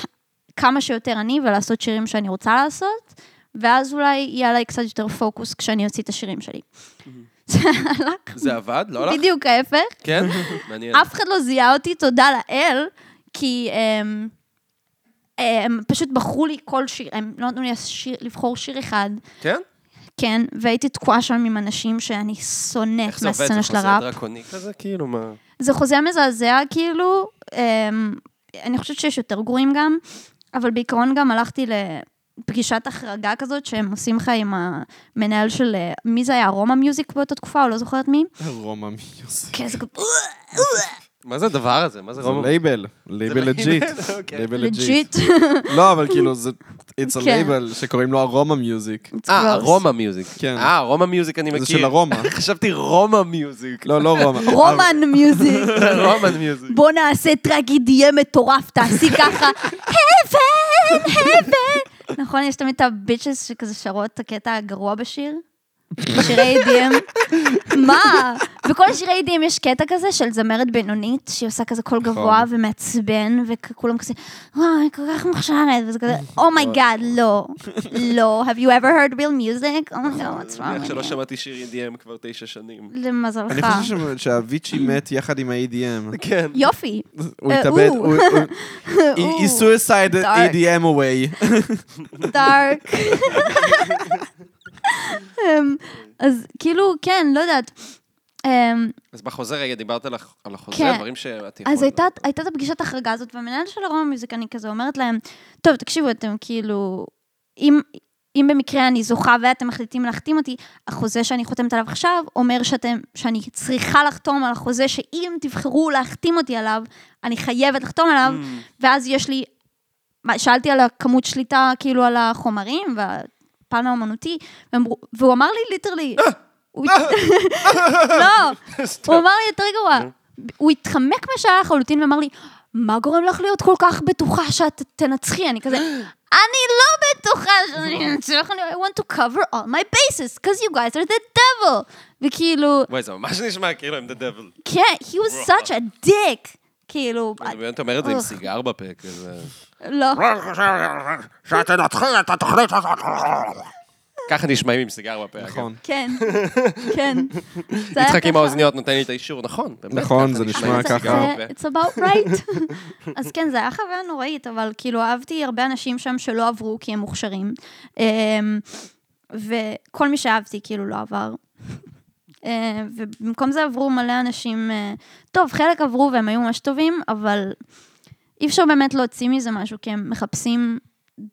Speaker 2: כמה שיותר אני ולעשות שירים שאני רוצה לעשות, ואז אולי יהיה עליי קצת יותר פוקוס כשאני אוציא את השירים שלי. זה הלך
Speaker 3: זה עבד? לא הלך?
Speaker 2: בדיוק ההפך.
Speaker 3: כן? מעניין.
Speaker 2: אף אחד לא זיהה אותי, תודה לאל, כי הם, הם פשוט בחרו לי כל שיר, הם לא נתנו לי השיר, לבחור שיר אחד,
Speaker 3: כן?
Speaker 2: כן, והייתי תקועה שם עם אנשים שאני שונאת מהסצנה של
Speaker 3: חוזר
Speaker 2: הראפ.
Speaker 3: דרקוני כזה? כאילו, מה?
Speaker 2: זה חוזה מזעזע, כאילו, אמ, אני חושבת שיש יותר גרועים גם, אבל בעיקרון גם הלכתי לפגישת החרגה כזאת שהם עושים לך עם המנהל של, אה, מי זה היה, רומא מיוזיק באותה תקופה, או לא זוכרת מי.
Speaker 1: רומא מיוזיק.
Speaker 3: כן,
Speaker 2: כזה כזה,
Speaker 3: מה זה הדבר הזה? מה זה
Speaker 1: זה
Speaker 3: רומא?
Speaker 1: לייבל, לייבל לג'יט.
Speaker 3: אוקיי.
Speaker 1: לייבל לג'יט.
Speaker 2: לג'יט.
Speaker 1: לא, אבל כאילו, זה... It's a
Speaker 2: כן.
Speaker 1: label שקוראים לו הרומא מיוזיק.
Speaker 3: אה, רומא מיוזיק.
Speaker 1: כן.
Speaker 3: אה, רומא מיוזיק אני מכיר.
Speaker 1: זה של הרומא.
Speaker 3: חשבתי רומא מיוזיק.
Speaker 1: לא, לא רומא.
Speaker 2: רומן מיוזיק.
Speaker 3: רומן מיוזיק.
Speaker 2: בוא נעשה טראגית, יהיה מטורף, תעשי ככה, heaven, heaven. נכון, יש תמיד את הביצ'ס שכזה שרות את הקטע הגרוע בשיר? בשירי EDM? מה? בכל השירי EDM יש קטע כזה של זמרת בינונית, שהיא עושה כזה קול
Speaker 1: נכון.
Speaker 2: גבוה ומעצבן, וכולם כזה, וואו, היא כל כך מוכשרת, וזה כזה,
Speaker 1: נכון.
Speaker 2: אומייגאד, לא, לא, have you ever heard real music? אומייגאד, what's
Speaker 3: איך
Speaker 2: wrong
Speaker 3: שלא
Speaker 2: with you?
Speaker 3: שמעתי שיר EDM כבר תשע שנים.
Speaker 2: למזלך.
Speaker 1: אני חושב ש- שהביצ'י מת יחד עם ה-EDM.
Speaker 2: אה,
Speaker 3: כן.
Speaker 2: יופי.
Speaker 1: הוא
Speaker 2: אה,
Speaker 1: התאבד.
Speaker 2: הוא.
Speaker 1: הוא- הוא- He he suicided
Speaker 2: Dark.
Speaker 1: EDM away.
Speaker 2: דארק. אמ, אז כאילו, כן, לא יודעת. אמ,
Speaker 3: אז בחוזה רגע דיברת על הח- על החוזה,
Speaker 2: כן.
Speaker 3: דברים שאת יכולה...
Speaker 2: אז הייתה הייתה את הפגישת החרגה הזאת, והמנהל של הרום מיוזיק, אני כזה אומרת להם, טוב, תקשיבו, אתם כאילו, אם... אם במקרה אני זוכה ואתם מחליטים להחתים אותי, החוזה שאני חותמת עליו עכשיו אומר שאתם, שאני צריכה לחתום על החוזה שאם תבחרו להחתים אותי עליו, אני חייבת לחתום עליו, ואז יש לי מה, שאלתי על הכמות שליטה, כאילו, על החומרים והפן האומנותי, ואמרו- והוא אמר לי ליטרלי, הוא- לא, הוא אמר לי יותר גרוע, הוא התחמק מהשאלה לחלוטין ואמר לי, מה גורם לך להיות כל כך בטוחה שאת תנצחי? אני כזה, אני לא בטוחה שאני אנצח, אני I want to cover all my bases, because you guys are the devil. וכאילו,
Speaker 3: וואי, זה ממש נשמע כאילו I'm the devil.
Speaker 2: כן, he was such a dick. כאילו, לא,
Speaker 3: אני באמת אומר את זה עם
Speaker 2: אוח.
Speaker 3: סיגר בפה, כזה.
Speaker 2: לא.
Speaker 3: ככה נשמעים עם סיגר בפה.
Speaker 1: נכון.
Speaker 2: כן, כן. זה
Speaker 3: אגב.
Speaker 2: היה
Speaker 3: יצחק עם
Speaker 2: ככה.
Speaker 3: האוזניות נותן לי את האישור, נכון. באמת,
Speaker 1: נכון,
Speaker 3: ככה
Speaker 1: זה נשמע
Speaker 3: עם
Speaker 2: זה-
Speaker 1: ככה.
Speaker 3: סיגר
Speaker 2: זה-
Speaker 3: בפה.
Speaker 2: It's about right. אז כן, זה היה חוויה נוראית, אבל כאילו אהבתי הרבה אנשים שם שלא עברו כי הם מוכשרים. אמ, וכל מי שאהבתי כאילו לא עבר. אה, ובמקום זה עברו מלא אנשים, אה, טוב, חלק עברו והם היו ממש טובים, אבל אי אפשר באמת להוציא מזה משהו, כי הם מחפשים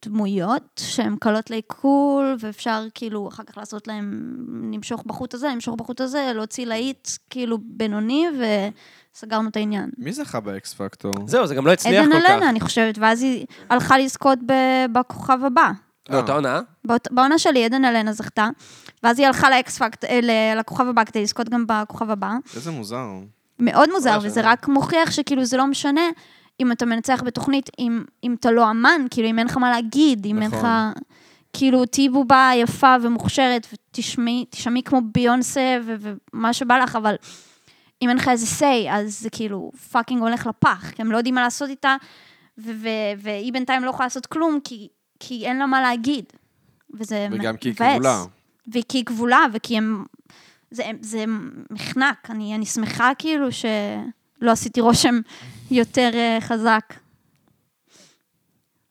Speaker 2: דמויות שהן קלות לעיכול, ואפשר כאילו אחר כך לעשות להם, נמשוך בחוט הזה, נמשוך בחוט הזה, להוציא להיט כאילו בינוני, וסגרנו את העניין.
Speaker 1: מי זכה באקס פקטור?
Speaker 3: זהו, זה גם לא הצליח
Speaker 2: עדן
Speaker 3: כל כך.
Speaker 2: אלנה, אני חושבת, ואז היא הלכה לזכות ב- בכוכב הבא.
Speaker 3: לא, אותה עונה?
Speaker 2: באות- בעונה שלי עדן אלנה זכתה, ואז היא הלכה לאקס פקט, אה, ל- לכוכב הבא כדי לזכות גם בכוכב הבא.
Speaker 1: איזה מוזר.
Speaker 2: מאוד מוזר,
Speaker 3: ממש,
Speaker 2: וזה
Speaker 3: אני-
Speaker 2: רק מוכיח שכאילו זה לא משנה אם אתה מנצח בתוכנית, אם, אם אתה לא אמן, כאילו אם אין לך מה להגיד, אם אין לך...
Speaker 1: נכון.
Speaker 2: כאילו, תהיי בובה יפה ומוכשרת, ותשמעי תשמעי כמו ביונסה ו- ומה שבא לך, אבל אם אין לך איזה say, אז זה כאילו פאקינג הולך לפח, כי הם לא יודעים מה לעשות איתה, ו- ו- והיא בינתיים לא יכולה לעשות כלום, כי, כי אין לה מה להגיד. וזה מבאס.
Speaker 1: וגם כי היא כבולה.
Speaker 2: וכי היא כבולה, וכי הם... זה, זה מחנק, אני, אני שמחה כאילו שלא עשיתי רושם יותר אה, חזק.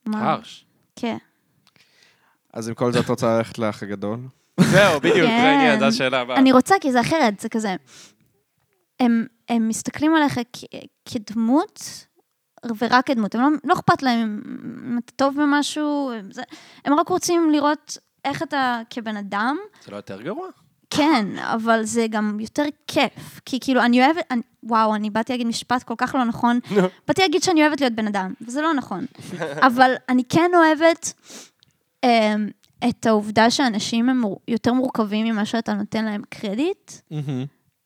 Speaker 2: מה?
Speaker 3: הרש.
Speaker 2: כן.
Speaker 1: אז עם כל זה את רוצה ללכת לאח הגדול?
Speaker 3: זהו, בדיוק,
Speaker 2: כן.
Speaker 3: זה העניין, זו השאלה הבאה.
Speaker 2: אני רוצה, כי זה אחרת, זה כזה... הם, הם מסתכלים עליך כ- כדמות, ורק כדמות. הם לא, לא אכפת להם אם אתה טוב במשהו, הם, זה, הם רק רוצים לראות איך אתה כבן אדם,
Speaker 3: זה לא יותר גרוע?
Speaker 2: כן, אבל זה גם יותר כיף. כי כאילו, אני אוהבת, אני, וואו, אני באתי להגיד משפט כל כך לא נכון. באתי להגיד שאני אוהבת להיות בן אדם, וזה לא נכון. אבל אני כן אוהבת אמ, את העובדה שאנשים הם מור- יותר מורכבים ממה שאתה נותן להם קרדיט.
Speaker 1: Mm-hmm.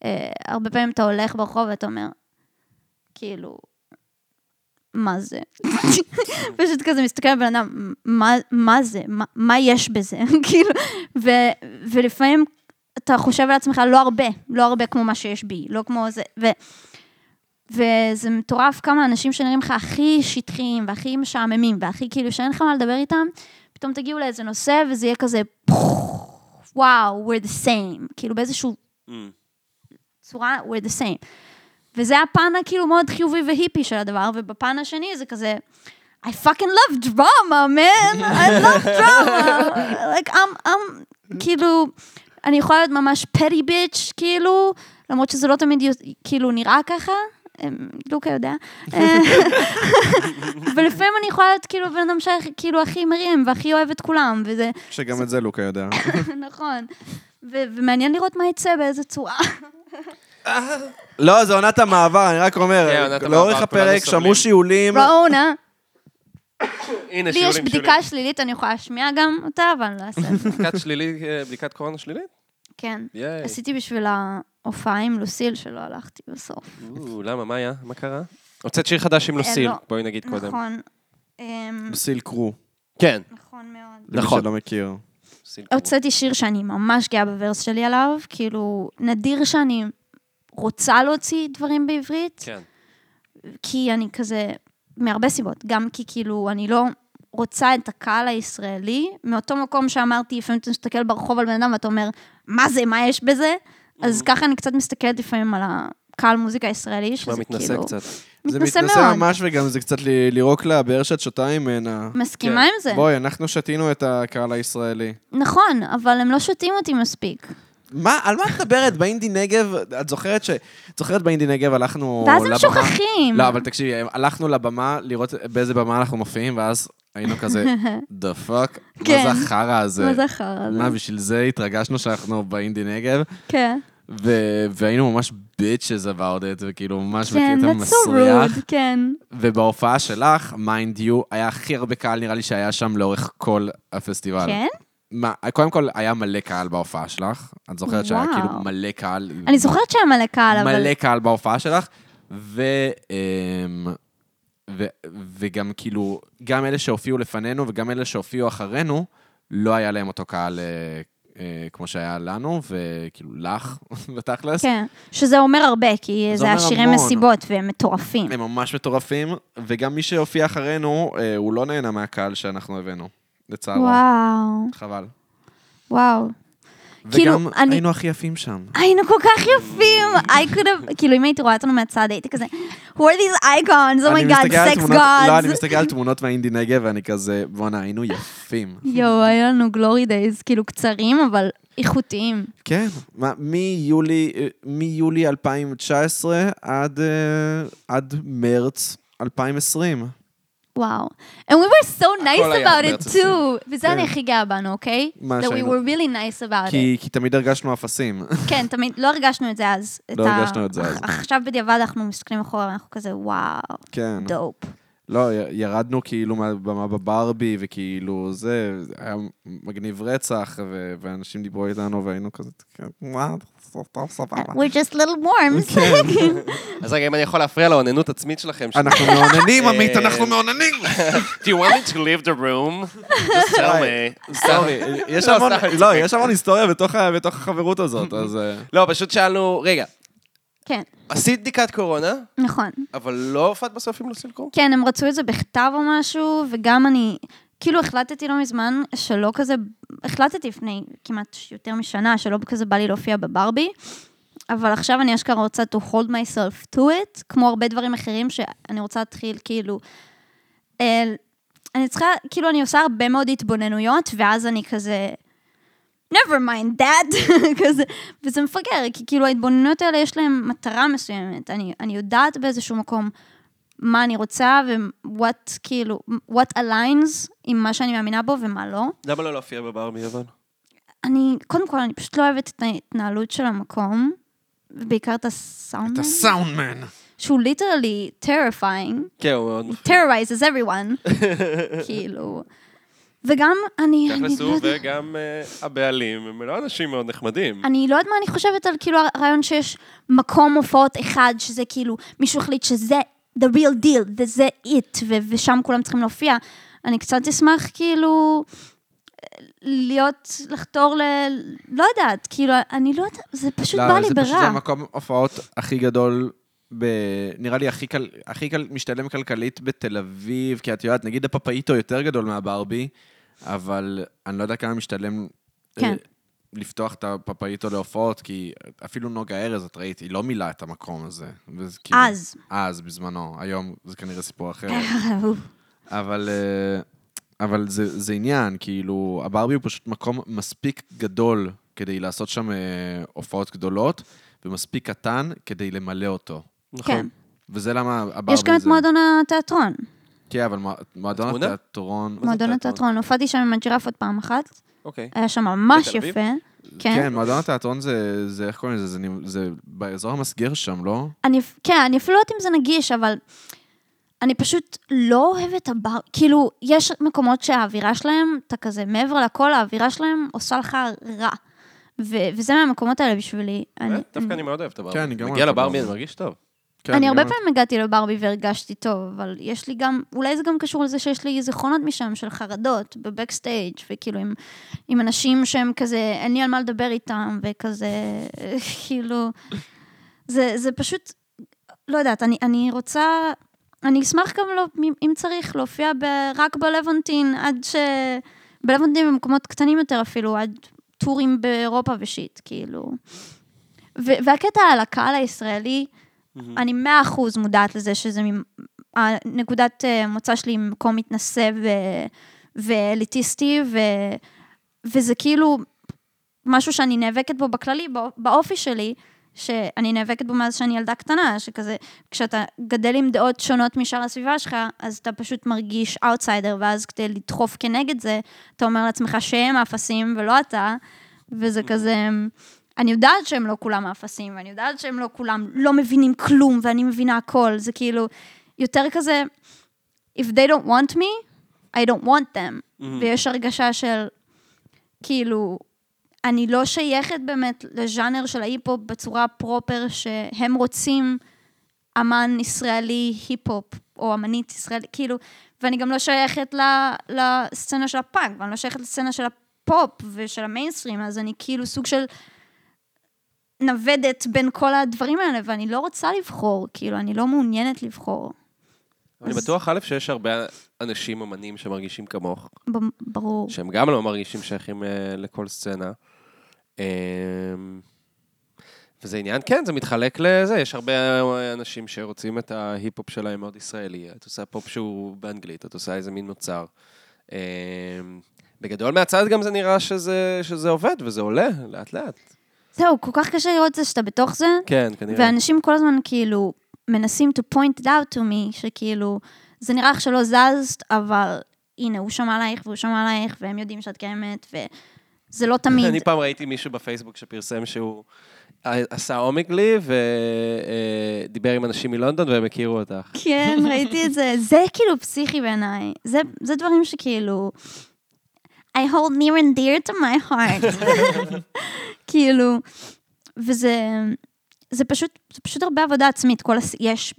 Speaker 2: אה, הרבה פעמים אתה הולך ברחוב ואתה אומר, כאילו, מה זה? פשוט כזה מסתכל על בן אדם, מה, מה זה? מה, מה יש בזה? כאילו, ו, ולפעמים אתה חושב על עצמך לא הרבה, לא הרבה כמו מה שיש בי, לא כמו זה, ו, וזה מטורף כמה אנשים שנראים לך הכי שטחיים והכי משעממים והכי כאילו שאין לך מה לדבר איתם, פתאום תגיעו לאיזה נושא וזה יהיה כזה, וואו, we're the same, כאילו באיזשהו צורה, we're the same. וזה הפן הכאילו מאוד חיובי והיפי של הדבר, ובפן השני זה כזה, I fucking love drama, man, I love drama. like, I'm, I'm, כאילו, אני יכולה להיות ממש petty bitch, כאילו, למרות שזה לא תמיד, יו- כאילו, נראה ככה. אמ, לוקה יודע. אה, ולפעמים אני יכולה להיות כאילו בן אדם שכאילו הכי מרים והכי אוהב את כולם, וזה,
Speaker 1: שגם את זה לוקה יודע.
Speaker 2: נכון. ו- ומעניין לראות מה יצא, באיזה צורה.
Speaker 1: לא, זה עונת המעבר, אני רק
Speaker 3: כן,
Speaker 1: אומר,
Speaker 3: עונת
Speaker 1: לאורך
Speaker 3: המעבר, כולנו
Speaker 1: הפרק שמעו
Speaker 3: סובלים.
Speaker 1: שיעולים.
Speaker 2: ראונה.
Speaker 3: הנה,
Speaker 2: לי
Speaker 3: שיעולים,
Speaker 2: יש בדיקה שלילית, אני יכולה להשמיע גם אותה, אבל לא אעשה את זה.
Speaker 3: בדיקת שלילית, אה, בדיקת קורונה שלילית?
Speaker 2: כן.
Speaker 3: ייי.
Speaker 2: עשיתי בשביל ההופעה עם לוסיל, שלא הלכתי בסוף.
Speaker 3: או, למה, מה היה? מה קרה? הוצאת שיר חדש עם לוסיל,
Speaker 2: לא.
Speaker 3: בואי נגיד קודם.
Speaker 2: נכון. אמ,
Speaker 1: סיל קרו,
Speaker 3: כן.
Speaker 2: נכון מאוד.
Speaker 1: למי
Speaker 3: נכון.
Speaker 1: שלא מכיר.
Speaker 3: לוסיל קור.
Speaker 2: הוצאתי שיר שאני ממש גאה בוורס שלי עליו, כאילו, נדיר שאני רוצה להוציא דברים בעברית,
Speaker 3: כן.
Speaker 2: כי אני כזה, מהרבה סיבות, גם כי כאילו, אני לא רוצה את הקהל הישראלי, מאותו מקום שאמרתי, לפעמים אתה מסתכל ברחוב על בן אדם ואתה אומר, מה זה, מה יש בזה? אז ככה אני קצת מסתכלת לפעמים על הקהל מוזיקה הישראלי,
Speaker 3: נשמע
Speaker 2: שזה
Speaker 3: מתנשא
Speaker 2: כאילו...
Speaker 3: קצת.
Speaker 1: זה
Speaker 2: מתנשא
Speaker 1: מתנשא
Speaker 2: מאוד.
Speaker 1: ממש, וגם זה קצת ל- לירוק לבאר שאת שותה ממנה.
Speaker 2: מסכימה עם זה.
Speaker 1: בואי, אנחנו שתינו את הקהל הישראלי.
Speaker 2: נכון, אבל הם לא שותים אותי מספיק.
Speaker 1: מה, על מה את מדברת? באינדי נגב, את זוכרת ש... את זוכרת באינדי נגב הלכנו
Speaker 2: ואז הם
Speaker 1: לבמה?
Speaker 2: שוכחים.
Speaker 1: לא, אבל תקשיבי, הלכנו לבמה לראות באיזה במה אנחנו מופיעים, ואז היינו כזה, דה פאק, מה
Speaker 2: כן.
Speaker 1: זה החרא הזה?
Speaker 2: מה זה חרא הזה?
Speaker 1: מה, בשביל זה התרגשנו שאנחנו באינדי נגב,
Speaker 2: כן.
Speaker 1: ו- והיינו ממש ביצ'ס about it, וכאילו ממש
Speaker 2: כן,
Speaker 1: בקטע
Speaker 2: that's so
Speaker 1: כאילו מסריח.
Speaker 2: rude, כן.
Speaker 1: ובהופעה שלך, מיינד יו, היה הכי הרבה קהל נראה לי שהיה שם לאורך כל הפסטיבל.
Speaker 2: כן?
Speaker 1: מה, קודם כל, היה מלא קהל בהופעה שלך. את זוכרת שהיה
Speaker 2: וואו.
Speaker 1: כאילו מלא קהל.
Speaker 2: אני זוכרת שהיה מלא קהל, אבל...
Speaker 1: מלא קהל בהופעה שלך, ו... אמ, ו- וגם כאילו, גם אלה שהופיעו לפנינו וגם אלה שהופיעו אחרינו, לא היה להם אותו קהל אה, אה, כמו שהיה לנו, וכאילו לך, בתכלס.
Speaker 2: כן. שזה אומר הרבה, כי
Speaker 1: זה
Speaker 2: זה
Speaker 1: אומר
Speaker 2: השירי
Speaker 1: המון.
Speaker 2: מסיבות והם מטורפים.
Speaker 1: הם ממש מטורפים, וגם מי שהופיע אחרינו, אה, הוא לא נהנה מהקהל שאנחנו הבאנו, לצערו.
Speaker 2: וואו.
Speaker 1: חבל.
Speaker 2: וואו. כאילו,
Speaker 1: וגם
Speaker 2: אני-
Speaker 1: היינו הכי יפים שם.
Speaker 2: היינו כל כך יפים, I could have, כאילו אם הייתי רואה אותנו מהצד הייתי כזה, who are these icons, oh
Speaker 1: אני
Speaker 2: my god,
Speaker 1: מסתכל על
Speaker 2: sex
Speaker 1: תמונות- לא, אני
Speaker 2: gods.
Speaker 1: מסתכל על תמונות מהאינדי נגב, ואני כזה, בואנה, היינו יפים.
Speaker 2: יואו, היה לנו glory days, כאילו קצרים, אבל איכותיים.
Speaker 1: כן, מה, מיולי, אה, מיולי 2019 עד, אה, עד מרץ 2020.
Speaker 2: וואו. And we were so nice
Speaker 3: היה
Speaker 2: about
Speaker 3: מרץ
Speaker 2: it
Speaker 3: עשרים.
Speaker 2: too. וזה
Speaker 1: כן.
Speaker 2: אני הכי גאה בנו, אוקיי?
Speaker 1: מה
Speaker 2: That we
Speaker 1: שהיינו-
Speaker 2: were really nice about it.
Speaker 1: כי, כי תמיד הרגשנו אפסים.
Speaker 2: כן, תמיד, לא הרגשנו את זה אז.
Speaker 1: לא הרגשנו את זה אז.
Speaker 2: אח- עכשיו בדיעבד אנחנו מסתכלים אחורה, אנחנו כזה, וואו,
Speaker 1: כן.
Speaker 2: דופ.
Speaker 1: לא, י- ירדנו כאילו מהבמה בברבי, וכאילו זה, זה היה מגניב רצח, ו- ואנשים דיברו איתנו, והיינו כזה, כן, מה, טוב, טוב, סבבה.
Speaker 2: We're just little worms.
Speaker 3: אז רגע, אם אני יכול להפריע לאוננות עצמית שלכם.
Speaker 1: אנחנו מאוננים, עמית,
Speaker 3: אה,
Speaker 1: אנחנו מאוננים!
Speaker 3: Do you want me to leave the room? Just tell me.
Speaker 1: סורי, יש
Speaker 3: לא,
Speaker 1: המון,
Speaker 3: סתם, אני
Speaker 1: לא,
Speaker 3: צוחק.
Speaker 1: יש המון היסטוריה בתוך ה- בתוך החברות הזאת, אז... אה,
Speaker 3: לא, פשוט שאלנו, רגע,
Speaker 2: כן,
Speaker 3: עשית בדיקת קורונה,
Speaker 2: נכון.
Speaker 3: אבל לא הופעת בסוף עם נוסעים קורונה?
Speaker 2: כן, הם רצו את זה בכתב או משהו, וגם אני, כאילו החלטתי לא מזמן שלא כזה, החלטתי לפני כמעט יותר משנה, שלא כזה בא לי להופיע בברבי, אבל עכשיו אני אשכרה רוצה to hold myself to it, כמו הרבה דברים אחרים שאני רוצה להתחיל כאילו... אל, אני צריכה, כאילו אני עושה הרבה מאוד התבוננויות, ואז אני כזה... never mind that, כזה, וזה מפגר, כי כאילו ההתבוננויות האלה יש להן מטרה מסוימת, אני, אני יודעת באיזשהו מקום מה אני רוצה ו-what, כאילו, what aligns עם מה שאני מאמינה בו ומה לא.
Speaker 3: למה לא להופיע בברבי אבל?
Speaker 2: אני, קודם כל, אני פשוט לא אוהבת את ההתנהלות של המקום, ובעיקר את הסאונד,
Speaker 1: הסאונדמן.
Speaker 2: שהוא ליטרלי terrifying.
Speaker 3: כן, הוא מאוד מפחיד.
Speaker 2: terrorizes everyone, כאילו. וגם אני, אני
Speaker 3: תכלס
Speaker 2: לא
Speaker 3: הוא
Speaker 2: יודעת-
Speaker 3: וגם אה, הבעלים, הם לא אנשים מאוד נחמדים.
Speaker 2: אני לא יודעת מה אני חושבת על כאילו הרעיון שיש מקום הופעות אחד, שזה כאילו, מישהו החליט שזה the real deal, וזה it, ו- ושם כולם צריכים להופיע. אני קצת אשמח כאילו להיות, לחתור ל... לא יודעת, כאילו, אני לא יודעת, זה פשוט בא לי
Speaker 1: זה פשוט
Speaker 2: ברע.
Speaker 1: המקום הופעות הכי גדול, ב... נראה לי הכי, כל... הכי כל... משתלם כלכלית בתל אביב, כי את יודעת, נגיד הפפאיטו יותר גדול מהברבי, אבל אני לא יודע כמה משתלם
Speaker 2: כן.
Speaker 1: אה, לפתוח את הפפאיטו להופעות, כי אפילו נוגה ארז, את ראית, היא לא מילאה את המקום הזה. וזה כאילו-
Speaker 2: אז. אה,
Speaker 1: אז, בזמנו. היום זה כנראה סיפור אחר. אבל, אה, אבל זה, זה עניין, כאילו, הברבי הוא פשוט מקום מספיק גדול כדי לעשות שם אה, הופעות גדולות, ומספיק קטן כדי למלא אותו.
Speaker 3: נכון,
Speaker 2: כן.
Speaker 1: וזה למה הברבי
Speaker 2: יש גם את
Speaker 1: זה...
Speaker 2: מועדון התיאטרון.
Speaker 1: כן, אבל מוע- מועדון
Speaker 3: התמונה?
Speaker 1: התיאטרון...
Speaker 3: זה
Speaker 2: מועדון
Speaker 3: תיאטרון?
Speaker 2: התיאטרון. הופעתי שם עם הג'ירפות פעם אחת,
Speaker 3: אוקיי.
Speaker 2: היה שם ממש
Speaker 3: בתל אביב?
Speaker 2: יפה. כן.
Speaker 1: כן, מועדון התיאטרון זה, זה איך קוראים לזה? זה, נמ- זה באזור המסגר שם, לא?
Speaker 2: אני, כן, אני אפילו לא יודעת אם זה נגיש, אבל אני פשוט לא אוהבת הבר... כאילו, יש מקומות שהאווירה שלהם, אתה כזה, מעבר לכל, האווירה שלהם עושה לך רע. ו- וזה מהמקומות האלה בשבילי. אני,
Speaker 3: באמת? אה, דווקא אני מאוד אוהב את הברבי.
Speaker 1: כן, אני גם
Speaker 3: מגיע
Speaker 1: אוהב את
Speaker 3: לברבי,
Speaker 1: הברבי.
Speaker 3: אני מרגיש טוב.
Speaker 1: כן,
Speaker 2: אני הרבה
Speaker 1: גם-
Speaker 2: פעמים הגעתי לברבי והרגשתי טוב, אבל יש לי גם, אולי זה גם קשור לזה שיש לי זיכרונות משם של חרדות בבקסטייג' וכאילו עם, עם אנשים שהם כזה, אין לי על מה לדבר איתם, וכזה, כאילו, זה, זה פשוט, לא יודעת, אני, אני רוצה, אני אשמח גם לא, אם צריך, להופיע ב, רק בלוונטין, עד ש... בלוונטין במקומות קטנים יותר אפילו, עד טורים באירופה ושיט, כאילו. ו- והקטע על הקהל הישראלי, אני מאה אחוז מודעת לזה שזה ממ- הנקודת אה, מוצא שלי היא מקום מתנשא ו- ואליטיסטי, ו- וזה כאילו משהו שאני נאבקת בו בכללי, בא- באופי שלי, שאני נאבקת בו מאז שאני ילדה קטנה, שכזה, כשאתה גדל עם דעות שונות משאר הסביבה שלך, אז אתה פשוט מרגיש אאוטסיידר, ואז כדי לדחוף כנגד זה, אתה אומר לעצמך שהם האפסים ולא אתה, וזה כזה... אני יודעת שהם לא כולם האפסים, ואני יודעת שהם לא כולם לא מבינים כלום, ואני מבינה הכל, זה כאילו, יותר כזה, if they don't want me, I don't want them. ויש הרגשה של, כאילו, אני לא שייכת באמת לז'אנר של ההיפ-הופ בצורה פרופר שהם רוצים אמן ישראלי היפ-הופ, או אמנית ישראלית, כאילו, ואני גם לא שייכת ל- לסצנה של הפאנק, ואני לא שייכת לסצנה של הפופ ושל המיינסטרים, אז אני כאילו סוג של נוודת בין כל הדברים האלה, ואני לא רוצה לבחור, כאילו, אני לא מעוניינת לבחור.
Speaker 3: אני
Speaker 2: אז-
Speaker 3: בטוח, א', שיש הרבה אנשים, אמנים שמרגישים כמוך,
Speaker 2: ב- ברור.
Speaker 3: שהם גם לא מרגישים שייכים אה, לכל סצנה. אה, וזה עניין, כן, זה מתחלק לזה, יש הרבה אה, אנשים שרוצים את ההיפ-הופ שלהם מאוד ישראלי, את עושה פופ שהוא באנגלית, את עושה איזה מין מוצר. אה, בגדול מהצד גם זה נראה שזה, שזה עובד וזה עולה לאט-לאט.
Speaker 2: זהו, כל כך קשה לראות את זה שאתה בתוך זה,
Speaker 3: כן, כנראה.
Speaker 2: ואנשים כל הזמן כאילו מנסים to point it out to me, שכאילו, זה נראה לך שלא זזת, אבל הנה, הוא שמע עלייך והוא שמע עלייך, והם יודעים שאת קיימת, וזה לא תמיד.
Speaker 3: אני פעם ראיתי מישהו בפייסבוק שפרסם שהוא אה, עשה אומיקלי ודיבר אה, עם אנשים מלונדון והם הכירו אותך.
Speaker 2: כן, ראיתי את זה. זה כאילו פסיכי בעיניי. זה, זה דברים שכאילו... I hold near and dear to my heart. כאילו, וזה זה פשוט, זה פשוט הרבה עבודה עצמית. כל הס... יש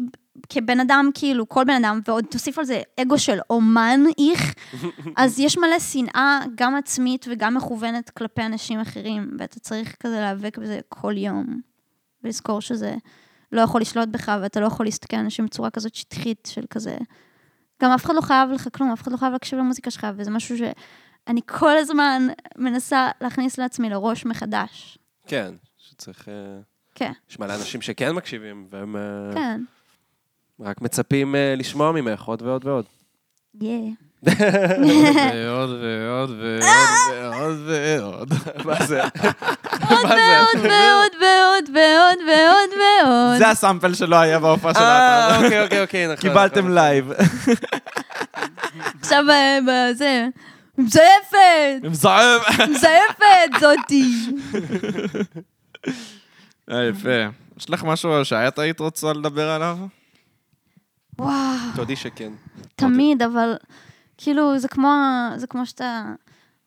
Speaker 2: כבן אדם, כאילו, כל בן אדם, ועוד תוסיף על זה אגו של אומן איך, אז יש מלא שנאה, גם עצמית וגם מכוונת כלפי אנשים אחרים, ואתה צריך כזה להיאבק בזה כל יום. ולזכור שזה לא יכול לשלוט בך, ואתה לא יכול להסתכל על אנשים בצורה כזאת שטחית של כזה... גם אף אחד לא חייב לך כלום, אף אחד לא חייב להקשיב למוזיקה שלך, וזה משהו שאני כל הזמן מנסה להכניס לעצמי לראש מחדש.
Speaker 3: כן, שצריך... אה,
Speaker 2: כן.
Speaker 3: יש מלא אנשים שכן מקשיבים, והם אה,
Speaker 2: כן,
Speaker 3: רק מצפים אה, לשמוע ממך עוד ועוד ועוד.
Speaker 2: יא.
Speaker 4: ועוד ועוד ועוד ועוד ועוד.
Speaker 3: מה זה?
Speaker 2: עוד ועוד ועוד ועוד ועוד ועוד ועוד.
Speaker 1: זה הסאמפל שלא היה בהופעה של האתר.
Speaker 3: אה, אוקיי, אוקיי, אוקיי, נכון.
Speaker 1: קיבלתם
Speaker 3: נכון.
Speaker 1: לייב.
Speaker 2: עכשיו אה, ב- זה... מזייפת!
Speaker 1: מזוהם.
Speaker 2: מזייפת זאתי!
Speaker 1: אה, יפה. יש לך משהו שאת היית רוצה לדבר עליו?
Speaker 2: וואו.
Speaker 3: תודי שכן.
Speaker 2: תמיד, אבל כאילו, זה כמו, זה כמו שאתה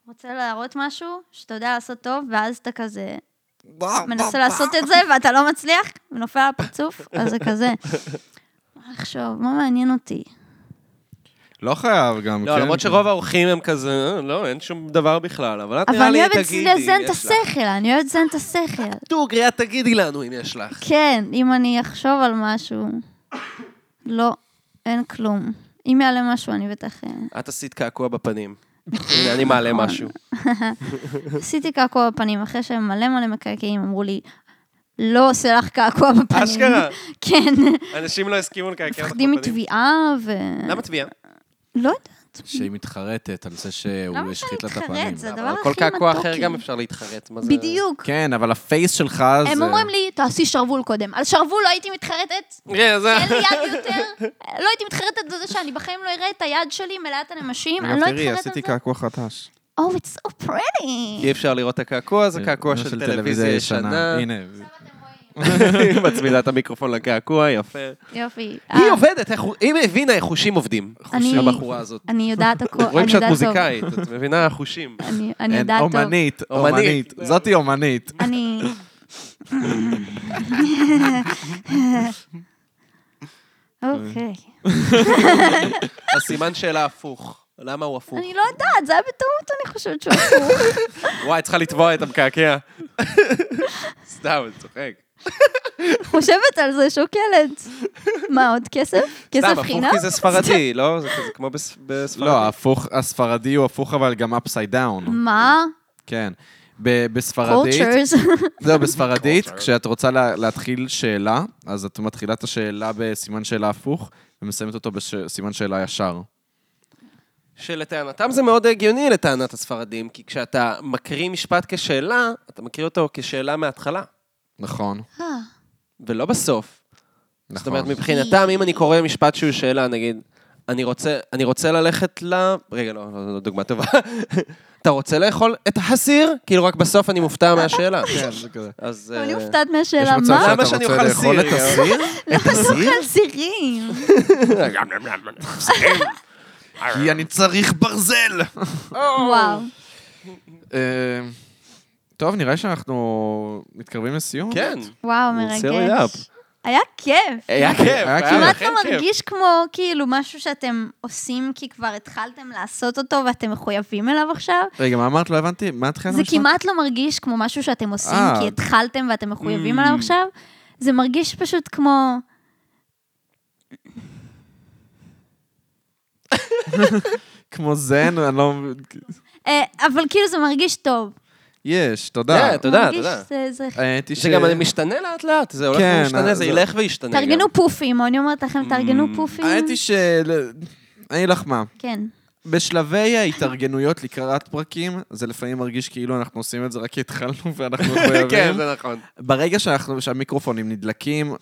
Speaker 2: רוצה להראות משהו, שאתה יודע לעשות טוב, ואז אתה כזה מנסה לעשות את זה, ואתה לא מצליח, ונופל על הפרצוף, אז זה כזה. מה לחשוב, מה מעניין אותי?
Speaker 1: לא חייב גם, כן?
Speaker 3: לא, למרות שרוב האורחים הם כזה, "אה, לא, אין שום דבר בכלל, אבל את
Speaker 2: אבל
Speaker 3: נראה לי
Speaker 2: אני אוהבת
Speaker 3: תגידי,
Speaker 2: לזן את
Speaker 3: יש לך.
Speaker 2: השכל, אני אוהבת לזן את השכל.
Speaker 3: דוגרי, את תגידי לנו אם יש לך.
Speaker 2: כן, אם אני אחשוב על משהו. לא, אין כלום. אם יעלה משהו, אני בטח... אה,
Speaker 3: את עשית קעקוע בפנים. הנה, אני מעלה משהו.
Speaker 2: עשיתי קעקוע בפנים, אחרי שמלא מלא מקעקעים אמרו לי, לא עושה לך קעקוע בפנים.
Speaker 3: אשכרה.
Speaker 2: כן,
Speaker 3: אנשים לא הסכימו לקעקע אותך
Speaker 2: מפחדים
Speaker 3: בפנים.
Speaker 2: מתביעה ו...
Speaker 3: למה תביעה?
Speaker 2: לא יודעת.
Speaker 4: שהיא מתחרטת על זה
Speaker 2: למה
Speaker 4: שהוא
Speaker 2: שאני
Speaker 4: השחית לה את
Speaker 2: אתחרט?
Speaker 4: הפנים.
Speaker 2: זה הדבר
Speaker 3: אבל
Speaker 2: הכי
Speaker 3: כל קעקוע אחר
Speaker 2: מתוקי.
Speaker 3: גם אפשר להתחרט. מה זה-
Speaker 2: בדיוק.
Speaker 1: כן, אבל הפייס שלך זה...
Speaker 2: הם אומרים לי, תעשי שרוול קודם. על שרוול לא הייתי מתחרטת,
Speaker 3: כן, זה...
Speaker 2: אין לי יד יותר. לא הייתי מתחרטת על זה שאני בחיים לא אראה את היד שלי מלאת הנמשים, אני לא אתחרטת על זה.
Speaker 1: קעקוע חדש.
Speaker 2: Oh, it's so pretty.
Speaker 3: אי אפשר לראות את הקעקוע, זה קעקוע אה, של טלוויזיה ישנה.
Speaker 1: הנה.
Speaker 3: היא מצמידה את המיקרופון לקעקוע, יפה.
Speaker 2: יופי.
Speaker 3: היא
Speaker 2: אה,
Speaker 3: עובדת, איך- היא הבינה איך חושים עובדים.
Speaker 2: אני-
Speaker 3: הבחורה הזאת.
Speaker 2: אני יודעת הכל, אני
Speaker 3: רואים שאת
Speaker 2: יודעת טוב.
Speaker 3: מוזיקאית, את מבינה חושים.
Speaker 2: אני- אני יודעת טוב.
Speaker 1: אומנית,
Speaker 3: אומנית.
Speaker 1: אומנית. זאתי אומנית.
Speaker 2: אני... אוקיי.
Speaker 3: הסימן שאלה הפוך. למה הוא הפוך?
Speaker 2: אני לא יודעת, זה היה בטעות, אני חושבת שהוא הפוך.
Speaker 3: וואי, צריכה לתבוע את המקעקע. סתם, אני צוחק.
Speaker 2: חושבת על זה, שוקלת. מה, עוד כסף? כסף
Speaker 3: סתם, הפוך
Speaker 2: חינם?
Speaker 3: כי זה ספרדי, לא? זה כזה כמו בס- בספרדי.
Speaker 1: לא, ההפוך, הספרדי הוא הפוך, אבל גם upside down.
Speaker 2: מה?
Speaker 1: כן. ב- בספרדית,
Speaker 2: Mm. cultures.
Speaker 1: זהו, בספרדית, כשאת רוצה לה- להתחיל שאלה, אז את מתחילה את השאלה בסימן שאלה הפוך, ומסיימת אותו בסימן שאלה ישר.
Speaker 3: שלטענתם זה מאוד הגיוני לטענת הספרדים, כי כשאתה מקריא משפט כשאלה, אתה מקריא אותו כשאלה מההתחלה,
Speaker 1: נכון,
Speaker 2: אה,
Speaker 3: ולא בסוף.
Speaker 1: נכון.
Speaker 3: זאת אומרת, מבחינתם, אם אני קורא משפט שהוא שאלה, נגיד, אני רוצה, אני רוצה ללכת ל... רגע, לא, לא, לא דוגמה טובה. אתה רוצה לאכול את הסיר? כאילו, רק בסוף אני מופתע מהשאלה.
Speaker 1: כן, זה כזה.
Speaker 3: אז...
Speaker 2: אני
Speaker 3: אה,
Speaker 2: מופתעת
Speaker 1: יש
Speaker 2: מהשאלה,
Speaker 1: מצב
Speaker 2: מה?
Speaker 3: למה שאני
Speaker 1: שאתה רוצה
Speaker 3: אוכל
Speaker 1: לאכול
Speaker 3: סיר,
Speaker 1: את הסיר?
Speaker 2: למה אתה אוכל סירים?
Speaker 1: כי אני צריך ברזל!
Speaker 3: Oh.
Speaker 2: וואו.
Speaker 1: אה, טוב, נראה שאנחנו מתקרבים לסיום.
Speaker 3: כן.
Speaker 2: וואו,
Speaker 3: We'll seal it
Speaker 2: מרגש. היה כיף.
Speaker 3: היה כיף. היה
Speaker 2: כמעט
Speaker 3: לכם
Speaker 2: לא
Speaker 3: אה, כיף.
Speaker 2: מרגיש כמו כאילו משהו שאתם עושים כי כבר התחלתם לעשות אותו ואתם מחויבים אליו עכשיו.
Speaker 3: כן,
Speaker 1: רגע, מה אמרת? לא הבנתי. מה התחילת
Speaker 2: זה
Speaker 1: המשפט?
Speaker 2: כמעט לא מרגיש כמו משהו שאתם עושים
Speaker 1: אה.
Speaker 2: כי התחלתם ואתם מחויבים
Speaker 3: Mm.
Speaker 2: אליו עכשיו. זה מרגיש פשוט כמו...
Speaker 1: כמו זן, אני לא...
Speaker 2: אה, אבל כאילו זה מרגיש טוב.
Speaker 1: יש, תודה. אה,
Speaker 3: כן, תודה,
Speaker 2: מרגיש
Speaker 3: תודה.
Speaker 2: זה- זה-
Speaker 1: האמת היא
Speaker 3: זה גם משתנה לאט לאט, זה הולך
Speaker 1: כן,
Speaker 3: ומשתנה,
Speaker 1: זה-
Speaker 3: זה ילך וישתנה. גם. אה,
Speaker 2: תארגנו פופים, אני אומרת
Speaker 3: Mm.
Speaker 2: לכם, תארגנו פופים.
Speaker 1: האמת היא ש... אה, אני אגיד לך מה,
Speaker 2: כן.
Speaker 1: בשלבי ההתארגנויות לקראת פרקים, זה לפעמים מרגיש כאילו אנחנו עושים את זה רק כי התחלנו ואנחנו מחויבים.
Speaker 3: כן, זה נכון.
Speaker 1: ברגע שאנחנו, שהמיקרופונים נדלקים,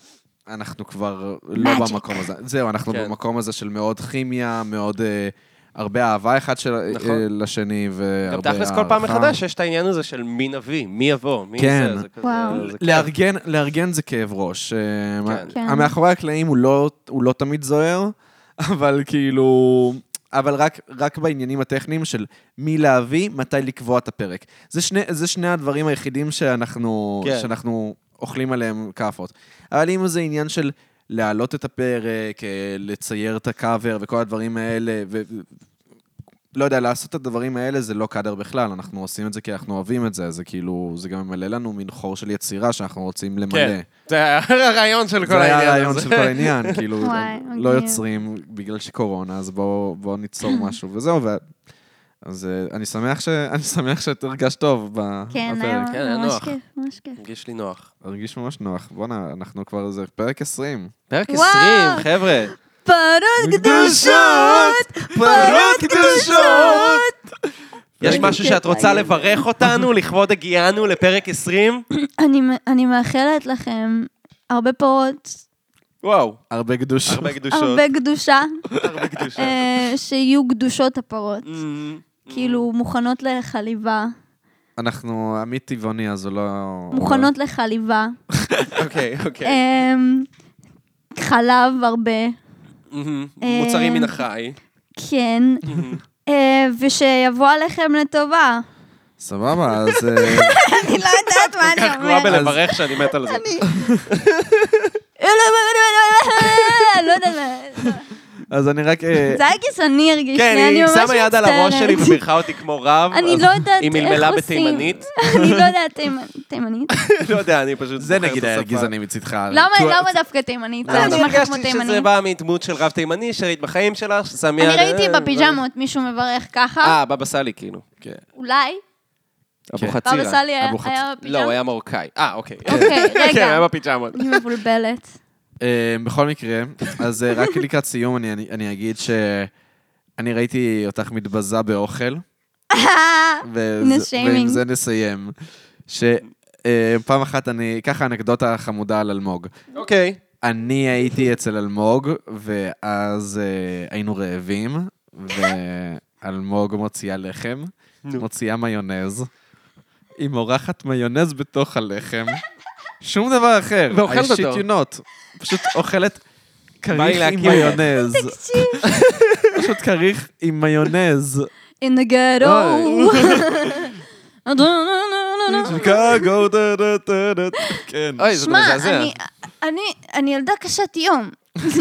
Speaker 1: אנחנו כבר לא
Speaker 2: Magic.
Speaker 1: במקום הזה. זהו, אנחנו
Speaker 3: כן.
Speaker 1: במקום הזה של מאוד כימיה, מאוד אה, הרבה אהבה אחד של,
Speaker 3: נכון.
Speaker 1: אה, לשני,
Speaker 3: גם
Speaker 1: והרבה
Speaker 3: תכלס כל פעם
Speaker 1: הערכה.
Speaker 3: מחדש יש את העניין הזה של מי נביא, מי יבוא, מי
Speaker 1: כן.
Speaker 3: זה, זה כזה...
Speaker 2: וואו.
Speaker 3: זה כיף.
Speaker 1: לארגן, לארגן זה כאב ראש. אה, מה-
Speaker 3: כן.
Speaker 2: כן.
Speaker 1: המאחורי הקלעים הוא לא, הוא לא תמיד זוהר, אבל כאילו... אבל רק, רק בעניינים הטכניים של מי להביא, מתי לקבוע את הפרק. זה שני, זה שני הדברים היחידים שאנחנו, כן.
Speaker 3: כן.
Speaker 1: שאנחנו אוכלים עליהם כאפות. אבל אם זה עניין של להעלות את הפרק, אה, לצייר את הקאבר וכל הדברים האלה, ו... לא יודע, לעשות את הדברים האלה זה לא קאדר בכלל, אנחנו עושים את זה כי אנחנו אוהבים את זה, זה כאילו, זה גם ממלא לנו מין חור של יצירה שאנחנו רוצים למלא.
Speaker 3: כן, זה היה הרעיון של כל
Speaker 1: זה היה
Speaker 3: העניין הזה.
Speaker 1: הרעיון של כל העניין, כאילו,
Speaker 2: וואי,
Speaker 1: לא
Speaker 2: מגניב.
Speaker 1: יוצרים בגלל שקורונה, אז בואו בואו ניצור משהו וזהו. ו- אז אה, אני שמח ש- אני שמח שאת הרגשת טוב ב-
Speaker 2: כן,
Speaker 1: בפרק.
Speaker 3: כן,
Speaker 2: היה
Speaker 3: היה
Speaker 2: ממש
Speaker 3: נוח.
Speaker 2: כיף, ממש כיף.
Speaker 3: הרגיש לי נוח.
Speaker 1: הרגיש ממש נוח. בואנה, אנחנו כבר, זה פרק 20.
Speaker 3: פרק
Speaker 2: וואו.
Speaker 3: 20, חבר'ה.
Speaker 2: פרות קדושות! פרות קדושות!
Speaker 3: יש
Speaker 1: פרק-
Speaker 3: משהו שאת רוצה לברך אותנו לכבוד הגיענו לפרק 20?
Speaker 2: אני מ- אני מאחלת לכם הרבה פרות,
Speaker 3: וואו.
Speaker 1: הרבה קדושות.
Speaker 3: הרבה קדושות.
Speaker 2: הרבה קדושה,
Speaker 3: הרבה קדושות.
Speaker 2: אה, שיהיו קדושות הפרות.
Speaker 3: אמ,
Speaker 2: כאילו, מוכנות לחליבה.
Speaker 1: אנחנו עמית טבעוני, אז הוא לא...
Speaker 2: מוכנות לחליבה.
Speaker 3: אוקיי, אוקיי.
Speaker 2: אמ, חלב הרבה,
Speaker 3: אמ,
Speaker 2: אה,
Speaker 3: מוצרים מן החי.
Speaker 2: כן. אה, ושיבוא עליכם לטובה.
Speaker 1: סבבה, אז... אה,
Speaker 2: אני לא יודעת מה
Speaker 3: כך
Speaker 2: אני
Speaker 3: גרועה
Speaker 2: אומרת.
Speaker 3: בלברך שאני מת על זה.
Speaker 2: אני... לא יודעת מה...
Speaker 1: אז אני רק... אה,
Speaker 2: זה היה גזעני הרגיש
Speaker 3: כן,
Speaker 2: לי, אני
Speaker 3: היא
Speaker 2: ממש מצטערת.
Speaker 3: שמה יד על הראש שלי ובירכה אותי כמו רב.
Speaker 2: אני
Speaker 3: אז
Speaker 2: לא יודעת
Speaker 3: היא
Speaker 2: איך
Speaker 3: מלמלה
Speaker 2: עושים.
Speaker 3: בתימנית.
Speaker 2: אני לא יודעת תימנ- תימנית.
Speaker 3: לא יודע, אני פשוט...
Speaker 1: זה
Speaker 3: זוכר את
Speaker 1: נגיד היה
Speaker 3: השפה.
Speaker 1: גזעני מצדך.
Speaker 2: למה
Speaker 1: טו-
Speaker 2: למה דווקא תימנית? זה
Speaker 3: אני
Speaker 2: נשמע לך כמו
Speaker 3: הרגשתי שזה
Speaker 2: תימנית.
Speaker 3: בא מדמות של רב תימני שראית בחיים שלך, ששם יד...
Speaker 2: אני ראיתי
Speaker 3: אה,
Speaker 2: בפיג'מות מישהו מברך ככה,
Speaker 3: אה, בבא סאלי כאילו.
Speaker 2: אולי.
Speaker 3: אבו
Speaker 2: בבא
Speaker 3: חצירה.
Speaker 2: סאלי היה
Speaker 1: אבו חצ-
Speaker 2: היה
Speaker 3: לא, הוא
Speaker 2: בפיג'מות.
Speaker 3: היה מרוקאי. אה, אוקיי.
Speaker 2: אוקיי,
Speaker 3: כן, היה
Speaker 2: רגע.
Speaker 3: בפיג'מות.
Speaker 2: אני מבולבלת.
Speaker 1: אה, בכל מקרה, אז אה, רק לקראת סיום אני- אני אני אגיד שאני ראיתי אותך מתבזה באוכל,
Speaker 2: הנה
Speaker 1: וזה-
Speaker 2: שיימינג.
Speaker 1: ועם זה נסיים. שפעם אחת אני, ככה אנקדוטה חמודה על אלמוג.
Speaker 3: אוקיי.
Speaker 1: אני הייתי אצל אלמוג, ואז אה, היינו רעבים, ואלמוג מוציאה לחם, מוציאה מיונז. היא מורחת מיונז בתוך הלחם. שום דבר אחר.
Speaker 3: ואוכלת
Speaker 1: I shit
Speaker 3: אותו.
Speaker 1: you not. פשוט אוכלת
Speaker 3: בא לי
Speaker 1: כריך עם
Speaker 3: להקים.
Speaker 1: מיונז. פשוט כריך עם מיונז.
Speaker 2: In the ghetto.
Speaker 1: שיקגו, דה, דה, דה, דה. כן.
Speaker 3: אוי, זה
Speaker 2: שמע,
Speaker 3: מזעזע.
Speaker 2: אני- אני- אני ילדה קשת יום. אני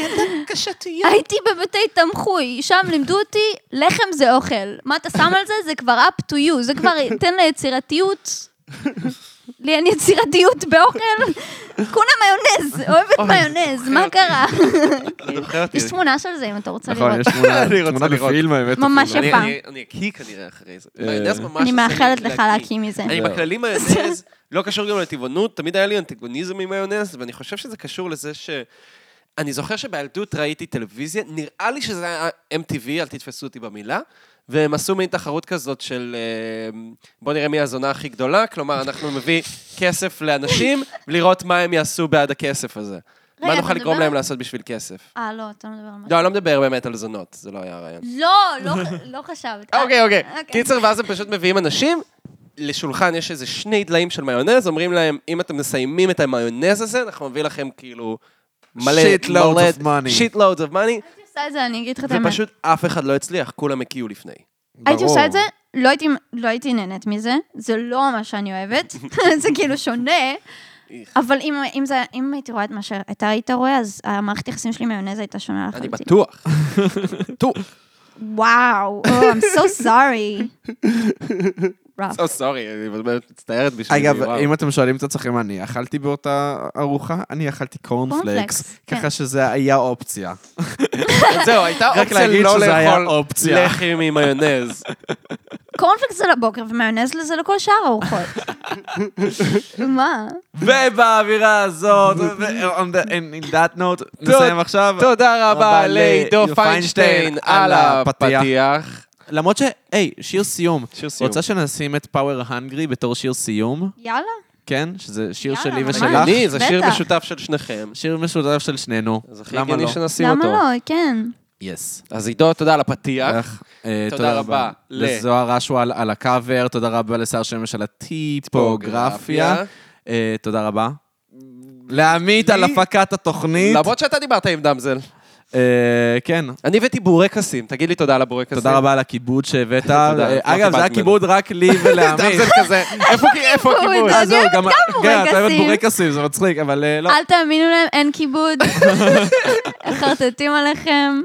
Speaker 2: ילדה קשת יום. הייתי בבתי תמחוי, שם לימדו אותי, לחם זה אוכל. מה אתה שם על זה? זה כבר up to you, זה כבר תן ליצירתיות. לי אין יצירתיות באוכל. כולה מיונז, אוהבת מיונז, מה קרה?
Speaker 3: זוכר אותי.
Speaker 2: יש תמונה של זה אם אתה רוצה
Speaker 1: נכון,
Speaker 2: לראות.
Speaker 1: יש תמונה-
Speaker 3: אני רוצה
Speaker 1: תמונה
Speaker 3: לראות.
Speaker 1: בפילם, האמת. כאילו
Speaker 2: ממש
Speaker 3: אני-
Speaker 2: יפה.
Speaker 3: אני- אני אקיא כנראה אחרי זה. מיונז ממש
Speaker 2: אני
Speaker 3: עושה לי
Speaker 2: מאחלת לך להקים מזה.
Speaker 3: אני בכללי מיונז, לא קשור גם לטבעונות, תמיד היה לי אנטגוניזם עם מיונז, ואני חושב שזה קשור לזה ש... אני זוכר שבילדות ראיתי טלוויזיה, נראה לי שזה היה MTV, אל תתפסו אותי במילה, והם עשו מין תחרות כזאת של אה, בוא נראה מי הזונה הכי גדולה, כלומר, אנחנו נביא כסף לאנשים, ולראות מה הם יעשו בעד הכסף הזה. מה
Speaker 2: אתה
Speaker 3: נוכל לגרום
Speaker 2: מדבר?
Speaker 3: להם לעשות בשביל כסף.
Speaker 2: אה, לא, אתה לא מדבר על מה.
Speaker 3: לא, אני לא מדבר באמת על זונות, זה לא היה הרעיון.
Speaker 2: לא, לא- לא חשבת.
Speaker 3: אוקיי, אוקיי.
Speaker 2: אוקיי.
Speaker 3: קיצר, ואז הם פשוט מביאים אנשים, לשולחן יש איזה שני דליים של מיונז, אומרים להם, אם אתם מסיימים את המיונז הזה, אנחנו נביא לכם כאילו מלא...
Speaker 1: Shitloads
Speaker 3: מלא-
Speaker 1: of money.
Speaker 3: shitloads of money,
Speaker 2: הייתי עושה את זה, אני אגיד לך את האמת.
Speaker 3: ופשוט אף אחד לא הצליח, כולם הקיאו לפני.
Speaker 2: הייתי
Speaker 1: ברור.
Speaker 2: עושה את זה, לא הייתי- לא הייתי נהנית מזה, זה לא מה שאני אוהבת, זה כאילו שונה,
Speaker 3: איך.
Speaker 2: אבל אם- אם זה- אם הייתי רואה את מה שאתה היית רואה, אז המערכת יחסים שלי עם מיונז הייתה שונה
Speaker 3: אני
Speaker 2: לחלוטין.
Speaker 3: בטוח.
Speaker 2: וואו, oh, I'm so sorry. rough.
Speaker 3: So sorry, אני באמת מצטערת בשבילי.
Speaker 1: אגב,
Speaker 3: וואו.
Speaker 1: אם אתם שואלים את עצמכם מה אני אכלתי באותה ארוחה, אני אכלתי קורנפלקס,
Speaker 2: קורנפלקס, כן.
Speaker 1: ככה שזה היה אופציה.
Speaker 3: זהו, הייתה
Speaker 1: רק
Speaker 3: אופציה
Speaker 1: להגיד
Speaker 3: לא
Speaker 1: שזה היה
Speaker 3: לאכול
Speaker 1: אופציה.
Speaker 3: לחם עם מיונז.
Speaker 2: קורנפלקס זה לבוקר ומיונז לזה לכל שאר הארוחות. מה?
Speaker 1: ובאווירה הזאת, ו- on the- and in that note, נסיים עכשיו.
Speaker 3: תודה רבה
Speaker 1: אבל,
Speaker 3: לעידו
Speaker 1: אה,
Speaker 3: פיינשטיין על הפתיח.
Speaker 1: למרות ש... היי, שיר סיום.
Speaker 3: שיר סיום.
Speaker 1: רוצה שנשים את פאוור הנגרי בתור שיר סיום,
Speaker 2: יאללה. כן,
Speaker 1: כן? שזה שיר
Speaker 2: יאללה,
Speaker 1: שלי
Speaker 2: ממש.
Speaker 1: ושלך.
Speaker 3: הגיוני, זה שיר
Speaker 2: בטח.
Speaker 3: משותף של שניכם.
Speaker 1: שיר משותף של שנינו.
Speaker 3: אז הכי
Speaker 1: למה
Speaker 3: הגיוני
Speaker 1: לא?
Speaker 3: שנשים
Speaker 2: למה
Speaker 3: אותו.
Speaker 2: לא? כן.
Speaker 1: יס.
Speaker 3: אז עידו, תודה על הפתיח.
Speaker 1: איך, אה,
Speaker 3: תודה רבה ל-
Speaker 1: לזוהר אשואל על הקאבר, תודה רבה לשר שמש על הטיפוגרפיה. אה, תודה רבה. לעמית על הפקת התוכנית.
Speaker 3: למרות שאתה דיברת עם דמזל.
Speaker 1: אה, כן.
Speaker 3: אני הבאתי בורקסים, תגיד לי תודה על הבורקסים.
Speaker 1: תודה רבה על הכיבוד שהבאת.
Speaker 3: תודה,
Speaker 1: אה,
Speaker 3: לא
Speaker 1: אגב, זה היה
Speaker 3: קיבלתי
Speaker 1: כיבוד רק לי ולעמית.
Speaker 3: דמזל כזה, איפה כי- איפה
Speaker 2: כיבוד?
Speaker 3: הכיבוד?
Speaker 1: אה, זהו,
Speaker 2: אני
Speaker 1: גם...
Speaker 2: אוהבת גם
Speaker 1: כן, את אוהבת
Speaker 2: בורקסים.
Speaker 1: בורקסים, זה מצחיק, אבל אה, לא.
Speaker 2: אל תאמינו להם, אין כיבוד. חרטטים עליכם.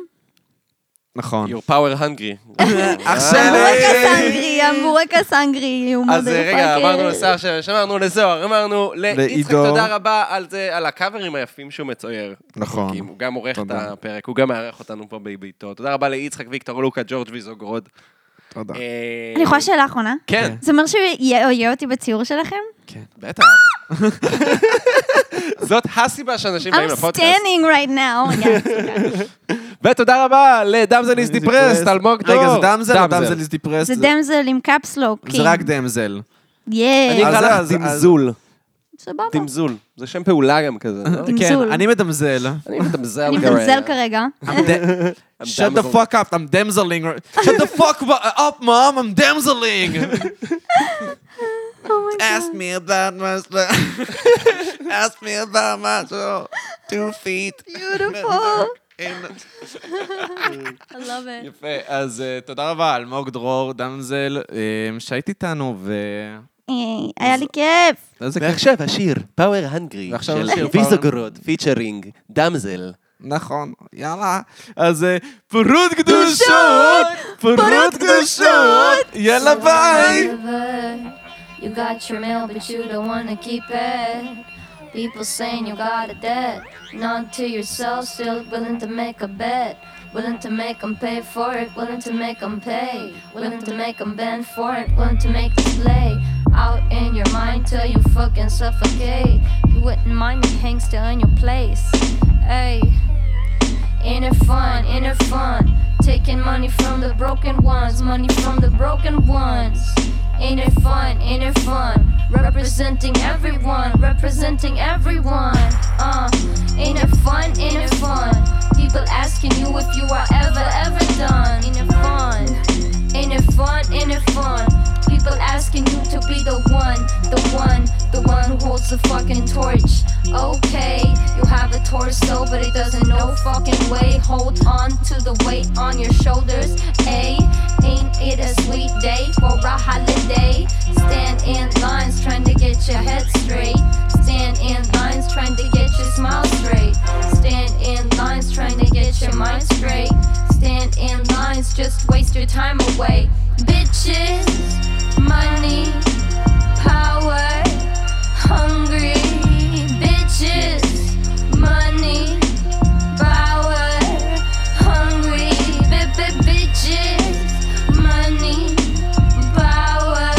Speaker 1: נכון.
Speaker 3: You're power hungry.
Speaker 2: אה,
Speaker 1: עכשיו...
Speaker 2: הבורקס האנגרי, הבורקס האנגרי. הוא
Speaker 3: אז אה,
Speaker 2: מודה
Speaker 3: רגע,
Speaker 2: לפאקר.
Speaker 3: אמרנו לשר שמש, אמרנו לזוהר, אמרנו ליצחק,
Speaker 1: לעידו.
Speaker 3: תודה רבה על זה, על הקאברים היפים שהוא מצייר.
Speaker 1: נכון.
Speaker 3: כי הוא גם עורך את
Speaker 1: תודה.
Speaker 3: הפרק, הוא גם מארח אותנו פה בביתו. תודה רבה ליצחק, ויקטור לוקה, ג'ורג' ויזוגרוד.
Speaker 1: תודה.
Speaker 3: אה,
Speaker 2: אני יכולה שאלה אחרונה?
Speaker 3: כן,
Speaker 2: זה אומר שהוא יהיה יהיה אותי בציור שלכם?
Speaker 3: בטח. זאת הסיבה שאנשים באים
Speaker 2: I'm
Speaker 3: לפודקאסט.
Speaker 2: standing right now. רגע, סליחה.
Speaker 3: ותודה רבה לדמזל איז אה, דיפרסט, אלמוג דור.
Speaker 1: רגע, זה דמזל או דמזל is depressed?
Speaker 2: זה דמזל עם קפסלוק.
Speaker 1: זה רק דמזל.
Speaker 3: אני
Speaker 2: יאה.
Speaker 1: אז
Speaker 3: אקרא לך
Speaker 1: אז- אז-
Speaker 3: דמזול.
Speaker 2: סבבה.
Speaker 3: דמזול. זה שם פעולה גם כזה, לא?
Speaker 1: כן,
Speaker 2: דמזול.
Speaker 1: אני מדמזל.
Speaker 3: אני מדמזל
Speaker 2: אני מזלזל כרגע.
Speaker 3: I'm
Speaker 1: Shut the
Speaker 3: damsel.
Speaker 1: fuck up, I'm damseling. Shut the fuck up, mom, I'm damseling. Ask me about my... Ask me about my... Two feet.
Speaker 2: Beautiful.
Speaker 1: in-
Speaker 2: I love it.
Speaker 1: יפה, אז אה, תודה רבה, אלמוג דרור, דמזל, אה, שהיית איתנו, ו...
Speaker 2: היי, היה לי כיף.
Speaker 1: איזה כיף.
Speaker 3: ועכשיו השיר, פאוור הנגרי,
Speaker 1: ועכשיו
Speaker 3: של
Speaker 1: השיר,
Speaker 3: ויזוגרוד, פיצ'רינג, דמזל.
Speaker 1: נכון, יאללה. אז אה, פרות קדושות! פרות קדושות! יאללה ביי!
Speaker 5: Delivered. You got your mail, but you don't wanna keep it. People saying you got a debt, not to yourself, still willing to make a bet. Willing to make 'em pay for it, willing to make 'em pay. Willing to make 'em bend for it, willing to make them play. Out in your mind till you fucking suffocate. You wouldn't mind me hang still in your place. Hey. Inner fun, inner fun. Taking money from the broken ones, money from the broken ones. Inner fun, inner fun. Representing everyone, representing everyone. Uh, inner fun, inner fun. People asking you if you are ever, ever done. Inner fun, inner fun, inner fun. People asking you to be the one, the one, the one who holds the fucking torch. Okay, you have a torso, but it doesn't no fucking way. Hold on to the weight on your shoulders. A, ain't it a sweet day for a holiday? Stand in lines trying to get your head straight. Stand in lines trying to get your smile straight. Stand in lines trying to get your mind straight. Stand in lines, just waste your time away. Bitches, money, power hungry bitches, money, power, hungry bi- bi- bitches, money, power,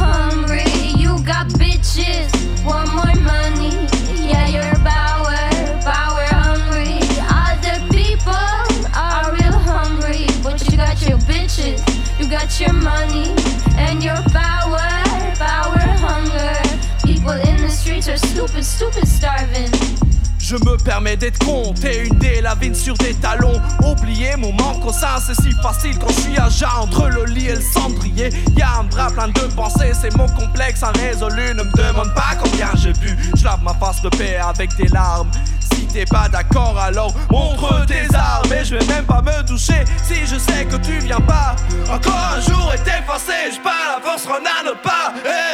Speaker 5: hungry. You got bitches, want more money, yeah, you're power, power hungry. Other people are real hungry, but you got your bitches, you got your money, and your power, power hunger. People in the streets are stupid, stupid starving.
Speaker 6: Je me permets d'être con, t'es une délavine sur des talons. Oublier mon manque au sein, c'est si facile quand je suis à Jean, entre le lit et le cendrier. Y'a un bras plein de pensées, c'est mon complexe irrésolu. Ne me demande pas combien j'ai bu, je lave ma face de paix avec des larmes. Si t'es pas d'accord, alors montre tes armes. Et je vais même pas me toucher si je sais que tu viens pas. Encore un jour est effacé, je pas la force, renarde pas. Hey